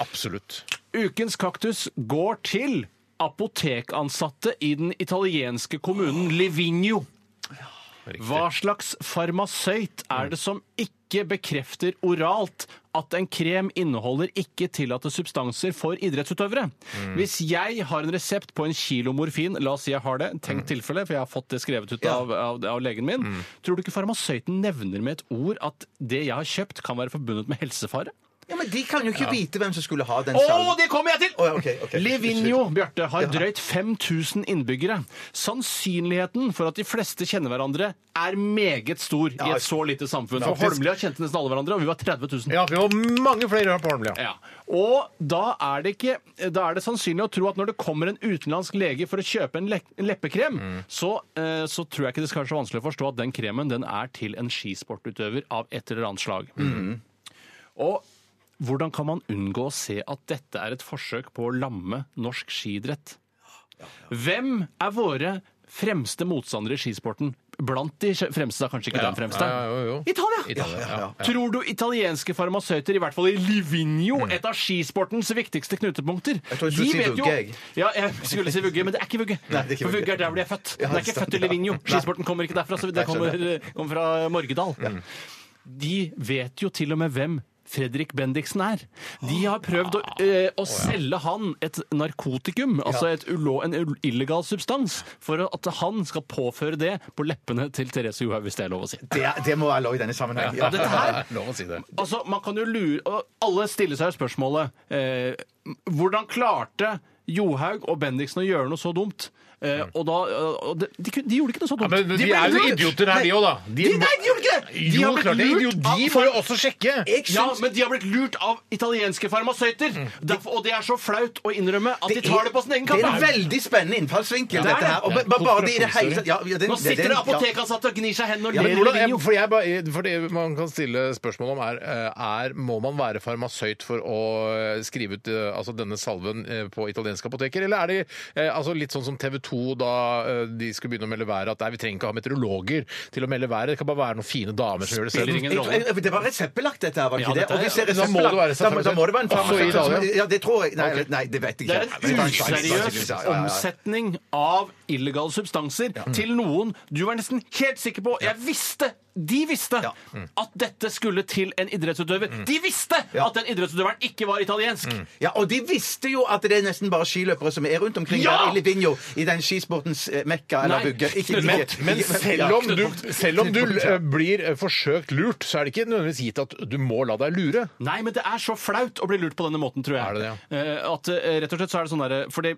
[SPEAKER 4] Absolutt.
[SPEAKER 5] Ukens kaktus går til apotekansatte i den italienske kommunen Livigno. Hva slags farmasøyt er det som ikke bekrefter oralt at en krem inneholder ikke tillatte substanser for idrettsutøvere? Hvis jeg har en resept på en kilo morfin, la oss si jeg har det, tenk tilfelle, for jeg har fått det skrevet ut av, av, av legen min, tror du ikke farmasøyten nevner med et ord at det jeg har kjøpt kan være forbundet med helsefare?
[SPEAKER 6] Ja, Men de kan jo ikke vite hvem som skulle ha den
[SPEAKER 5] Å,
[SPEAKER 6] salven.
[SPEAKER 5] det kommer jeg til!
[SPEAKER 6] Å, ja, ok, ok.
[SPEAKER 5] Livigno Bjarte, har drøyt 5000 innbyggere. Sannsynligheten for at de fleste kjenner hverandre, er meget stor i et så lite samfunn. For
[SPEAKER 4] Faktisk.
[SPEAKER 5] Holmlia kjente nesten alle hverandre, og vi var 30 000.
[SPEAKER 4] Ja, vi må ha mange flere på Holmlia.
[SPEAKER 5] Ja. Og da er, det ikke, da er det sannsynlig å tro at når det kommer en utenlandsk lege for å kjøpe en, le en leppekrem, så, eh, så tror jeg ikke det skal være så vanskelig å forstå at den kremen den er til en skisportutøver av et eller annet slag.
[SPEAKER 4] Mhm.
[SPEAKER 5] Og hvordan kan man unngå å se at dette er et forsøk på å lamme norsk skidrett? Hvem er våre fremste motstandere i skisporten? Blant de fremste, da kanskje ikke den fremste.
[SPEAKER 4] Ja, jo, jo.
[SPEAKER 5] Italia!
[SPEAKER 4] Italia, ja.
[SPEAKER 5] Tror du italienske farmasøyter, i hvert fall i Livigno, et av skisportens viktigste knutepunkter
[SPEAKER 6] Mm. Jeg tror jeg skulle
[SPEAKER 5] de
[SPEAKER 6] si
[SPEAKER 5] vet jo-
[SPEAKER 6] vugge, jeg.
[SPEAKER 5] Ja, jeg skulle si vugge, men det er ikke vugge.
[SPEAKER 6] Nei, det er ikke
[SPEAKER 5] For
[SPEAKER 6] vugge.
[SPEAKER 5] vugge er der hvor de er født.
[SPEAKER 6] Ja,
[SPEAKER 5] Den er ikke
[SPEAKER 6] det
[SPEAKER 5] født i
[SPEAKER 6] stemmer.
[SPEAKER 5] Livigno.
[SPEAKER 6] Nei.
[SPEAKER 5] Skisporten kommer ikke derfra, så det
[SPEAKER 6] Nei,
[SPEAKER 5] kommer, eh,
[SPEAKER 6] skjønner.
[SPEAKER 5] kommer fra Morgedal. De vet jo til og med hvem Fredrik Bendiksen er. De har prøvd å, eh, å selge han et narkotikum, altså et ulo, en ul- illegal substans, for at han skal påføre det på leppene til Therese Johaug, hvis det er lov å si.
[SPEAKER 6] Det, det må være lov i denne sammenheng.
[SPEAKER 5] Ja, dette her
[SPEAKER 4] Lov å si det.
[SPEAKER 5] Altså, man kan jo lure og Alle stiller seg jo spørsmålet eh, Hvordan klarte Johaug og Bendiksen å gjøre noe så dumt? Eh, og da, og de, de, kunne- de gjorde ikke noe så dumt.
[SPEAKER 4] Ja, men de,
[SPEAKER 5] ble
[SPEAKER 4] er jo
[SPEAKER 5] lurt!
[SPEAKER 4] idioter her, de òg, da. De,
[SPEAKER 5] nei, de gjorde ikke det! De
[SPEAKER 4] Jo,
[SPEAKER 5] har blitt
[SPEAKER 4] klart det. er
[SPEAKER 5] lurt
[SPEAKER 4] Idiot, de
[SPEAKER 5] av-
[SPEAKER 4] får jo også sjekke.
[SPEAKER 5] Ja, men de har blitt lurt av italienske farmasøyter! Derfor, og det er så flaut å innrømme at de tar Mm. det på sin egen
[SPEAKER 6] Det er en
[SPEAKER 5] kappe!
[SPEAKER 6] veldig spennende innfallsvinkel,
[SPEAKER 5] Ja, det er
[SPEAKER 6] dette her. Og
[SPEAKER 5] det.
[SPEAKER 6] ba- bare det i det hele tatt ja, ja,
[SPEAKER 5] Nå sitter det
[SPEAKER 6] ja.
[SPEAKER 5] apotekansatte og gnir seg i hendene og
[SPEAKER 4] Ja, men
[SPEAKER 5] ler i
[SPEAKER 4] hvordan,
[SPEAKER 5] video.
[SPEAKER 4] jeg, for, jeg, bare- for det man kan stille spørsmål om, er, eh, er Må man være farmasøyt for å eh, skrive ut eh, altså denne salven eh, på italienske apoteker? Eller er det eh, altså litt sånn som TV 2 da eh, de skulle begynne å melde været, at nei, vi trenger ikke ha meteorologer til å melde været, det kan bare være noen fine damer som gjør det
[SPEAKER 5] Spiller ingen
[SPEAKER 4] selv.
[SPEAKER 5] rolle.
[SPEAKER 6] Jeg- jeg- Det var reseptbelagt, dette her, var det
[SPEAKER 5] Ja,
[SPEAKER 6] ikke det?
[SPEAKER 5] dette er-
[SPEAKER 6] Og hvis det er
[SPEAKER 4] Da må det
[SPEAKER 6] reseptbelagt,
[SPEAKER 4] være
[SPEAKER 6] da må- Da må det være en
[SPEAKER 4] Også i
[SPEAKER 6] farmasøyt
[SPEAKER 4] Italia?
[SPEAKER 6] som- Ja, det tror jeg. Nei, eller- nei, det vet jeg
[SPEAKER 5] Det
[SPEAKER 6] ikke.
[SPEAKER 5] er
[SPEAKER 6] Det
[SPEAKER 5] en
[SPEAKER 6] var en sjanse, sannsynligvis,
[SPEAKER 5] useriøs
[SPEAKER 6] ja, ja, ja.
[SPEAKER 5] omsetning av illegale substanser til noen du var nesten helt sikker på Jeg visste de visste at dette skulle til en idrettsutøver. De visste at den idrettsutøveren ikke var italiensk!
[SPEAKER 6] Ja, og de visste jo at det er nesten bare skiløpere som er rundt omkring
[SPEAKER 5] Ja!
[SPEAKER 6] der i Livigno, i den skisportens eh, mekka eller
[SPEAKER 4] Nei,
[SPEAKER 6] vugge. Ikke- ikke-
[SPEAKER 4] men,
[SPEAKER 6] ikke-
[SPEAKER 4] men
[SPEAKER 6] ikke-
[SPEAKER 4] selv
[SPEAKER 6] ja.
[SPEAKER 4] om du, selv om du eh, blir eh, forsøkt lurt, så er det ikke nødvendigvis gitt at du må la deg lure.
[SPEAKER 5] Nei, men det er så flaut å bli lurt på denne måten, tror jeg. Eh, At eh, rett og slett så er det sånn der, fordi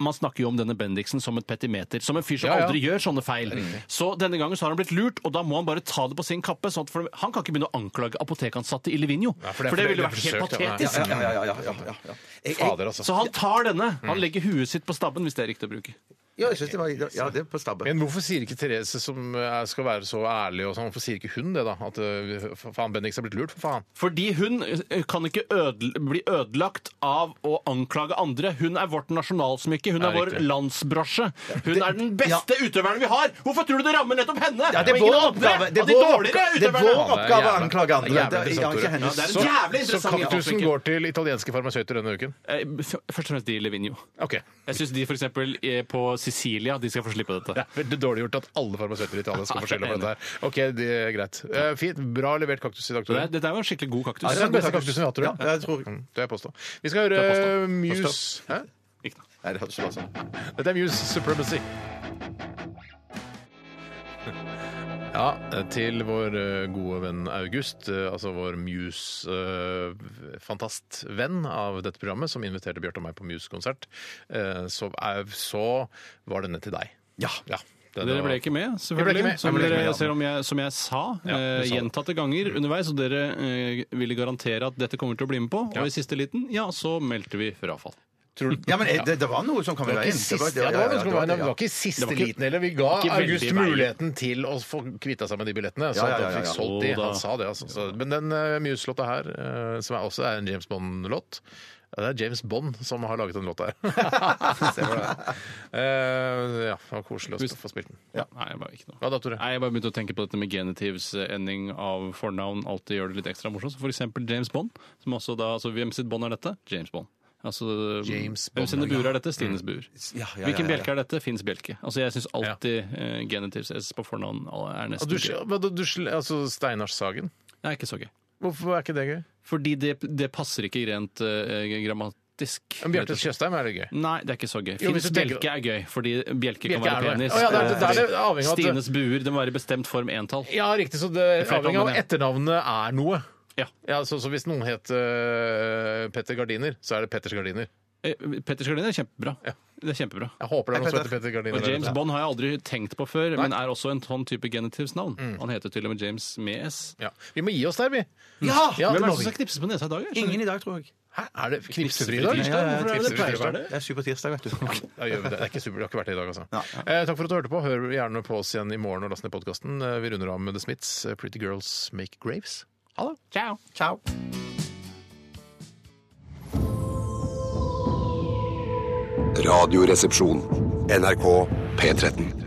[SPEAKER 5] man snakker jo om denne Bendiksen som et petimeter, som en fyr som
[SPEAKER 4] Ja, ja.
[SPEAKER 5] aldri gjør sånne feil. Så denne gangen så har han blitt lurt, og da må han bare ta det på sin kappe. Sånn at for han kan ikke begynne å anklage apotekansatte i Livigno,
[SPEAKER 4] for
[SPEAKER 5] for,
[SPEAKER 4] det-
[SPEAKER 5] det,
[SPEAKER 4] for det-
[SPEAKER 5] ville
[SPEAKER 4] det
[SPEAKER 5] vært
[SPEAKER 4] er
[SPEAKER 5] helt
[SPEAKER 4] forsøkt, ja.
[SPEAKER 5] patetisk.
[SPEAKER 4] Ja, ja, ja, ja, Fader, altså.
[SPEAKER 5] Så han tar denne.
[SPEAKER 4] Mm.
[SPEAKER 5] Han legger huet sitt på stabben, hvis det er riktig å bruke.
[SPEAKER 6] Ja, jeg synes det var ja, det er på stabben.
[SPEAKER 4] Men hvorfor sier ikke Therese, som eh, skal være så ærlig, og sånn, hvorfor sier ikke hun det, da? At eh, faen, Bendiksen er blitt lurt, for faen.
[SPEAKER 5] Fordi hun eh, kan ikke ødel bli ødelagt av å anklage andre. Hun er vårt nasjonalsmykke. Hun
[SPEAKER 4] Ja,
[SPEAKER 5] er vår
[SPEAKER 4] riktig.
[SPEAKER 5] landsbrasje. Hun er den beste utøveren vi har! Hvorfor tror du det rammer nettopp henne?
[SPEAKER 6] Ja, det er
[SPEAKER 5] og ingen
[SPEAKER 6] vår
[SPEAKER 5] andre?
[SPEAKER 6] oppgave. Det er
[SPEAKER 5] Av de
[SPEAKER 6] vår
[SPEAKER 5] dårligere
[SPEAKER 6] oppgave. Det er
[SPEAKER 5] utøverne!
[SPEAKER 6] vår oppgave å
[SPEAKER 4] Jævla-
[SPEAKER 6] anklage andre. Det
[SPEAKER 4] jævlig
[SPEAKER 6] er- ja,
[SPEAKER 4] interessant,
[SPEAKER 6] ikke
[SPEAKER 4] Tore.
[SPEAKER 6] hennes.
[SPEAKER 5] Ja, det er en jævlig interessant
[SPEAKER 4] Så kaktusen
[SPEAKER 5] innfallsvinkel.
[SPEAKER 4] går til italienske farmasøyter denne uken?
[SPEAKER 5] Eh, f- Først og fremst de i Levinio. Jeg syns de for eksempel eh, på Sicilia de skal få slippe dette.
[SPEAKER 4] Det er veldig dårlig gjort at alle farmasøyter i Italia skal
[SPEAKER 5] Ja,
[SPEAKER 4] få skylda for
[SPEAKER 5] jeg er
[SPEAKER 4] dette her. Ok, det er greit. Eh, fint. Bra levert kaktus i dag,
[SPEAKER 5] Så det
[SPEAKER 4] Tore.
[SPEAKER 5] er- Dette er jo en skikkelig god kaktus.
[SPEAKER 4] Ja, det er den beste kaktusen vi har, tror jeg.
[SPEAKER 6] Ja, jeg tror-
[SPEAKER 4] Mm, Det er påstå. Vi skal høre
[SPEAKER 5] Det er påstå.
[SPEAKER 4] Muse Hæ?
[SPEAKER 6] Nei, det hadde ikke vært sånn.
[SPEAKER 4] Dette er Muse Supremacy. Ja, til vår eh, gode venn August, eh, altså vår Muse-fantast-venn av dette programmet, som inviterte Bjarte og meg på Muse-konsert, eh, så, er- så var denne til deg. Ja. Den
[SPEAKER 5] Dere
[SPEAKER 4] var-
[SPEAKER 5] ble ikke med,
[SPEAKER 4] Jeg ble ikke
[SPEAKER 5] selvfølgelig.
[SPEAKER 4] med.
[SPEAKER 5] Som,
[SPEAKER 4] Jeg ble ikke
[SPEAKER 5] dere,
[SPEAKER 4] med, ja.
[SPEAKER 5] ser om jeg, som jeg sa,
[SPEAKER 4] Ja, du
[SPEAKER 5] eh,
[SPEAKER 4] sa det.
[SPEAKER 5] gjentatte ganger underveis, og dere eh, ville garantere at dette kommer til å bli med på.
[SPEAKER 4] Ja.
[SPEAKER 5] Og i siste liten, ja, så meldte vi frafall.
[SPEAKER 6] Ja, men det, det var noe som kom i
[SPEAKER 4] Det var
[SPEAKER 6] veien.
[SPEAKER 4] ikke siste, ja,
[SPEAKER 6] ja,
[SPEAKER 4] det var,
[SPEAKER 6] ja,
[SPEAKER 4] det var,
[SPEAKER 6] det, ja.
[SPEAKER 4] ikke siste
[SPEAKER 5] Det var ikke-
[SPEAKER 4] liten heller. Vi ga
[SPEAKER 5] ikke veldig
[SPEAKER 4] August
[SPEAKER 5] i veien.
[SPEAKER 4] muligheten til å få kvitta seg med de billettene. Så
[SPEAKER 6] Ja, ja,
[SPEAKER 4] at
[SPEAKER 6] ja,
[SPEAKER 4] han
[SPEAKER 6] ja.
[SPEAKER 4] fikk solgt de.
[SPEAKER 5] Å, da.
[SPEAKER 4] Han sa det, altså. Så, men den uh, Muse-låta her, eh, som er også er en James Bond-låt ja, Det er James Bond som har laget den låta her. Se for deg det. Eh, ja, det var koselig å få spilt den.
[SPEAKER 5] Ja. Nei, jeg bare, ikke noe.
[SPEAKER 4] Hva da, Tore?
[SPEAKER 5] Nei, jeg bare begynte å tenke på dette med genitivs eh, ending av fornavn. Alltid gjør det litt ekstra morsomt. Så For eksempel James Bond. Som også da, altså, hvem sitt bånd er dette? James Bond. Altså,
[SPEAKER 4] James Bond,
[SPEAKER 5] hvem sine
[SPEAKER 4] ja.
[SPEAKER 5] buer er dette? Stines buer.
[SPEAKER 6] Mm. Ja, ja, ja,
[SPEAKER 5] Hvilken
[SPEAKER 6] ja, ja.
[SPEAKER 5] bjelke er dette? Finns bjelke. Altså, jeg syns alltid eh, genitivs S på fornavn er
[SPEAKER 4] Og
[SPEAKER 5] nesten
[SPEAKER 4] Du,
[SPEAKER 5] gøy.
[SPEAKER 4] hva da, du, altså Steinars Sagen?
[SPEAKER 5] Det er ikke så gøy.
[SPEAKER 4] Hvorfor er ikke det gøy?
[SPEAKER 5] Fordi det, det passer ikke rent eh, grammatisk.
[SPEAKER 4] Men Bjarte Tjøstheim er det gøy.
[SPEAKER 5] Nei, det er ikke så gøy.
[SPEAKER 4] Jo, hvis du
[SPEAKER 5] Fins
[SPEAKER 4] tenker-
[SPEAKER 5] bjelke er gøy, fordi bjelke,
[SPEAKER 4] Bjelke
[SPEAKER 5] kan være
[SPEAKER 4] er det.
[SPEAKER 5] penis.
[SPEAKER 4] Å,
[SPEAKER 5] Eh,
[SPEAKER 4] ja, det er- det er det avhengig av at-
[SPEAKER 5] Stines buer den var i bestemt form entall.
[SPEAKER 4] Ja, riktig. Så det er
[SPEAKER 5] flertall,
[SPEAKER 4] avhengig av
[SPEAKER 5] men ja.
[SPEAKER 4] etternavnet er noe.
[SPEAKER 5] Ja.
[SPEAKER 4] så, så hvis noen het eh, Petter Gardiner, så er det Petters Gardiner.
[SPEAKER 5] Eh, Petters Gardiner er kjempebra. Det er kjempebra.
[SPEAKER 4] Jeg håper det er noen som heter Petter Gardiner.
[SPEAKER 5] Og
[SPEAKER 4] der
[SPEAKER 5] James
[SPEAKER 4] ute.
[SPEAKER 5] Bond har jeg aldri tenkt på før, men er også en sånn type genitivsnavn.
[SPEAKER 4] Mm.
[SPEAKER 5] Han heter til og med James med S.
[SPEAKER 4] Ja. Vi må gi oss der, vi.
[SPEAKER 6] Ja!
[SPEAKER 4] Ja, det
[SPEAKER 5] Hvem
[SPEAKER 4] må
[SPEAKER 5] er det som
[SPEAKER 4] vi.
[SPEAKER 5] skal knipses på nesa i dag? jeg skjønner
[SPEAKER 6] Ingen i dag, tror jeg.
[SPEAKER 4] Hæ, er det knipsefri i dag?
[SPEAKER 6] Ja, ja, ja,
[SPEAKER 4] Hvorfor er det det
[SPEAKER 6] knipsefri
[SPEAKER 4] pleier å
[SPEAKER 6] tirsdag.
[SPEAKER 4] være det?
[SPEAKER 6] Det er supertirsdag, vet du.
[SPEAKER 4] Da gjør vi det. Det er ikke super, det har ikke vært det i dag, altså. Eh, takk for at du hørte på. Hør gjerne på oss igjen i morgen og last ned podkasten. Eh, vi runder av med The Smiths, eh, Pretty Girls Make Graves. Ha det!
[SPEAKER 5] ikke. Ciao.
[SPEAKER 6] Ciao.
[SPEAKER 1] Radioresepsjon. NRK P13.